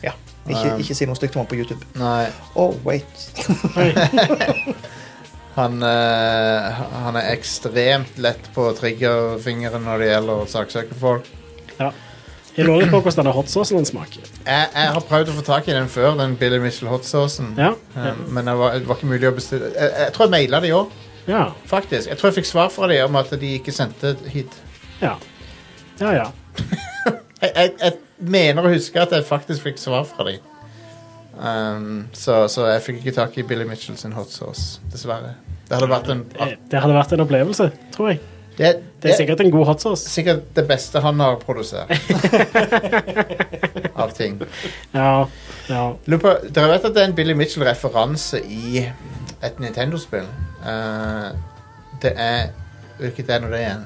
Speaker 4: ja. Ikke, ikke si noe stygt om han på YouTube.
Speaker 1: Nei.
Speaker 4: Oh, wait.
Speaker 1: Han, eh, han er ekstremt lett på triggerfingeren når det gjelder å saksøke folk.
Speaker 2: Ja. Jeg lurer litt på hvordan denne hotsaucen hans smaker.
Speaker 1: Jeg, jeg har prøvd å få tak i den før, den Billy Mitchell hotsaucen.
Speaker 2: Ja.
Speaker 1: Eh, men det var, det var ikke mulig å bestille. Jeg, jeg tror jeg maila de òg,
Speaker 2: Ja.
Speaker 1: faktisk. Jeg tror jeg fikk svar fra de om at de ikke sendte hit.
Speaker 2: Ja, ja. ja.
Speaker 1: Jeg, jeg, jeg mener å huske at jeg faktisk fikk svar fra de. Um, så, så jeg fikk ikke tak i Billy Mitchell sin hotsauce, dessverre. Det hadde vært en
Speaker 4: Ah.
Speaker 2: Det, det hadde vært en opplevelse, tror jeg.
Speaker 1: Det,
Speaker 2: Det er sikkert en god hotsauce.
Speaker 1: sikkert det beste han har produsert. Av ting.
Speaker 2: Ja, ja.
Speaker 1: Lurer på, dere vet at det er en Billy Mitchell-referanse i et Nintendo-spill? Eh, det er Hvilket er nå det igjen?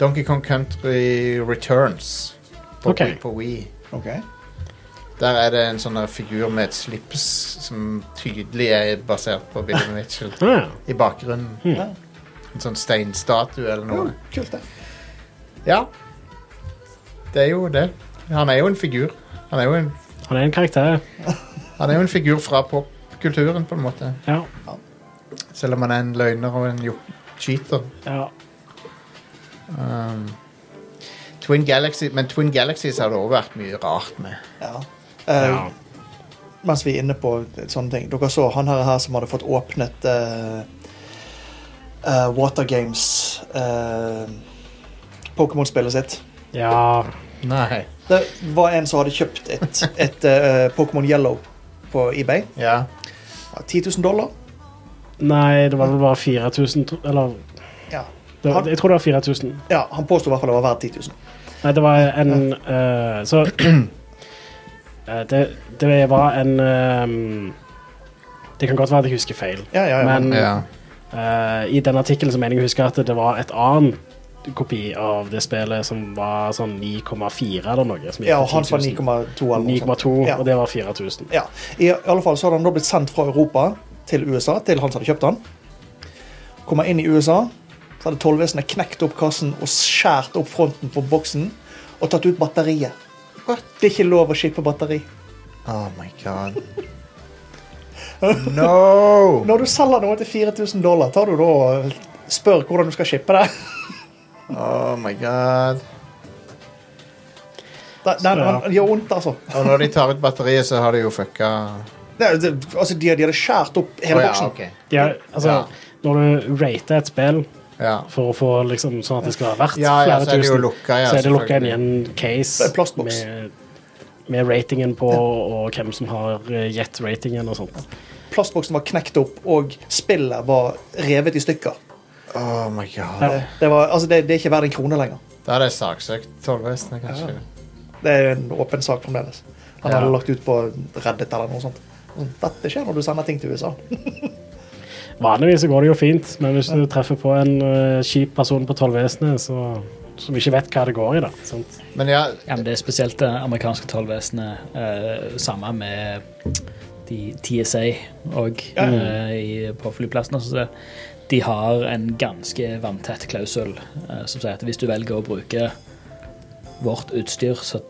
Speaker 1: Donkey Kong Country Returns på,
Speaker 2: Ok.
Speaker 1: Wii, på Wii.
Speaker 4: Okay.
Speaker 1: Der er det en sånn her figur med et slips som tydelig er basert på Billy Mitchell
Speaker 2: Ja, ja.
Speaker 1: i bakgrunnen.
Speaker 4: Ja.
Speaker 1: En sånn steinstatue eller
Speaker 4: Jo,
Speaker 1: noe.
Speaker 4: kult, det.
Speaker 1: Ja. Det er jo det. Han er jo en figur. Han er jo en,
Speaker 2: Han er en karakter.
Speaker 1: han er jo en figur fra popkulturen, på en måte.
Speaker 2: Ja.
Speaker 1: Selv om han er en løgner og en jo- cheater.
Speaker 2: Ja.
Speaker 1: Um, Twin Galaxy, men Twin Galaxies har det også vært mye rart med.
Speaker 4: Ja. Eh, Mens vi er inne på sånne ting Dere så han her, her som hadde fått åpnet eh, eh, Water Games eh, Pokémon-spillet sitt.
Speaker 2: Ja.
Speaker 1: Nei.
Speaker 4: Det var en som hadde kjøpt et, et eh, Pokémon Yellow på eBay.
Speaker 1: Ja.
Speaker 4: Ja, 10 000 dollar.
Speaker 2: Nei, det var vel bare 4000, tro- eller
Speaker 4: Ja.
Speaker 2: det var, Jeg tror det var 4000.
Speaker 4: Ja, han påsto i hvert fall det var verdt 10 000.
Speaker 2: Nei, det var en eh, Så eh, det, det var en ehm, Det kan godt være at jeg husker feil,
Speaker 4: Ja, ja, ja.
Speaker 2: men
Speaker 1: Ja.
Speaker 2: eh, i den artikkelen så mener jeg å huske at det var et annet kopi av det spillet som var sånn 9,4 eller noe. Som gikk
Speaker 4: ja, og
Speaker 2: for
Speaker 4: han var
Speaker 2: 10 000.
Speaker 4: 9,2 eller noe sånt.
Speaker 2: 9,2,
Speaker 4: Ja.
Speaker 2: og det var 4000.
Speaker 4: Ja. I, I alle fall så hadde han da blitt sendt fra Europa til USA, til han som hadde kjøpt han. Kommer inn i USA, så hadde tollvesenet knekt opp kassen og skjært opp fronten på boksen og tatt ut batteriet. Det er ikke lov å shippe batteri.
Speaker 1: Oh my god. No!
Speaker 4: Når du selger noe til 4000 dollar, tar du da og spør hvordan du skal shippe det?
Speaker 1: Oh my god.
Speaker 4: Det, det, han- det gjør vondt, altså.
Speaker 1: Og når de tar ut batteriet, så har de jo fucka
Speaker 4: Det, det, altså de, de hadde skjært opp
Speaker 1: Å
Speaker 4: hele
Speaker 1: ja,
Speaker 4: boksen.
Speaker 1: ok.
Speaker 2: Ja, altså,
Speaker 1: Ja.
Speaker 2: Når du rater et spill
Speaker 1: Ja.
Speaker 2: for å få liksom, sånn at det skal være verdt
Speaker 1: Ja, ja, så er
Speaker 2: flere
Speaker 1: det jo
Speaker 2: tusen,
Speaker 1: lukka, ja,
Speaker 2: så er det lukka inn i
Speaker 1: selvfølgelig.
Speaker 2: en case
Speaker 4: Det er plastboks.
Speaker 2: med, med ratingen på, og hvem som har eh, gitt ratingen og sånt.
Speaker 4: Plastboksen var knekt opp, og spillet var revet i stykker.
Speaker 1: Oh my god.
Speaker 2: Ja.
Speaker 4: Det, det, var, altså, det, det er ikke verdt en krone lenger.
Speaker 1: Da er det saksøkt tollvesenet, kanskje.
Speaker 4: Det er en åpen sak fremdeles. Han
Speaker 1: Ja.
Speaker 4: hadde lagt ut på Reddit eller noe sånt. Sånn, Dette skjer når du sender ting til USA.
Speaker 2: Vanligvis så går det jo fint, men hvis du treffer på en eh, kjip person på tollvesenet så, som ikke vet hva det går i, da sant?
Speaker 1: Men ja,
Speaker 3: Ja, men det er spesielt det amerikanske tollvesenet. eh, samme med de TSA og eh, i- på flyplassen. Altså, det- de har en ganske vanntett klausul eh, som sier at hvis du velger å bruke vårt utstyr, så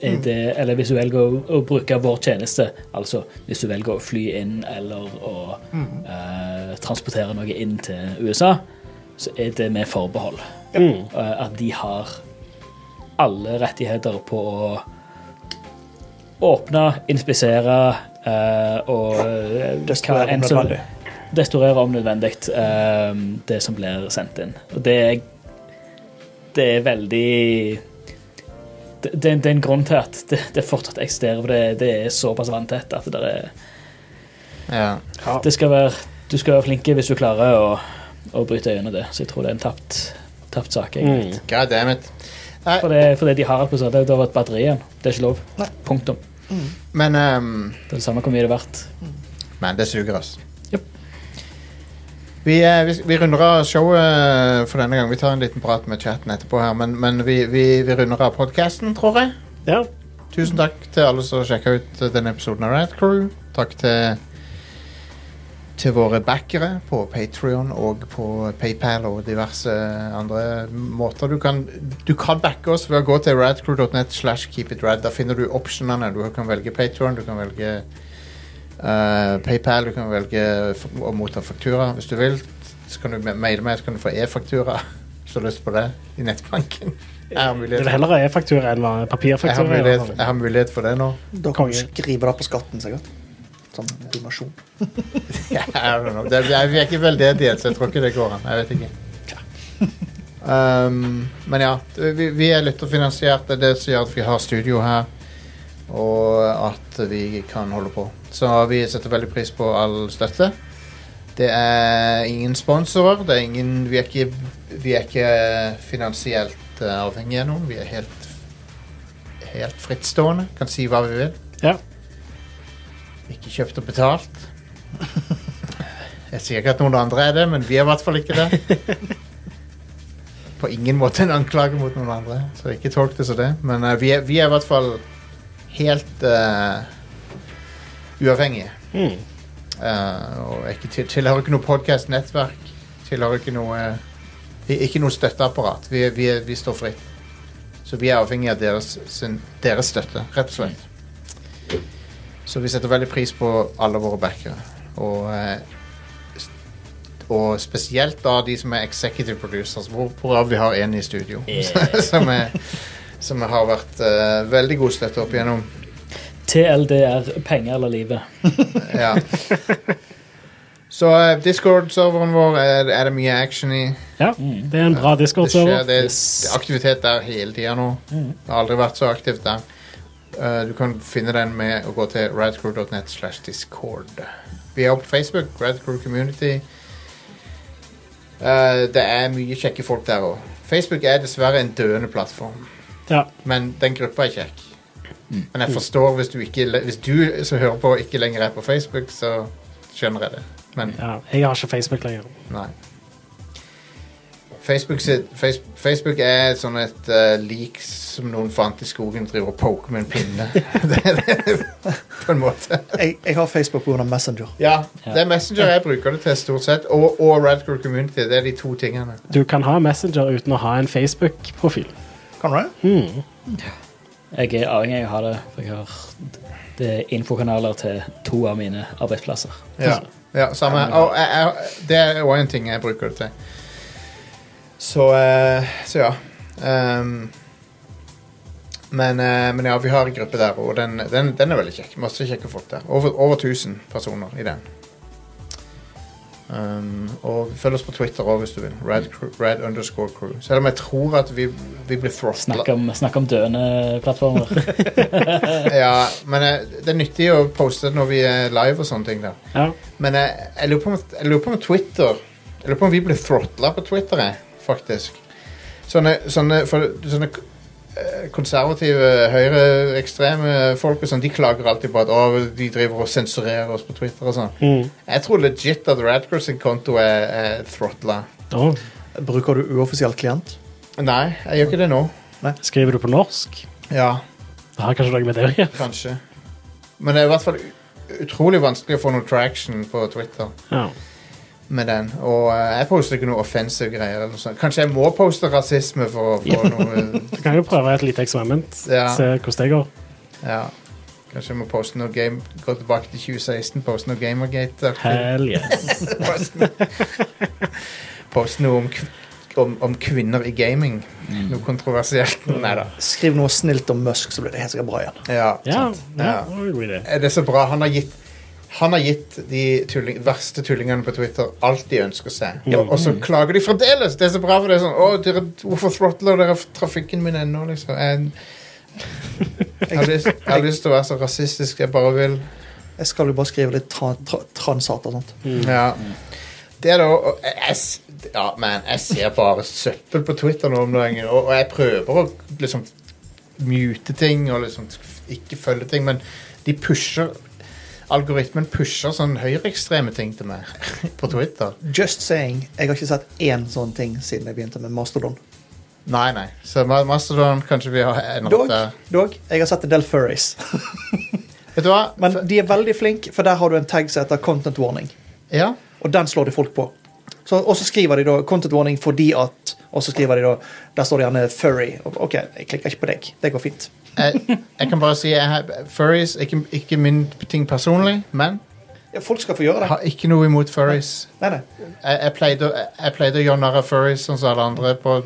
Speaker 3: er det Eller hvis du velger å, å bruke vår tjeneste, altså hvis du velger å fly inn eller å eh, transportere noe inn til USA, så er det med forbehold.
Speaker 4: Mm.
Speaker 3: Eh, at de har alle rettigheter på å åpne, inspisere eh, og eh,
Speaker 4: Destruere
Speaker 3: hva enn
Speaker 4: om
Speaker 3: som-
Speaker 4: nødvendig.
Speaker 3: Destruere om nødvendig eh, det som blir sendt inn. Og det er, det er veldig det, det, det er en grunn til at det, det fortsatt eksisterer, for det, det er såpass vanntett at det, er,
Speaker 1: ja.
Speaker 3: det skal være, du skal være flink hvis du klarer å, å bryte gjennom det. Så jeg tror det er en tapt, tapt sak. egentlig.
Speaker 2: Mm.
Speaker 1: God damn it. Nei,
Speaker 3: For det, for det de har et prosent, det har vært batteri igjen. Det er ikke lov. Punktum.
Speaker 1: men ehm,
Speaker 3: Det er det samme hvor mye det er verdt.
Speaker 1: Men det suger, altså.
Speaker 3: Japp.
Speaker 1: Vi, eh, vi, vi runder av showet eh, for denne gang. Vi tar en liten prat med chatten etterpå, her, men, men vi, vi, vi runder av podkasten, tror jeg.
Speaker 2: Ja.
Speaker 1: Tusen takk til alle som sjekka ut eh, denne episoden av Rad Crew. Takk til, til våre backere på Patrion og på PayPal og diverse andre måter. Du kan, du kan backe oss ved å gå til radcrew.net. slash keep it rad. Da finner du optionene. Du kan velge Patrion, du kan velge eh, PayPal, du kan velge f- å motta faktura hvis du vil. Så kan du ma- maile meg, så kan du få e-faktura. Hvis du har lyst på det, i nettbanken. Jeg har
Speaker 2: Det
Speaker 1: mulighet
Speaker 2: er vel heller e-faktura enn hva-
Speaker 1: jeg har
Speaker 2: papirfaktura. i hvert
Speaker 1: mulighet,
Speaker 2: fall.
Speaker 1: jeg har mulighet for det nå.
Speaker 4: Da kan du skrive det på skatten, sikkert. Sånn donasjon.
Speaker 1: I don't know. Det, jeg er ikke veldedighet, så jeg tror ikke det går an. Jeg vet ikke. Um, men ja, vi, vi er lytterfinansiert. Det er det som gjør at vi har studio her, og at vi kan holde på. Så vi setter veldig pris på all støtte. Det er ingen sponsorer. Det er ingen, vi, er ikke, vi er ikke finansielt eh, avhengige av noen. Vi er helt, helt frittstående. Kan si hva vi vil.
Speaker 2: Ja.
Speaker 1: Ikke kjøpt og betalt. Jeg sier ikke at noen andre er det, men vi er i hvert fall ikke det. På ingen måte en anklage mot noen andre, så ikke tolk det som det. Men eh, vi, er, vi er i hvert fall helt eh, uavhengige.
Speaker 2: Mm.
Speaker 1: Eh, og er ikke, til- tilhører ikke noe podkast-nettverk. Tilhører ikke noe vi- Ikke noe støtteapparat. Vi, er- vi, er- vi står fritt. Så vi er avhengig av deres, sin, deres støtte, rett og slett. Så vi setter veldig pris på alle våre backere. Og eh, s- Og spesielt da de som er executive producers, hvor- hvorav vi har en i studio. som, er, som har vært eh, veldig god støtte opp igjennom.
Speaker 9: TLDR, penger eller livet.
Speaker 1: Ja. Så eh, Discord-serveren vår er, er det mye action i.
Speaker 2: Ja,
Speaker 3: Mm.
Speaker 2: det er en bra
Speaker 1: Det, skjer,
Speaker 2: Discord-server.
Speaker 1: det er aktivitet der hele tida nå. Det har aldri vært så aktivt der. Eh, du kan finne den med å gå til radcrew.net slash discord. Vi er også på Facebook, Radcrew Community. Eh, det er mye kjekke folk der òg. Facebook er dessverre en døende plattform,
Speaker 2: Ja.
Speaker 1: men den gruppa er kjekk. Men jeg forstår hvis du, ikke, le- hvis du som hører på, ikke lenger er på Facebook, så skjønner jeg det. Men
Speaker 2: ja, jeg har ikke Facebook lenger.
Speaker 1: Nei. Facebook, sitt, face, Facebook er sånn et uh, lik som noen fant i skogen driver og poker med en pinne. det er det, på en måte.
Speaker 4: Jeg, jeg har Facebook pga. Messenger.
Speaker 1: Ja, det er Messenger jeg bruker det til stort sett, og, og Radcore Community. Det er de to tingene.
Speaker 2: Du kan ha Messenger uten å ha en Facebook-profil.
Speaker 4: Kan du det?
Speaker 9: Jeg er avhengig av å ha det, for jeg har det er infokanaler til to av mine arbeidsplasser.
Speaker 1: Ja, ja samme. Og jeg, jeg, det er òg en ting jeg bruker det til. Så, eh, så ja. Ehm, men, eh, men ja, vi har en gruppe der, og den, den, den er veldig kjekk. Masse kjekke folk der. Over, over 1000 personer i den. Ehm, og følg oss på Twitter òg hvis du vil. Rad, crew, rad underscore crew. Selv om jeg tror at vi, vi blir throstla.
Speaker 9: Snakk om, snakk om døende plattformer.
Speaker 1: Ja, men eh, det er nyttig å poste når vi er live og sånne ting der.
Speaker 2: Ja.
Speaker 1: Men jeg, jeg, lurer på om, jeg lurer på om Twitter Jeg lurer på om vi ble throttla på Twitter, jeg, faktisk. Sånne, sånne, for, sånne eh, konservative, høyreekstreme folk og sånn, de klager alltid på at å, de driver og sensurerer oss på Twitter og sånn.
Speaker 2: Mm.
Speaker 1: Jeg tror legit at Radcross sin konto er, er throttla.
Speaker 2: Da
Speaker 4: Bruker du uoffisiell klient?
Speaker 1: Nei, jeg gjør ikke det nå.
Speaker 2: skriver du på norsk.
Speaker 1: Ja,
Speaker 2: Det har kanskje noe med det å gjøre.
Speaker 1: kanskje. Men det er i hvert fall ut- utrolig vanskelig å få noe traction på Twitter.
Speaker 2: Ja.
Speaker 1: med den. Og eh, jeg poster ikke noe offensive greier. Eller noe sånt. Kanskje jeg må poste rasisme for å få noe eh,
Speaker 2: Du kan jo prøve et lite eksperiment.
Speaker 1: Ja.
Speaker 2: Se hvordan det går.
Speaker 1: Ja. Kanskje jeg må poste noe game gå tilbake til 2016, poste noe Gamergate. der.
Speaker 2: Hell yes.
Speaker 1: Poste noe, poste noe om, kv- om, om kvinner i gaming. Noe kontroversielt. Nei da.
Speaker 4: Skriv noe snilt om Musk, så blir det helt sikkert bra igjen.
Speaker 1: Ja.
Speaker 2: Ja, ja,
Speaker 1: Ja.
Speaker 2: det var en god idé.
Speaker 1: Er Eh, Det er så bra. Han har gitt han har gitt de tulling, verste tullingene på Twitter alt de ønsker seg. Og, og så klager de fremdeles! Det er så bra, for det er sånn Å, dere, hvorfor throttler dere trafikken min ennå, liksom? Jeg, jeg, har lyst, jeg har lyst til å være så rasistisk jeg bare vil.
Speaker 4: Jeg skal jo bare skrive litt tra tra transat og sånt.
Speaker 1: Ja. Det er da og jeg, jeg s- Ja, man, jeg ser bare søppel på Twitter nå om dagen, og, og jeg prøver å liksom mute ting og liksom ikke følge ting, men de pusher Algoritmen pusher sånn høyreekstreme ting til meg på Twitter.
Speaker 4: Just saying. Jeg har ikke sett én sånn ting siden jeg begynte med Mastodon.
Speaker 1: Nei, nei. Så Ma- Mastodon kanskje vi har endret
Speaker 4: Dog,
Speaker 1: der.
Speaker 4: dog jeg har sett en del furries.
Speaker 1: Vet du hva?
Speaker 4: Men
Speaker 1: F-
Speaker 4: de er veldig flinke, for der har du en tag som heter content warning.
Speaker 1: ja.
Speaker 4: Og den slår de folk på. Så, og så skriver de da 'content warning' fordi at Og så skriver de da Der står det gjerne 'furry'. Og, OK, jeg klikker ikke på deg. Det går fint.
Speaker 1: Jeg, jeg kan bare si jeg har furries. Ikke, ikke min ting personlig, men
Speaker 4: Ja, folk skal få gjøre
Speaker 1: jeg
Speaker 4: det.
Speaker 1: har ikke noe imot furries.
Speaker 4: Nei, nei.
Speaker 1: jeg, jeg, pleide, å- jeg, jeg pleide å gjøre narr av furries sånn som alle andre. På,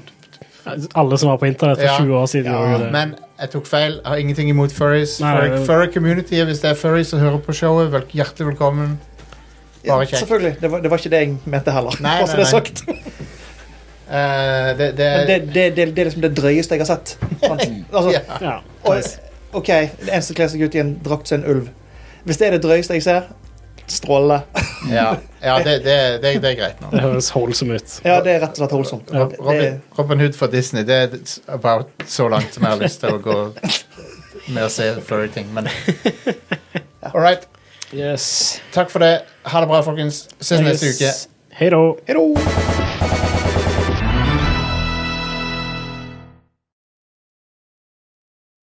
Speaker 2: Alle som var på internett for
Speaker 1: Ja.
Speaker 2: 20 år siden, gjorde jo det.
Speaker 1: men jeg tok feil. Jeg har ingenting imot furries.
Speaker 2: Nei,
Speaker 1: Furry,
Speaker 2: det-
Speaker 1: furry community, Hvis det er furries som hører på showet, vel, hjertelig velkommen.
Speaker 4: Ja,
Speaker 1: Bare kjekt.
Speaker 4: selvfølgelig. Det var, det var ikke det jeg mente heller.
Speaker 1: Nei,
Speaker 4: Bare så
Speaker 1: nei,
Speaker 4: det er
Speaker 1: nei.
Speaker 4: sagt.
Speaker 1: Eh, det, det,
Speaker 4: Men det, det, det, det er liksom det drøyeste jeg har sett. Sant? Altså,
Speaker 1: ja.
Speaker 2: Ja.
Speaker 4: og, OK, en som kler seg ut i en drakt som en ulv. Hvis det er det drøyeste jeg ser, stråle.
Speaker 1: Ja, ja det, det, det, det er greit nå.
Speaker 2: Det høres holdsom ut.
Speaker 4: Ja, det er rett og slett holdsomt.
Speaker 1: Rob-
Speaker 4: Det-
Speaker 1: Robin,
Speaker 4: det-
Speaker 1: Robin Hood fra Disney, det er about så langt som jeg har lyst til å gå med å se furry-ting, men All right.
Speaker 9: Yes.
Speaker 1: Takk for det. Ha det bra, folkens. Ses neste uke.
Speaker 2: Hei da.
Speaker 4: Hei da!